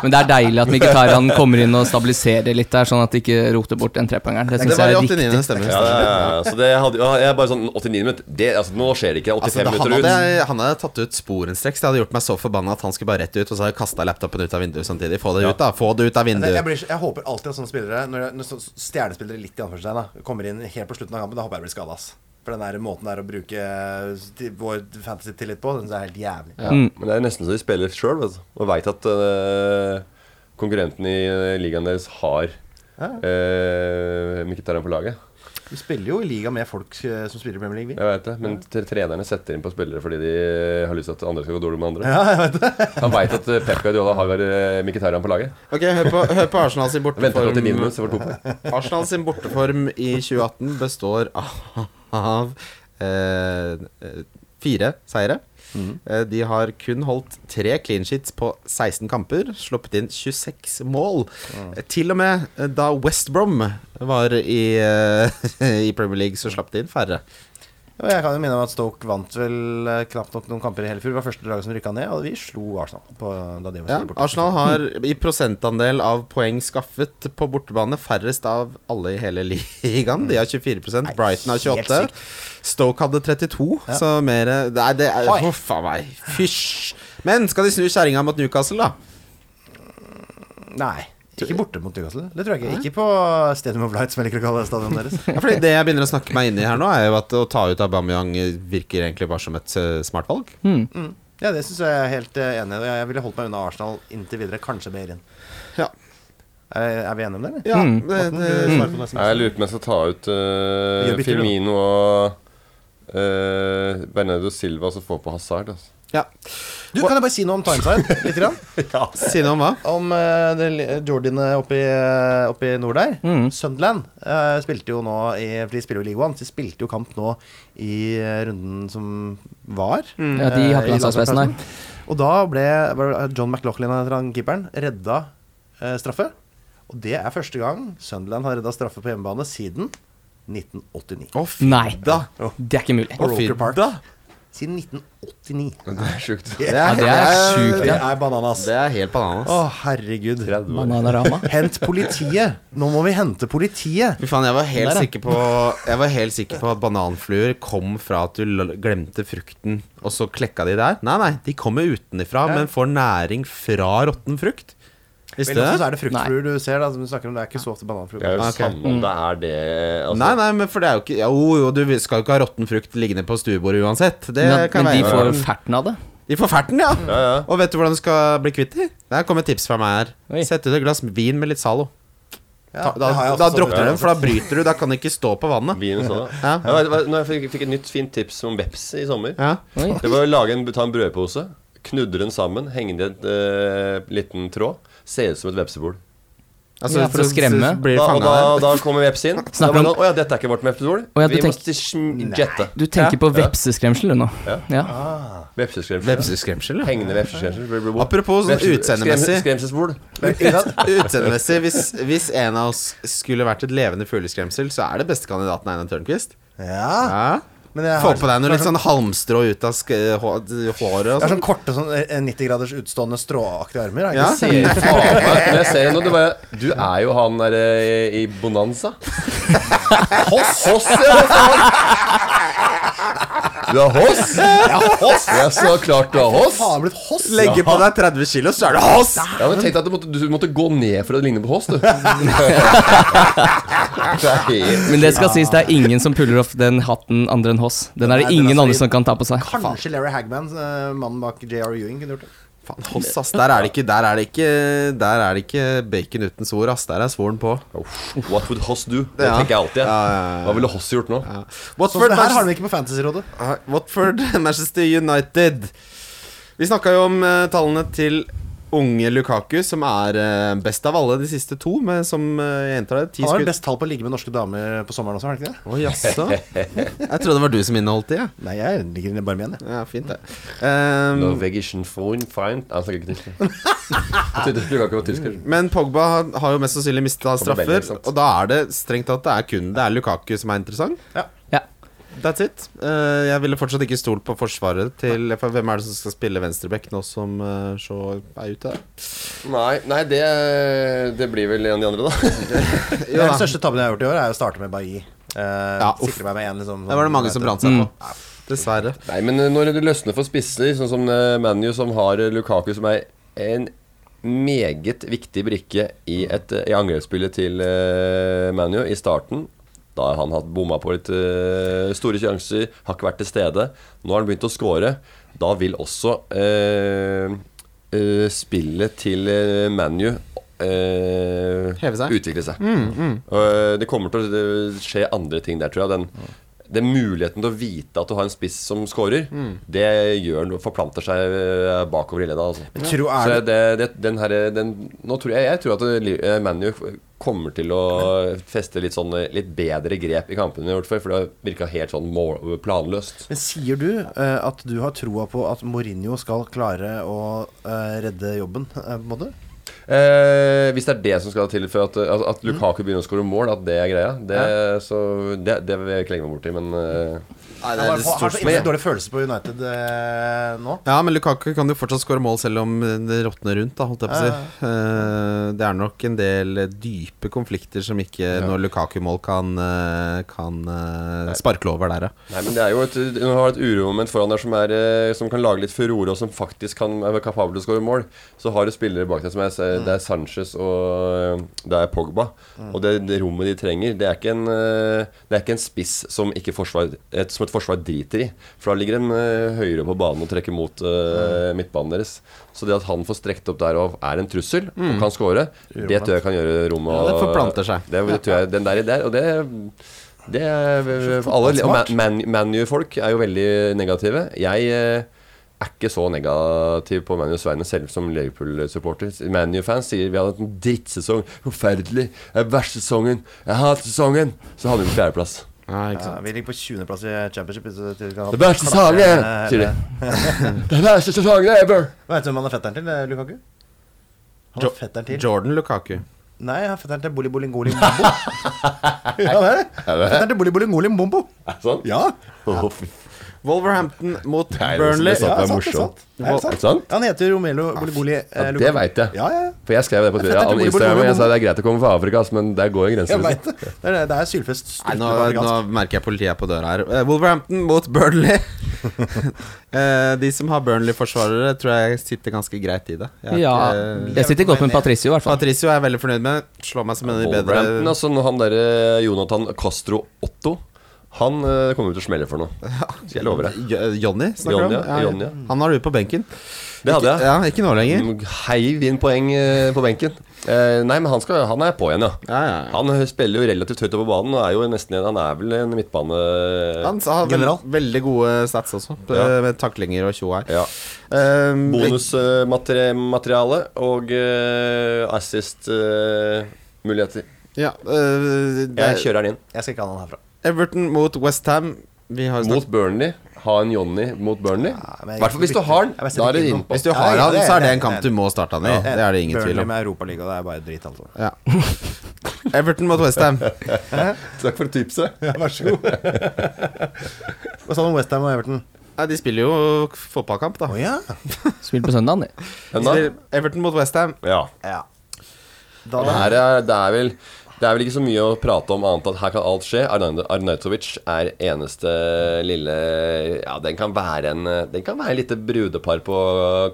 [SPEAKER 2] Men det er deilig at
[SPEAKER 3] <laughs>
[SPEAKER 2] Mkhitarian kommer inn og stabiliserer litt der, sånn at de ikke roter bort den trepoengeren. Det
[SPEAKER 3] Det
[SPEAKER 2] syns
[SPEAKER 3] var
[SPEAKER 2] jeg
[SPEAKER 3] i
[SPEAKER 2] er riktig.
[SPEAKER 3] 89. stemmer.
[SPEAKER 4] Ja, ja, ja. Så det hadde, ja, jeg er bare sånn 89 minutter det, altså, Nå skjer det ikke. 85
[SPEAKER 3] Altså, da, han,
[SPEAKER 4] minutter ut.
[SPEAKER 3] hadde, han hadde tatt ut sporenstreks. Det hadde gjort meg så forbanna at han skulle bare rett ut, og så hadde jeg kasta laptopen ut av vinduet samtidig. Få det ut, da! Få det ut av
[SPEAKER 5] Jeg, jeg,
[SPEAKER 3] vinduet!
[SPEAKER 5] blir, så- jeg håper alltid at sånne spillere, når, jeg- når så- stjernespillere litt i anførselstegn, da, kommer inn helt på slutten av kampen, da håper jeg blir skada, ass. For den der måten der å bruke eh, til- vår fantasy-tillit på, den synes jeg er helt jævlig.
[SPEAKER 4] Ja. Men det er nesten så de spiller sjøl, og veit at eh, konkurrenten i eh, ligaen deres har uh, Mkhitarian på laget.
[SPEAKER 5] Du spiller jo i liga med folk eh, som spiller i Premier League. vi.
[SPEAKER 4] Jeg vet det, men tre- trenerne setter inn på spillere fordi de eh, har lyst til at andre skal gå dårlig med andre.
[SPEAKER 5] Ja, jeg vet det.
[SPEAKER 4] Han veit at eh, Pep Guardiola har eh, Mkhitaryan på laget.
[SPEAKER 3] Ok, hør på, hør på Arsenal sin
[SPEAKER 4] Venter til 89
[SPEAKER 3] borteform.
[SPEAKER 4] minutter, så får to på.
[SPEAKER 3] Arsenal sin borteform i 2018 består av eh, eh, fire seire. Eh, De har kun holdt tre clean sheets på 16 kamper, sluppet inn 26 mål. Eh, Til og med eh, da West Brom var i, eh, <laughs> i Premier League, så slapp de inn færre.
[SPEAKER 5] Og jeg kan jo minne om at Stoke vant vel eh, knapt nok noen kamper i hele fjor. Det var første laget som rykka ned, og vi slo Arsenal. På, da de var
[SPEAKER 3] Ja,
[SPEAKER 5] borte.
[SPEAKER 3] Arsenal har i prosentandel av poeng skaffet på bortebane færrest av alle i hele <laughs> ligaen. De har 24
[SPEAKER 5] Nei,
[SPEAKER 3] Brighton har 28
[SPEAKER 5] helt
[SPEAKER 3] Stoke hadde 32,
[SPEAKER 5] Ja.
[SPEAKER 3] så mer Nei, det er
[SPEAKER 5] Oi.
[SPEAKER 3] Huff a meg. Fysj. Men skal de snu kjerringa mot Newcastle, da?
[SPEAKER 5] Nei. Ikke borte mot Newcastle. Det tror jeg ikke. Ikke på Stadium of Light, som jeg liker å kalle stadionet deres.
[SPEAKER 3] Ja, fordi det jeg begynner å snakke meg inn i her nå, er jo at å ta ut Aubameyang virker egentlig bare som et eh, smart valg.
[SPEAKER 5] Hmm. Ja, det syns jeg er helt eh, enig i. og Jeg ville holdt meg unna Arsenal inntil videre. Kanskje Beirin.
[SPEAKER 3] Ja.
[SPEAKER 5] Er, er vi enige om det, eller?
[SPEAKER 3] Ja,
[SPEAKER 2] Mm.
[SPEAKER 3] det,
[SPEAKER 5] Morten,
[SPEAKER 3] det,
[SPEAKER 5] du svarer på det som
[SPEAKER 4] Nei, Jeg lurer på om jeg skal ta ut eh,
[SPEAKER 5] Gjør bytter, du, da.
[SPEAKER 4] Firmino og uh, Bernardo Silva som får på Hazard. Altså.
[SPEAKER 3] ja.
[SPEAKER 5] Du, kan jeg bare si noe om Timeside? <laughs> Litt grann?
[SPEAKER 3] Si noe om hva?
[SPEAKER 5] Om eh, det li- Jordan oppe i, eh, oppe i nord der. Sunderland eh, spilte jo nå i For de spiller jo i League One. De spilte jo kamp nå i eh, runden som var.
[SPEAKER 2] Ja, de har
[SPEAKER 5] eh, i
[SPEAKER 2] ikke landslagspeisen, nei.
[SPEAKER 5] landslagspeisen. Og da ble var det John McLaughlin, heter han keeperen, redda eh, straffe. Og det er første gang Sunderland har redda straffe på hjemmebane siden 1989.
[SPEAKER 3] Å, fy
[SPEAKER 2] Nei,
[SPEAKER 3] da.
[SPEAKER 2] det er ikke mulig.
[SPEAKER 3] Å, fy
[SPEAKER 5] Roker Park.
[SPEAKER 3] da.
[SPEAKER 5] Siden 1989.
[SPEAKER 4] Det er sjukt.
[SPEAKER 5] Det
[SPEAKER 2] Ja, det er sjukt,
[SPEAKER 5] det
[SPEAKER 2] ja.
[SPEAKER 5] er bananas.
[SPEAKER 3] Det er helt bananas.
[SPEAKER 5] Å, herregud.
[SPEAKER 2] Bananarama.
[SPEAKER 5] <laughs> Hent politiet! Nå må vi hente politiet!
[SPEAKER 3] Fy faen, jeg var helt
[SPEAKER 2] Der, ja.
[SPEAKER 3] sikker på Jeg var helt sikker på at bananfluer kom fra at du l- glemte frukten, og så klekka de der. Nei, nei, de kommer utenifra, men får næring fra råtten frukt. Visste
[SPEAKER 5] Vel,
[SPEAKER 3] du
[SPEAKER 5] også så
[SPEAKER 3] det?
[SPEAKER 5] er det fruktfluer du ser, da, som du snakker om. Det er ikke så ofte
[SPEAKER 4] Det er
[SPEAKER 5] bananfluer.
[SPEAKER 4] jo
[SPEAKER 3] Ah, Ok. Mm.
[SPEAKER 4] samme om det er det altså,
[SPEAKER 3] Nei, nei, men for det er jo ikke Jo, jo, du skal jo ikke ha råtten frukt liggende på stuebordet uansett. Det
[SPEAKER 2] Men, at-
[SPEAKER 3] kan
[SPEAKER 2] men de
[SPEAKER 3] være
[SPEAKER 2] får ferten av det.
[SPEAKER 3] De får ferten, ja.
[SPEAKER 4] Ja, ja.
[SPEAKER 3] Og vet du hvordan du skal bli kvitt de? Der kommer et tips fra meg her.
[SPEAKER 2] Oi.
[SPEAKER 3] Sett ut et glass vin med litt Zalo.
[SPEAKER 5] Ja,
[SPEAKER 3] Ta- da
[SPEAKER 5] det har jeg
[SPEAKER 3] da
[SPEAKER 5] også
[SPEAKER 3] drukner
[SPEAKER 5] sett.
[SPEAKER 3] du dem, for da bryter du. Da kan de ikke stå på vannet.
[SPEAKER 4] Vin og sånn.
[SPEAKER 3] <laughs> Ja.
[SPEAKER 4] Jeg vet, hva- når jeg fikk, fikk et nytt fint tips om veps i sommer.
[SPEAKER 3] Ja.
[SPEAKER 2] Oi.
[SPEAKER 4] Det var å lage en, ta en brødpose, knudre den sammen, henge den i en liten tråd. Se ut som et vepsebol.
[SPEAKER 2] Ja, for å
[SPEAKER 3] Altså, så- så
[SPEAKER 2] skremme.
[SPEAKER 3] Blir
[SPEAKER 4] Da, og
[SPEAKER 3] fanget
[SPEAKER 4] da,
[SPEAKER 3] der.
[SPEAKER 4] da kommer veps inn. Da
[SPEAKER 2] Snakker
[SPEAKER 4] var det
[SPEAKER 2] om-
[SPEAKER 4] sånn, Å ja, dette er ikke vårt vepsebol.
[SPEAKER 2] Å ja, du
[SPEAKER 4] Vi må mm,
[SPEAKER 2] tenk-
[SPEAKER 4] sm- jette.
[SPEAKER 2] Du tenker på vepseskremsel, du nå. Ja.
[SPEAKER 4] Vepseskremsel.
[SPEAKER 3] Vepseskremsel, ja.
[SPEAKER 4] Hengende vepseskremsel. blir- blir bort.
[SPEAKER 3] Apropos sånn
[SPEAKER 4] Vepse-
[SPEAKER 3] utseendemessig.
[SPEAKER 4] skrem- Skremselsbol.
[SPEAKER 5] Men, ikke sant?
[SPEAKER 3] Utseendemessig, hvis, hvis en av oss skulle vært et levende fugleskremsel, så er det beste kandidaten Einar Tørnquist.
[SPEAKER 5] Ja.
[SPEAKER 3] Ja.
[SPEAKER 5] Men jeg
[SPEAKER 3] Få
[SPEAKER 5] har,
[SPEAKER 3] på deg noe litt sånn halmstrå ut av sk eh, hå- håret og
[SPEAKER 5] jeg har
[SPEAKER 3] sånn.
[SPEAKER 5] sånn korte, sånn eh, 90 graders utstående stråaktige armer. Jeg,
[SPEAKER 3] Ja.
[SPEAKER 5] ikke
[SPEAKER 4] Ser du faen meg Når jeg ser det nå, du bare Du er jo han der eh, i Bonanza. Hoss! Hoss, ja, for faen! Du er Hoss? Ja, Hoss. Jeg så klart du er Hoss.
[SPEAKER 5] faen blitt hoss!
[SPEAKER 3] Legge sånn- på deg 30 kilo, så er det oss!
[SPEAKER 4] Jeg hadde tenkt at du måtte, du måtte gå ned for å ligne på Hoss, <laughs> du. Nei.
[SPEAKER 2] Men det skal sies, det er ingen som puller off den hatten andre enn Hoss. Den er det
[SPEAKER 5] Nei, den er
[SPEAKER 2] ingen
[SPEAKER 5] så
[SPEAKER 2] andre
[SPEAKER 5] rid-
[SPEAKER 2] som kan ta på seg.
[SPEAKER 5] Kanskje Larry Hagman, eh, mannen bak JR Ewing, kunne gjort det.
[SPEAKER 3] Faen, hoss, ass. Der er det ikke Der er det ikke, der er det ikke bacon uten svor, ass. Der er svoren på.
[SPEAKER 4] What would Hoss do? Det tenker jeg alltid. jeg. Hva ville Hoss gjort nå?
[SPEAKER 5] Sånn som
[SPEAKER 3] Watford,
[SPEAKER 5] det her har
[SPEAKER 3] Manchester,
[SPEAKER 5] de ikke på Fantasyrådet.
[SPEAKER 3] Ah, Watford, <laughs> Manchester United. Vi snakka jo om eh, tallene til unge Lukaku, som er eh, best av alle de siste to, med, som eh, jeg gjentar det, ti
[SPEAKER 5] Han har
[SPEAKER 3] skudd
[SPEAKER 5] vel best tall på å ligge med norske damer på sommeren også, har han ikke det?
[SPEAKER 3] Å, <laughs> jaså? Jeg trodde det var du som inneholdt det, ja.
[SPEAKER 5] Nei, jeg ligger bare med igjen, jeg.
[SPEAKER 3] Ja, fint det. Ehm,
[SPEAKER 4] Norwegian phone fine Han snakker ikke <laughs> tysk. Jeg trodde du ikke var tysker.
[SPEAKER 3] men Pogba har- har jo mest sannsynlig mista
[SPEAKER 4] Kommer
[SPEAKER 3] straffer,
[SPEAKER 4] veldig, ikke sant?
[SPEAKER 3] og da er det strengt tatt det er kun det er Lukaku som er interessant.
[SPEAKER 2] Ja.
[SPEAKER 3] That's it. Eh, jeg ville fortsatt ikke stolt på forsvaret til For hvem er det som skal spille venstreback nå som eh, så er ute?
[SPEAKER 4] Nei, nei det, det blir vel en av de andre, da.
[SPEAKER 3] Jo
[SPEAKER 5] Den
[SPEAKER 3] da.
[SPEAKER 5] største tabben jeg har gjort i år, er å starte med Bailly. Eh,
[SPEAKER 3] uff.
[SPEAKER 5] sikre meg med en liksom
[SPEAKER 3] Det var det mange som brant seg på. Dessverre.
[SPEAKER 4] Nei, men eh, når det løsner for spisser, sånn som eh, ManU, som har eh, Lukaku, som er en meget viktig brikke i, et, eh, i angrepsspillet til eh, ManU i starten da har han hatt bomma på litt eh, store sjanser, har ikke vært til stede. Nå har han begynt å score. Da vil også eh, eh, spillet til eh, ManU eh,
[SPEAKER 3] Heve seg.
[SPEAKER 4] Utvikle seg. Og, eh, det kommer til å eh, skje andre ting der, tror jeg. Den den muligheten til å vite at du har en spiss som scorer, det gjør noe, forplanter seg eh, bakover i ledda. Altså.
[SPEAKER 5] Men tro er
[SPEAKER 4] Så det, det, den her, den, nå tror jeg, jeg tror at Li- eh, ManU kommer til å feste litt, sånn, eh, litt bedre grep i kampene enn de har gjort før, for det virka helt sånn mål, planløst.
[SPEAKER 5] Men sier du eh, at du har troa på at Mourinho skal klare å eh, redde jobben, eh, på en måte?
[SPEAKER 4] Eh, hvis det er det som skal til for at, at, at Lukaku begynner å skåre mål, at det er greia, det, så, det, det vil jeg ikke legge meg borti, men eh,
[SPEAKER 3] Nei,
[SPEAKER 5] Jeg har- har så innmari
[SPEAKER 3] men,
[SPEAKER 5] dårlig følelse på United eh, nå.
[SPEAKER 3] ja, men Lukaku kan jo fortsatt skåre mål selv om det råtner rundt. Da, holdt jeg på å si. Eh, det er nok en del dype konflikter som ikke når Lukaku-mål kan, eh, kan eh, sparkle over der, ja.
[SPEAKER 4] Nei, men det er jo et, du har et uromoment foran der som, er, eh, som kan lage litt furore, og som faktisk kan er kapabel til å skåre mål. Så har du spillere bak deg som er, eh, det er Sanchez og eh, det er Pogba. Og det, det rommet de trenger, det er ikke en, eh, det er ikke en spiss som, ikke forsvar, et, som et forsvar driter i. For da ligger de eh, høyere på banen og trekker mot eh, midtbanen deres. Så det at han får strekt opp der og er en trussel og kan skåre, det tror jeg kan gjøre rommet
[SPEAKER 3] Ja, det forplanter seg.
[SPEAKER 4] Det, det tror jeg, den der, i der og det det er, alle og Man- Man- ManU-folk er jo veldig negative. Jeg eh, er ikke så negativ på ManUs vegne, selv som Liverpool-supporter. ManU-fans sier vi hadde hatt en drittsesong. Forferdelig. Det er verste sesongen. Jeg hater sesongen. Så havner vi på fjerdeplass.
[SPEAKER 5] Ja, vi ligger på 20.-plass i championship. så til vi kan ha-
[SPEAKER 4] Det verste sesongen,
[SPEAKER 5] Eh,
[SPEAKER 4] sier de. Det verste sesongen ever.
[SPEAKER 5] Hva heter han er fetteren til, eh, Lukaku? Han er
[SPEAKER 3] Jo-
[SPEAKER 5] fetteren til
[SPEAKER 3] Jordan Lukaku.
[SPEAKER 5] Nei, han er fetteren til Boli Bolingoli
[SPEAKER 4] <laughs>
[SPEAKER 5] Mombo. ja, det er det. Fetteren til Boli Bolingoli Mombo.
[SPEAKER 4] Sånn?
[SPEAKER 5] Ja,
[SPEAKER 4] Å, fy faen.
[SPEAKER 3] Wolverhampton mot
[SPEAKER 4] Nei,
[SPEAKER 3] Burnley.
[SPEAKER 4] Det er
[SPEAKER 5] Ja,
[SPEAKER 4] sant, det er
[SPEAKER 5] sant, det er sant. Er
[SPEAKER 4] morsomt.
[SPEAKER 5] det
[SPEAKER 4] Er det sant?
[SPEAKER 5] han heter Romelo Bolingoli
[SPEAKER 4] Ja, det veit jeg.
[SPEAKER 5] eh, Ja, ja,
[SPEAKER 4] <laughs>
[SPEAKER 5] ja.
[SPEAKER 4] For jeg skrev det på
[SPEAKER 5] Jeg
[SPEAKER 4] Twitter.
[SPEAKER 5] tenkte,
[SPEAKER 4] Instagram,
[SPEAKER 5] hvor-
[SPEAKER 4] jeg sa det er greit å komme fra Afrika, ass, men der går jo
[SPEAKER 5] Jeg
[SPEAKER 4] grensen.
[SPEAKER 5] vet det. Det er, det. det er sylfest
[SPEAKER 3] Nei, nå,
[SPEAKER 5] stort-
[SPEAKER 3] nå merker jeg politiet er på døra her. Eh, Wolverhampton mot
[SPEAKER 5] <laughs>
[SPEAKER 3] Burnley. Eh, De som har Burnley-forsvarere, tror jeg sitter ganske greit i det. Jeg er
[SPEAKER 2] Ja,
[SPEAKER 3] ikke-
[SPEAKER 2] jeg sitter godt med Patricio, i hvert fall.
[SPEAKER 3] Patricio er jeg veldig fornøyd med. Slår meg som en av de
[SPEAKER 4] Wolverhampton,
[SPEAKER 3] bedre
[SPEAKER 4] altså når han der eh, Jonathan Castro Otto Han eh, kommer jo til å smelle for noe Skal <laughs> jeg love deg
[SPEAKER 3] Jo- Jonny, snakker du
[SPEAKER 4] Jonny,
[SPEAKER 3] om?
[SPEAKER 4] ja, Jonny, ja.
[SPEAKER 3] Han har du på benken.
[SPEAKER 4] Det hadde jeg
[SPEAKER 3] Ja, Ikke nå lenger.
[SPEAKER 4] Mm, Heiv inn poeng eh, på benken Eh, Nei, men han, skal, han er på igjen, ja
[SPEAKER 3] Ja, ja, ja.
[SPEAKER 4] Han eh, spiller jo relativt høyt oppe på banen Og er jo nesten en, han er vel en midtbane
[SPEAKER 3] Han har
[SPEAKER 5] General.
[SPEAKER 3] veld, veldig gode stats også,
[SPEAKER 4] Ja.
[SPEAKER 3] med taklinger og tjo her.
[SPEAKER 4] Ja
[SPEAKER 3] Um,
[SPEAKER 4] Bonusmateriale Og eh, assist eh, Muligheter
[SPEAKER 3] Ja, eh, det
[SPEAKER 4] Jeg
[SPEAKER 3] er
[SPEAKER 4] kjører den inn
[SPEAKER 5] Jeg skal ikke ha han herfra.
[SPEAKER 3] Everton mot Westham. Vi har jo snakket
[SPEAKER 4] Mot Burnley Ha en Jonny mot Burnley
[SPEAKER 5] men jeg-
[SPEAKER 4] Hvertfall hvis du har den
[SPEAKER 5] Jeg vil
[SPEAKER 4] Da er det
[SPEAKER 5] ikke
[SPEAKER 4] inn
[SPEAKER 5] noe-
[SPEAKER 4] på
[SPEAKER 3] Hvis du
[SPEAKER 5] Ja,
[SPEAKER 3] har
[SPEAKER 5] ja,
[SPEAKER 3] han,
[SPEAKER 5] det er-
[SPEAKER 3] så er det
[SPEAKER 5] det er-
[SPEAKER 3] en kamp du må starte han i. Det er det ingen tvil
[SPEAKER 5] Burnley
[SPEAKER 3] om.
[SPEAKER 5] med Europaliga, det er bare dritt,
[SPEAKER 4] <laughs>
[SPEAKER 5] altså.
[SPEAKER 3] Ja. <laughs> Everton mot Westham.
[SPEAKER 4] Takk for tipset
[SPEAKER 5] Ja, vær så god. <laughs> Hva sa du om Westham og Everton?
[SPEAKER 3] Nei, de spiller jo fotballkamp, da.
[SPEAKER 5] Å ja.
[SPEAKER 2] Spill på søndagen, det.
[SPEAKER 3] De spiller Everton mot Westham.
[SPEAKER 4] Ja
[SPEAKER 5] ja.
[SPEAKER 4] Og
[SPEAKER 5] Da,
[SPEAKER 4] Her er, det, er vel, det er vel ikke så mye å prate om annet enn at her kan alt skje. Arnaud- Arnautovic er eneste lille Ja, den kan være en Den kan være et lite brudepar på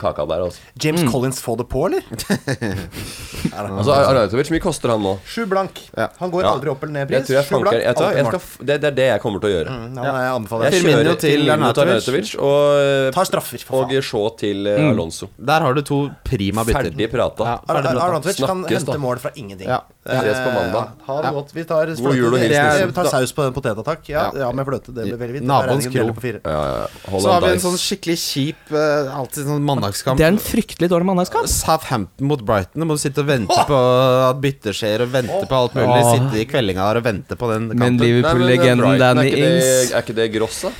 [SPEAKER 4] kaka der, altså.
[SPEAKER 5] James Collins får det på,
[SPEAKER 4] <laughs>
[SPEAKER 5] eller? Er det-
[SPEAKER 4] altså Ar- Arnautovic, hvor mye koster han nå?
[SPEAKER 5] Sju blank. Han går
[SPEAKER 4] Ja.
[SPEAKER 5] aldri opp eller ned i
[SPEAKER 4] Jeg
[SPEAKER 5] pris.
[SPEAKER 4] tror jeg
[SPEAKER 5] Sju
[SPEAKER 4] fanker
[SPEAKER 5] blank,
[SPEAKER 4] jeg tror,
[SPEAKER 5] alltid
[SPEAKER 4] jeg
[SPEAKER 5] mål.
[SPEAKER 4] skal, f- det, det er det jeg kommer til å gjøre.
[SPEAKER 5] Mm, ja, nei, jeg anbefaler
[SPEAKER 4] Jeg
[SPEAKER 5] det.
[SPEAKER 3] Firmino
[SPEAKER 4] kjører
[SPEAKER 3] til
[SPEAKER 4] til mot Arnautovic
[SPEAKER 3] Arnautovic.
[SPEAKER 4] og, eh,
[SPEAKER 5] Tar straffer, for
[SPEAKER 4] og
[SPEAKER 5] faen.
[SPEAKER 4] Shaw til eh, Alonso.
[SPEAKER 3] Der har du to prima bytter.
[SPEAKER 4] Ferdig prata.
[SPEAKER 3] Ja.
[SPEAKER 5] Ar- Ar- Arnautovic kan
[SPEAKER 4] Snakkes,
[SPEAKER 5] hente
[SPEAKER 4] da.
[SPEAKER 5] mål fra ingenting.
[SPEAKER 3] Ja.
[SPEAKER 5] Eh,
[SPEAKER 4] Ses på mandag.
[SPEAKER 5] ja. Ha det godt. Vi tar,
[SPEAKER 4] God jul og liksom.
[SPEAKER 5] fløte-
[SPEAKER 3] hilsen.
[SPEAKER 5] Vi tar saus på en potet, takk. Ja,
[SPEAKER 3] Ja.
[SPEAKER 5] ja, med fløte. Det blir veldig fint.
[SPEAKER 3] Naboens
[SPEAKER 5] Regningen deler
[SPEAKER 3] kro.
[SPEAKER 5] på fire.
[SPEAKER 3] Så har
[SPEAKER 4] Holland
[SPEAKER 3] vi en
[SPEAKER 4] Dice.
[SPEAKER 3] sånn skikkelig kjip eh, Alltid sånn mandagskamp.
[SPEAKER 2] Det er en fryktelig dårlig mandagskamp.
[SPEAKER 3] Southampton mot Brighton. Du må sitte og vente på at bytter skjer, og vente på alt mulig.
[SPEAKER 2] Åh.
[SPEAKER 3] Sitte i kveldinga der og vente på den
[SPEAKER 2] Men
[SPEAKER 3] kampen.
[SPEAKER 4] Nei, men, eh,
[SPEAKER 2] Liverpool-legenden
[SPEAKER 4] Brighton, er
[SPEAKER 2] Danny
[SPEAKER 4] ikke det-
[SPEAKER 2] Ings
[SPEAKER 4] Er ikke det gross, da?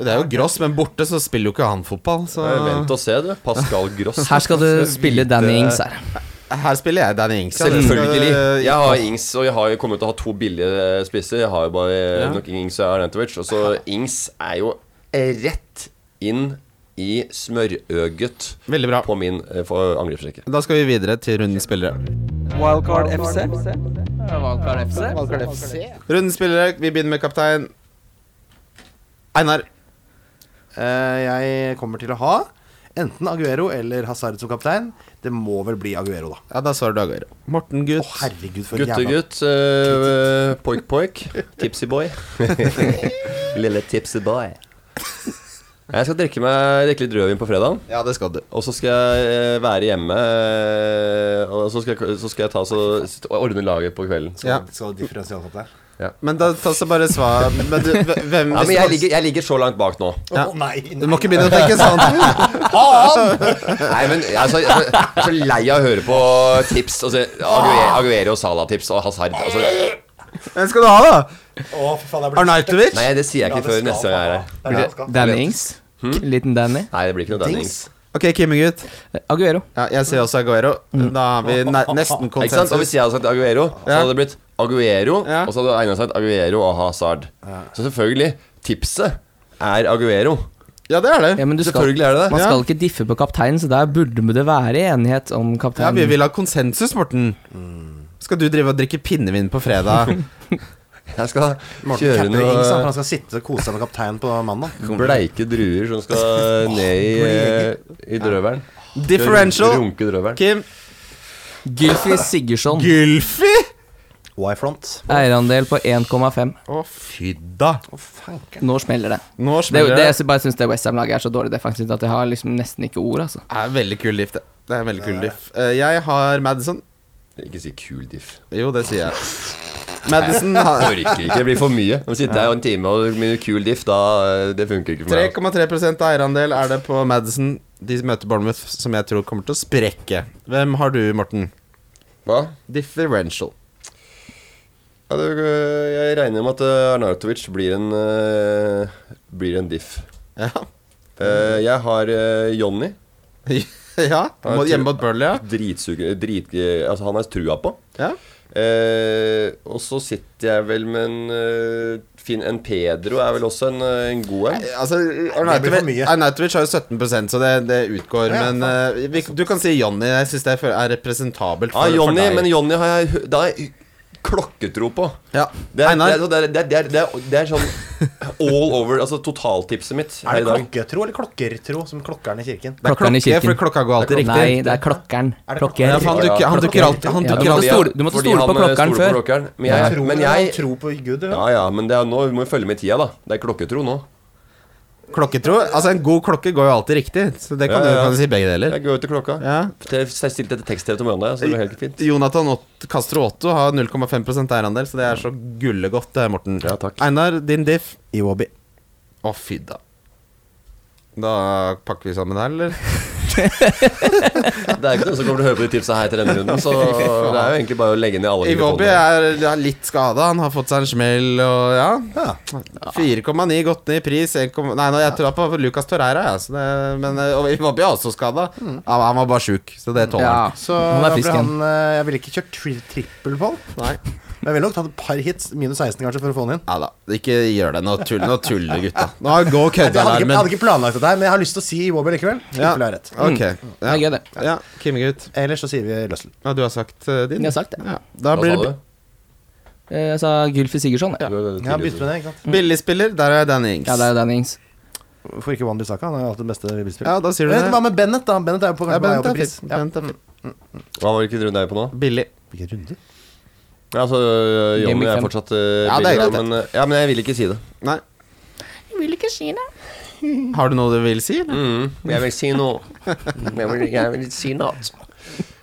[SPEAKER 3] Det er jo gross, men borte så spiller jo ikke han fotball. Så
[SPEAKER 4] Eh, Vent og se, du. Pascal Gross.
[SPEAKER 2] Her skal du spille Danny Ings her.
[SPEAKER 3] her spiller jeg Danny Ings. ja.
[SPEAKER 4] Selvfølgelig.
[SPEAKER 3] Eh,
[SPEAKER 4] Jeg har Ings, og jeg har jo kommet til å ha to billige eh, spisser. Jeg har jo bare nok Ings og Arnautovic. Og så Ings er jo rett inn i smørøget
[SPEAKER 3] Veldig bra.
[SPEAKER 4] på min eh, for- angrepsrekke.
[SPEAKER 3] Da skal vi videre til rundens spillere.
[SPEAKER 1] Wildcard FC.
[SPEAKER 3] Rundens spillere, vi begynner med kaptein Einar.
[SPEAKER 5] Eh, jeg kommer til å ha enten Aguero eller Hazard som kaptein. Det må vel bli Aguero, da.
[SPEAKER 3] Ja, da svarer du Aguero. Morten Gutt.
[SPEAKER 5] Å, herregud, for en jævla
[SPEAKER 4] Guttegutt, eh, poik poik, tipsy boy. Lille tipsy boy. Jeg skal drikke, meg, drikke litt rødvin på fredagen.
[SPEAKER 3] Ja, det skal du.
[SPEAKER 4] Og så skal jeg eh, være hjemme, eh, og så skal jeg, så skal jeg ta så, sitte og ordne laget på kvelden. Så.
[SPEAKER 3] Ja.
[SPEAKER 5] Skal du differensialt opp der?
[SPEAKER 3] Men da ta så bare svar Men du, hvem
[SPEAKER 4] Ja, men jeg ligger, jeg ligger så langt bak nå.
[SPEAKER 5] Å
[SPEAKER 3] Ja.
[SPEAKER 5] nei,
[SPEAKER 3] Du må ikke begynne å tenke sånn.
[SPEAKER 4] Nei, men jeg er så, jeg er så, jeg er så lei av å høre på tips. Altså, Aguero, Aguero Sala-tips og Hazard. Altså,
[SPEAKER 3] Hvem skal du ha, da?
[SPEAKER 5] Å, fy faen, jeg blir
[SPEAKER 3] Arnautovic?
[SPEAKER 4] nei, det sier jeg ikke før neste gang jeg er her.
[SPEAKER 5] Det er det jeg skal.
[SPEAKER 2] Danny Ings.
[SPEAKER 3] Hmm?
[SPEAKER 2] Liten Danny.
[SPEAKER 4] Nei, det blir ikke noe Dennings.
[SPEAKER 3] Ok, Kimmegutt.
[SPEAKER 2] Aguero.
[SPEAKER 3] Ja, jeg sier også Aguero. Da har vi ne nesten
[SPEAKER 4] Ikke sant? Og
[SPEAKER 3] konsensus.
[SPEAKER 4] hvis jeg hadde sagt Aguero, så
[SPEAKER 3] Ja.
[SPEAKER 4] hadde det blitt Aguero,
[SPEAKER 3] Ja.
[SPEAKER 4] og så hadde Einar sagt Aguero og Hazard. Så selvfølgelig, tipset er Aguero.
[SPEAKER 3] Ja, det er det.
[SPEAKER 2] Ja, men du skal,
[SPEAKER 4] Selvfølgelig er det det.
[SPEAKER 2] man skal ikke diffe på kapteinen, så der burde det være enighet om
[SPEAKER 3] Ja, vi
[SPEAKER 2] kapteinen.
[SPEAKER 3] vil ha konsensus, Morten. Skal du drive og drikke pinnevin på fredag?
[SPEAKER 4] <laughs> Jeg skal kjøre
[SPEAKER 5] Captain Ings, da, for
[SPEAKER 4] noe
[SPEAKER 5] han skal sitte og kose seg med kapteinen på mandag.
[SPEAKER 4] bleike druer som skal ned i, eh, i drøvelen.
[SPEAKER 3] Differential.
[SPEAKER 4] Runke drøvelen.
[SPEAKER 3] Kim.
[SPEAKER 2] Gylfi Sigurdsson.
[SPEAKER 3] Gylfi?
[SPEAKER 5] Why front?
[SPEAKER 2] Eierandel på 1,5.
[SPEAKER 3] Å, fy da.
[SPEAKER 2] Nå smeller det.
[SPEAKER 3] Nå
[SPEAKER 2] Det,
[SPEAKER 3] smeller
[SPEAKER 2] det
[SPEAKER 3] det.
[SPEAKER 2] jeg bare syns det Westham-laget er så dårlig defensivt at jeg har liksom nesten ikke ord, altså.
[SPEAKER 3] Det er en veldig kul diff, det. Det er en veldig kul diff. Eh, Jeg har Madison.
[SPEAKER 4] Ikke si kul diff.
[SPEAKER 3] Jo, det sier jeg. Madison har
[SPEAKER 4] Orker ikke, det blir for mye. Nå sitter jeg jo en time og mye kul diff, da eh, Det funker ikke for meg.
[SPEAKER 3] 3,3 av eierandel er det på Madison. De møter Bournemouth, som jeg tror kommer til å sprekke. Hvem har du, Morten?
[SPEAKER 4] Hva?
[SPEAKER 3] Differential.
[SPEAKER 4] Ja, det, eh, jeg regner med at eh, Arnautovic blir en eh, Blir en diff.
[SPEAKER 3] Ja. <laughs>
[SPEAKER 4] Eh, jeg har eh, Jonny.
[SPEAKER 3] ja. Må- Hjemme mot Burnley, ja.
[SPEAKER 4] Dritsuger drit, eh, Altså, han er trua på.
[SPEAKER 3] ja.
[SPEAKER 4] Eh, og så sitter jeg vel med en eh, fin En Pedro er vel også en, eh, en god en.
[SPEAKER 3] Altså,
[SPEAKER 5] blir for mye.
[SPEAKER 3] Arnautovic Arnautovic har jo 17 så det, det utgår.
[SPEAKER 5] Ja,
[SPEAKER 3] men eh, vi, du kan si Jonny. Jeg syns det er representabelt
[SPEAKER 4] Ja,
[SPEAKER 3] for,
[SPEAKER 4] Jonny,
[SPEAKER 3] for deg.
[SPEAKER 4] men Jonny har jeg da har jeg klokketro på.
[SPEAKER 3] ja.
[SPEAKER 4] Det er, det,
[SPEAKER 3] Einar?
[SPEAKER 4] er, så det, er, det, er, det, er, det, er, det er sånn all over Altså totaltipset mitt
[SPEAKER 5] Er
[SPEAKER 4] her i
[SPEAKER 5] det
[SPEAKER 4] dag.
[SPEAKER 5] klokketro eller klokkertro, som klokkeren i kirken?
[SPEAKER 3] Det er
[SPEAKER 2] Klokkeren i
[SPEAKER 3] klokke,
[SPEAKER 2] kirken.
[SPEAKER 3] for klokka går alltid riktig.
[SPEAKER 2] Nei, det er klokkeren.
[SPEAKER 5] Er det
[SPEAKER 2] Klokker.
[SPEAKER 3] Ja, for han dukker, han dukker alltid, han
[SPEAKER 2] Ja,
[SPEAKER 3] dukker
[SPEAKER 2] du måtte
[SPEAKER 3] alltid.
[SPEAKER 2] stole- du måtte
[SPEAKER 4] fordi
[SPEAKER 2] stole
[SPEAKER 4] han,
[SPEAKER 2] på
[SPEAKER 4] eh,
[SPEAKER 2] klokkeren
[SPEAKER 4] stoler på
[SPEAKER 2] før.
[SPEAKER 4] klokkeren. Men jeg,
[SPEAKER 5] Tror
[SPEAKER 4] men
[SPEAKER 5] eller
[SPEAKER 4] jeg
[SPEAKER 5] tro på Gud, ja.
[SPEAKER 4] Ja ja, men det er, nå må vi følge med i tida, da. Det er klokketro nå.
[SPEAKER 3] Klokketro Altså, en god klokke går jo alltid riktig, så det kan
[SPEAKER 4] Ja, ja,
[SPEAKER 3] du
[SPEAKER 4] ja.
[SPEAKER 3] kan du si begge deler.
[SPEAKER 4] Jeg går ut til klokka.
[SPEAKER 3] Ja.
[SPEAKER 4] Jeg stilte etter tekst-TV til mandag, så det går helt fint.
[SPEAKER 3] Jonathan Ott- Castro Otto har 0,5 eierandel, så det er så gullegodt, det, Morten.
[SPEAKER 4] Ja, takk.
[SPEAKER 3] Einar, din diff.
[SPEAKER 5] Iwobi.
[SPEAKER 3] Å, fy da. Da pakker vi sammen her, eller?
[SPEAKER 4] Det er ikke noen som kommer til å høre på de tipsa her til denne runden, så det er jo egentlig bare å legge ned alle
[SPEAKER 3] Iwobi er, er litt skada. Han har fått seg en smell og ja. 4,9 gått ned i pris. 1,0 nei, nå, jeg tror på Lucas Torreira, ja, så det, men eh, og Iwobi er også skada. Han, han var bare sjuk, så det tåler
[SPEAKER 2] Ja,
[SPEAKER 3] han.
[SPEAKER 5] Så
[SPEAKER 2] han
[SPEAKER 5] da ble
[SPEAKER 2] er frisk igjen.
[SPEAKER 5] han, eh, jeg ville ikke kjørt tri trippel på han.
[SPEAKER 3] Nei.
[SPEAKER 5] Men jeg ville nok tatt et par hits, minus 16 kanskje, for å få han inn.
[SPEAKER 3] Ja da. Ikke gjør det. Nå tuller, nå tuller gutta. Nå
[SPEAKER 5] Jeg
[SPEAKER 3] går
[SPEAKER 5] hadde, ikke, jeg hadde
[SPEAKER 3] køddealarmen.
[SPEAKER 5] ikke planlagt dette, her, men jeg har lyst til å si Iwobi likevel.
[SPEAKER 3] Ja.
[SPEAKER 5] Trippel er rett.
[SPEAKER 3] Ok.
[SPEAKER 2] Det er
[SPEAKER 3] Ja,
[SPEAKER 2] gøy, det.
[SPEAKER 3] ja Kimmegutt.
[SPEAKER 5] Ellers så sier vi Løssel.
[SPEAKER 3] Ja, du har sagt eh, din?
[SPEAKER 2] Jeg har sagt det.
[SPEAKER 3] Ja. Da blir det
[SPEAKER 2] Eh, Jeg sa Gylfi Sigurdsson. jeg.
[SPEAKER 5] Ja, bytter med det, ikke sant?
[SPEAKER 3] billigspiller. Der er Danny Ings.
[SPEAKER 2] Ja, det er jo Danny Ings.
[SPEAKER 5] Hvorfor ikke Wan Bissaka? Han har jo hatt det beste bilspillet.
[SPEAKER 3] Ja, da sier du
[SPEAKER 5] Vet du
[SPEAKER 3] det.
[SPEAKER 5] Hva med Bennett, da? Bennett er jo på
[SPEAKER 3] Ja,
[SPEAKER 5] kanskje på vei opp
[SPEAKER 3] Bent er
[SPEAKER 5] i pris.
[SPEAKER 3] fint. Bent er fint.
[SPEAKER 4] Hva var det ikke runde jeg på nå?
[SPEAKER 3] Billig.
[SPEAKER 5] Hvilken runde?
[SPEAKER 4] Ja, altså,
[SPEAKER 2] Game
[SPEAKER 4] Jonny
[SPEAKER 2] week
[SPEAKER 4] er
[SPEAKER 2] fem.
[SPEAKER 4] fortsatt eh,
[SPEAKER 3] Ja, det er
[SPEAKER 4] billig, da,
[SPEAKER 3] greit, det.
[SPEAKER 4] men, eh, ja, men jeg vil ikke si det.
[SPEAKER 3] Nei. <laughs> Har du noe du vil si? eller?
[SPEAKER 4] Mm. Jeg vil si <laughs> noe. Jeg vil, si noe.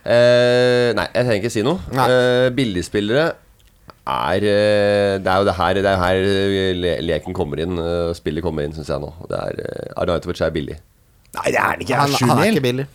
[SPEAKER 4] Eh, nei, jeg trenger ikke si noe.
[SPEAKER 3] Nei.
[SPEAKER 4] Eh, billigspillere er eh, Det er jo det her, det er jo her le leken kommer inn, eh, spillet kommer inn, syns jeg nå. Det er uh, Arnautovic er billig.
[SPEAKER 5] Nei, det er det ikke.
[SPEAKER 3] Han,
[SPEAKER 5] Sju
[SPEAKER 3] han er
[SPEAKER 5] mil.
[SPEAKER 3] ikke billig.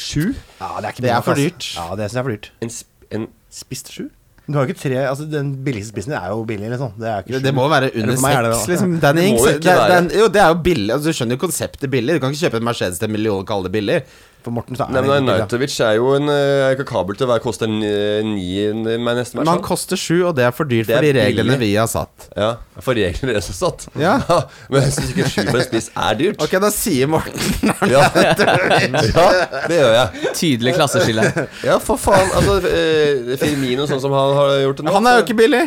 [SPEAKER 4] Sju?
[SPEAKER 5] Ja, det er ikke
[SPEAKER 3] Det er
[SPEAKER 5] nok,
[SPEAKER 3] for
[SPEAKER 5] ass.
[SPEAKER 3] dyrt.
[SPEAKER 5] Ja, det synes jeg er for dyrt.
[SPEAKER 4] En, sp- en
[SPEAKER 5] Spist sju? Du har jo ikke tre Altså, den billigste spissen er jo billig, liksom. Det er jo ikke
[SPEAKER 3] Det, det må være
[SPEAKER 5] Eller
[SPEAKER 3] under
[SPEAKER 5] for meg er det
[SPEAKER 3] seks,
[SPEAKER 5] det.
[SPEAKER 3] liksom. Danny
[SPEAKER 4] Det må
[SPEAKER 3] Ings.
[SPEAKER 4] jo ikke
[SPEAKER 3] Det,
[SPEAKER 4] være.
[SPEAKER 3] den, jo, det er jo billig. Altså, du skjønner jo konseptet billig. Du kan ikke kjøpe en Mercedes til en million og kalle det billig.
[SPEAKER 5] For Morten så er
[SPEAKER 4] Nei,
[SPEAKER 5] det
[SPEAKER 4] men
[SPEAKER 5] ikke billig, da.
[SPEAKER 4] Arnautovic er jo en eh, kapabel til å være koste ni ni- med nesten
[SPEAKER 3] Men
[SPEAKER 4] hver
[SPEAKER 3] han
[SPEAKER 4] sånn.
[SPEAKER 3] koster sju, og det er for dyrt
[SPEAKER 4] Det er
[SPEAKER 3] for de reglene
[SPEAKER 4] billig.
[SPEAKER 3] vi har satt.
[SPEAKER 4] Ja, for reglene er så satt.
[SPEAKER 3] Ja.
[SPEAKER 4] <laughs> men jeg syns ikke sju for en spiss er dyrt.
[SPEAKER 3] Ok, da sier
[SPEAKER 4] <laughs>
[SPEAKER 3] Morten
[SPEAKER 4] Ja. ja, det gjør jeg.
[SPEAKER 2] Tydelig klasseskille.
[SPEAKER 4] Ja, for faen. Altså, eh, Firmino sånn som han har gjort det nå
[SPEAKER 3] Han er jo ikke billig.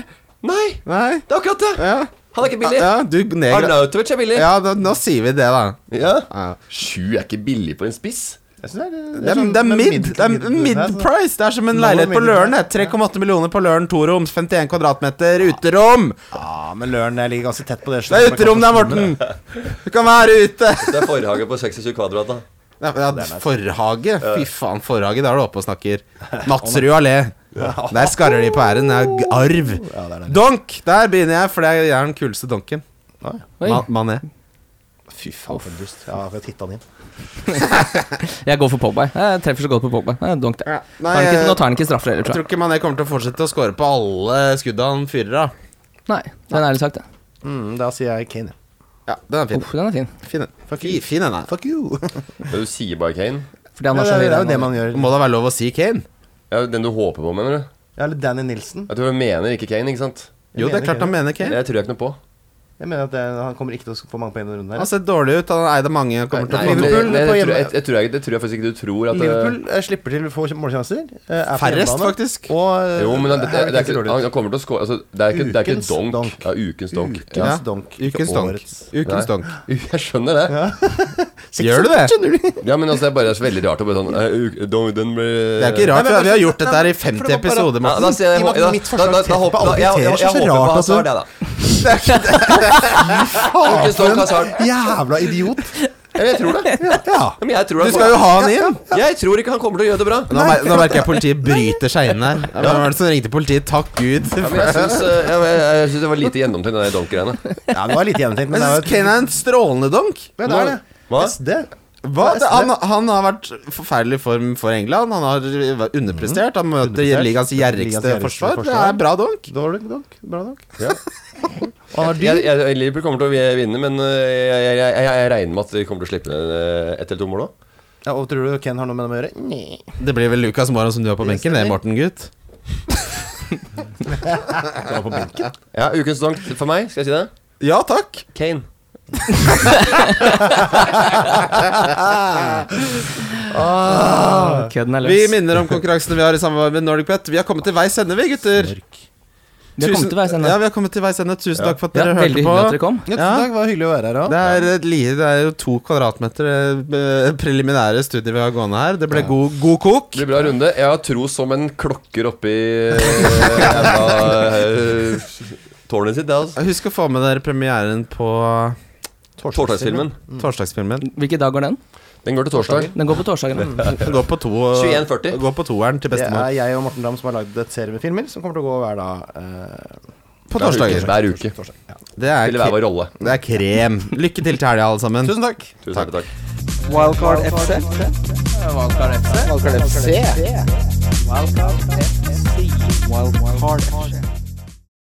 [SPEAKER 4] Nei,
[SPEAKER 3] Nei.
[SPEAKER 4] det er akkurat det!
[SPEAKER 3] Ja,
[SPEAKER 4] Han er ikke billig.
[SPEAKER 3] ja du negra...
[SPEAKER 4] Arnautovic er billig.
[SPEAKER 3] Ja, da, nå sier vi det, da.
[SPEAKER 4] Ja.
[SPEAKER 3] Ja.
[SPEAKER 4] Sju er ikke billig på en spiss.
[SPEAKER 5] Jeg synes det er,
[SPEAKER 3] Det er, sånn- det er mid, det er mid price. Det er som en
[SPEAKER 5] Noe
[SPEAKER 3] leilighet på
[SPEAKER 5] mid
[SPEAKER 3] Løren.
[SPEAKER 5] price.
[SPEAKER 3] det. 3,8 millioner på Løren, toroms, 51 kvadratmeter, uterom.
[SPEAKER 5] Ja, men Løren jeg ligger ganske tett på det.
[SPEAKER 3] Det er uterom der, Morten. Du kan være ute.
[SPEAKER 4] Det er forhage på 26 kvadrat, da.
[SPEAKER 3] Ja, ja, forhage. Fy faen, forhage. Da er du oppe og <laughs> snakker. Natsrud allé. Der skarrer de på æren. Det er g- arv.
[SPEAKER 5] Ja, det er det.
[SPEAKER 3] Donk! Der begynner jeg, for det er- jeg er den kuleste donken.
[SPEAKER 5] Oi.
[SPEAKER 2] <laughs> Oi.
[SPEAKER 3] Ma- Mané.
[SPEAKER 5] Fy faen, for en dust. Ja, for jeg titta den inn.
[SPEAKER 2] Jeg går for Pogba. Jeg treffer så godt på Pogba. Jeg donk det.
[SPEAKER 3] Ja.
[SPEAKER 2] Tar han
[SPEAKER 3] Nei,
[SPEAKER 2] ikke, nå
[SPEAKER 3] jeg,
[SPEAKER 2] tar han ikke straffer heller,
[SPEAKER 3] jeg
[SPEAKER 2] tror
[SPEAKER 3] tror
[SPEAKER 2] jeg.
[SPEAKER 3] ikke Mané kommer til å fortsette å score på alle skudda han fyrer av.
[SPEAKER 2] Nei, den er ærlig sagt, det.
[SPEAKER 5] Mm, da sier jeg Kane.
[SPEAKER 3] Ja, den er fin.
[SPEAKER 2] Uff, den er fin.
[SPEAKER 3] Fin den.
[SPEAKER 5] Fuck
[SPEAKER 3] Fy- Fin den er.
[SPEAKER 5] Fuck you.
[SPEAKER 4] Men du sier bare Kane.
[SPEAKER 2] Fordi
[SPEAKER 5] Ja,
[SPEAKER 2] han
[SPEAKER 5] det,
[SPEAKER 2] har så
[SPEAKER 5] er-
[SPEAKER 2] høy
[SPEAKER 5] det er jo det
[SPEAKER 2] regn.
[SPEAKER 5] man gjør.
[SPEAKER 3] Må da være lov å si Kane?
[SPEAKER 4] Ja, den du håper på, mener du?
[SPEAKER 5] Ja, eller Danny Nilsen.
[SPEAKER 4] Jeg tror du mener ikke Kane, ikke sant?
[SPEAKER 3] Jo, det er klart han mener Kane.
[SPEAKER 4] Det tror jeg ikke noe på.
[SPEAKER 5] Jeg mener at det, han kommer ikke til å få mange poeng i denne runden. her.
[SPEAKER 3] Han har sett dårlig ut. Han eide mange. og Kommer til å
[SPEAKER 4] Nei,
[SPEAKER 3] få
[SPEAKER 4] det-
[SPEAKER 5] Liverpool
[SPEAKER 4] det- det
[SPEAKER 5] på
[SPEAKER 4] tror jeg-
[SPEAKER 5] hjemme-
[SPEAKER 4] jeg- jeg tror jeg- Det tror jeg faktisk ikke du tror at eh,
[SPEAKER 5] Liverpool eh, slipper til få målsjanser. eh, er på
[SPEAKER 3] Færrest,
[SPEAKER 5] hjemmebane,
[SPEAKER 3] faktisk.
[SPEAKER 5] Og eh,
[SPEAKER 4] Jo, men det, det, det,
[SPEAKER 5] her
[SPEAKER 4] er ikke,
[SPEAKER 5] dårlig ut.
[SPEAKER 4] han kommer til å score altså, Det er ikke, det er
[SPEAKER 5] Ukens
[SPEAKER 4] ikke donk.
[SPEAKER 5] donk.
[SPEAKER 4] Ja, ukens donk. Ja.
[SPEAKER 5] Ukens donk. ikke
[SPEAKER 3] Ukens donk.
[SPEAKER 5] årets.
[SPEAKER 3] Ukens donk.
[SPEAKER 4] <laughs> Jeg skjønner det.
[SPEAKER 3] Gjør du det?
[SPEAKER 4] Ja, men altså, det er bare så veldig rart å bare sånn eh, uk- donk, Den ble
[SPEAKER 3] Det er ikke rart,
[SPEAKER 5] Nei, men-
[SPEAKER 3] for vi har gjort dette her
[SPEAKER 5] Nei,
[SPEAKER 3] i
[SPEAKER 5] men-
[SPEAKER 3] 50
[SPEAKER 5] for det var bare-
[SPEAKER 3] episoder.
[SPEAKER 4] ja,
[SPEAKER 3] Morten.
[SPEAKER 4] da sier jeg,
[SPEAKER 5] I og med at
[SPEAKER 4] da-
[SPEAKER 5] mitt
[SPEAKER 4] da-
[SPEAKER 5] forslag
[SPEAKER 4] da- da-
[SPEAKER 5] treffer på
[SPEAKER 4] da-
[SPEAKER 5] alle
[SPEAKER 4] jeg- jeg-
[SPEAKER 5] kriterier, så er
[SPEAKER 4] jeg
[SPEAKER 5] det
[SPEAKER 4] håper på
[SPEAKER 5] rart altså. at
[SPEAKER 4] Hazard,
[SPEAKER 5] du-
[SPEAKER 4] jeg, da. <laughs> Ukens donk, Hazard.
[SPEAKER 5] Jævla idiot.
[SPEAKER 4] Ja, Jeg tror det.
[SPEAKER 5] Ja.
[SPEAKER 4] Ja, Men jeg tror
[SPEAKER 3] Du
[SPEAKER 4] han-
[SPEAKER 3] skal jo ha han inn.
[SPEAKER 4] Jeg tror ikke han kommer til å gjøre det bra.
[SPEAKER 3] Nå, mer, nå merker jeg politiet bryter seg inn her. Hvem var det som ringte politiet? Takk Gud.
[SPEAKER 4] Ja, men jeg syns, eh, jeg, jeg, jeg syns det var lite gjennomtenkt, den der donk-greiene.
[SPEAKER 5] ja, det var litt gjennomtenkt, men
[SPEAKER 3] Jeg
[SPEAKER 5] det er
[SPEAKER 3] syns
[SPEAKER 5] jo
[SPEAKER 3] Kane er en strålende donk.
[SPEAKER 5] Ja, det er det.
[SPEAKER 4] Hva?
[SPEAKER 5] SD.
[SPEAKER 3] Hva? Det, han, han har vært forferdelig form for England. Han har underprestert. Han møter
[SPEAKER 5] Underprestert.
[SPEAKER 3] ligaens
[SPEAKER 5] Ligaens
[SPEAKER 3] gjerrigste
[SPEAKER 5] gjerrigste
[SPEAKER 3] forsvar. Det
[SPEAKER 5] forsvar.
[SPEAKER 3] er bra donk.
[SPEAKER 5] Dårlig donk. Bra donk.
[SPEAKER 4] Ja.
[SPEAKER 5] <laughs> Og han er dyr.
[SPEAKER 4] Jeg, jeg, Liverpool kommer til å vinne, men eh, jeg, jeg, jeg, jeg regner med at de kommer til å slippe ned eh, ett eller to mål òg.
[SPEAKER 5] Ja, og tror du Ken har noe med dem å gjøre? Nei.
[SPEAKER 3] Det blir vel Lucas Moran som du har på
[SPEAKER 5] Det
[SPEAKER 3] benken, det,
[SPEAKER 5] stemmer.
[SPEAKER 3] Morten, gutt.
[SPEAKER 5] Han er på benken.
[SPEAKER 4] Ja, ukens donk for meg, skal jeg si det?
[SPEAKER 3] Ja takk.
[SPEAKER 4] Kane.
[SPEAKER 2] Ah, Kødden er
[SPEAKER 3] Vi
[SPEAKER 2] løs.
[SPEAKER 3] minner om konkurransene vi har i samarbeid med Nordic Pet. Vi har kommet til veis ende, vi, gutter.
[SPEAKER 2] Vi har kommet til veis ende.
[SPEAKER 3] Ja, vi har kommet til veis ende. Tusen takk for at
[SPEAKER 2] Ja,
[SPEAKER 3] dere
[SPEAKER 2] veldig hyggelig
[SPEAKER 3] hørte på.
[SPEAKER 2] at dere kom.
[SPEAKER 5] Ja, tusen takk. Var hyggelig å være her òg.
[SPEAKER 3] Det er, et li, det er jo to kvadratmeter eh, preliminære studier vi har gående her. Det ble god, god kok.
[SPEAKER 4] Det blir bra runde. Jeg har tro som en klokker oppi <laughs> eh, jævla, eh, tårnet sitt. Det, altså.
[SPEAKER 3] Husk å få med dere premieren på
[SPEAKER 4] Torsdagsfilmen.
[SPEAKER 3] torsdagsfilmen.
[SPEAKER 2] Hvilken dag går den?
[SPEAKER 4] Den går til torsdag.
[SPEAKER 2] Den går på torsdagen.
[SPEAKER 3] Gå på, to,
[SPEAKER 4] 21.40.
[SPEAKER 3] gå på toeren til
[SPEAKER 5] Det
[SPEAKER 3] bestemor.
[SPEAKER 5] er jeg og Morten Dam som har lagd et serie med filmer som kommer til å gå hver dag. eh,
[SPEAKER 3] På torsdager.
[SPEAKER 4] Hver uke.
[SPEAKER 3] Det er,
[SPEAKER 4] Spiller hver
[SPEAKER 3] kre-
[SPEAKER 4] vår rolle.
[SPEAKER 3] det er krem. Lykke til til helga, alle sammen.
[SPEAKER 5] Tusen takk.
[SPEAKER 4] Tusen hjertelig takk.
[SPEAKER 1] Wildcard FC. Wildcard FC. Wildcard FC. Wildcard FC.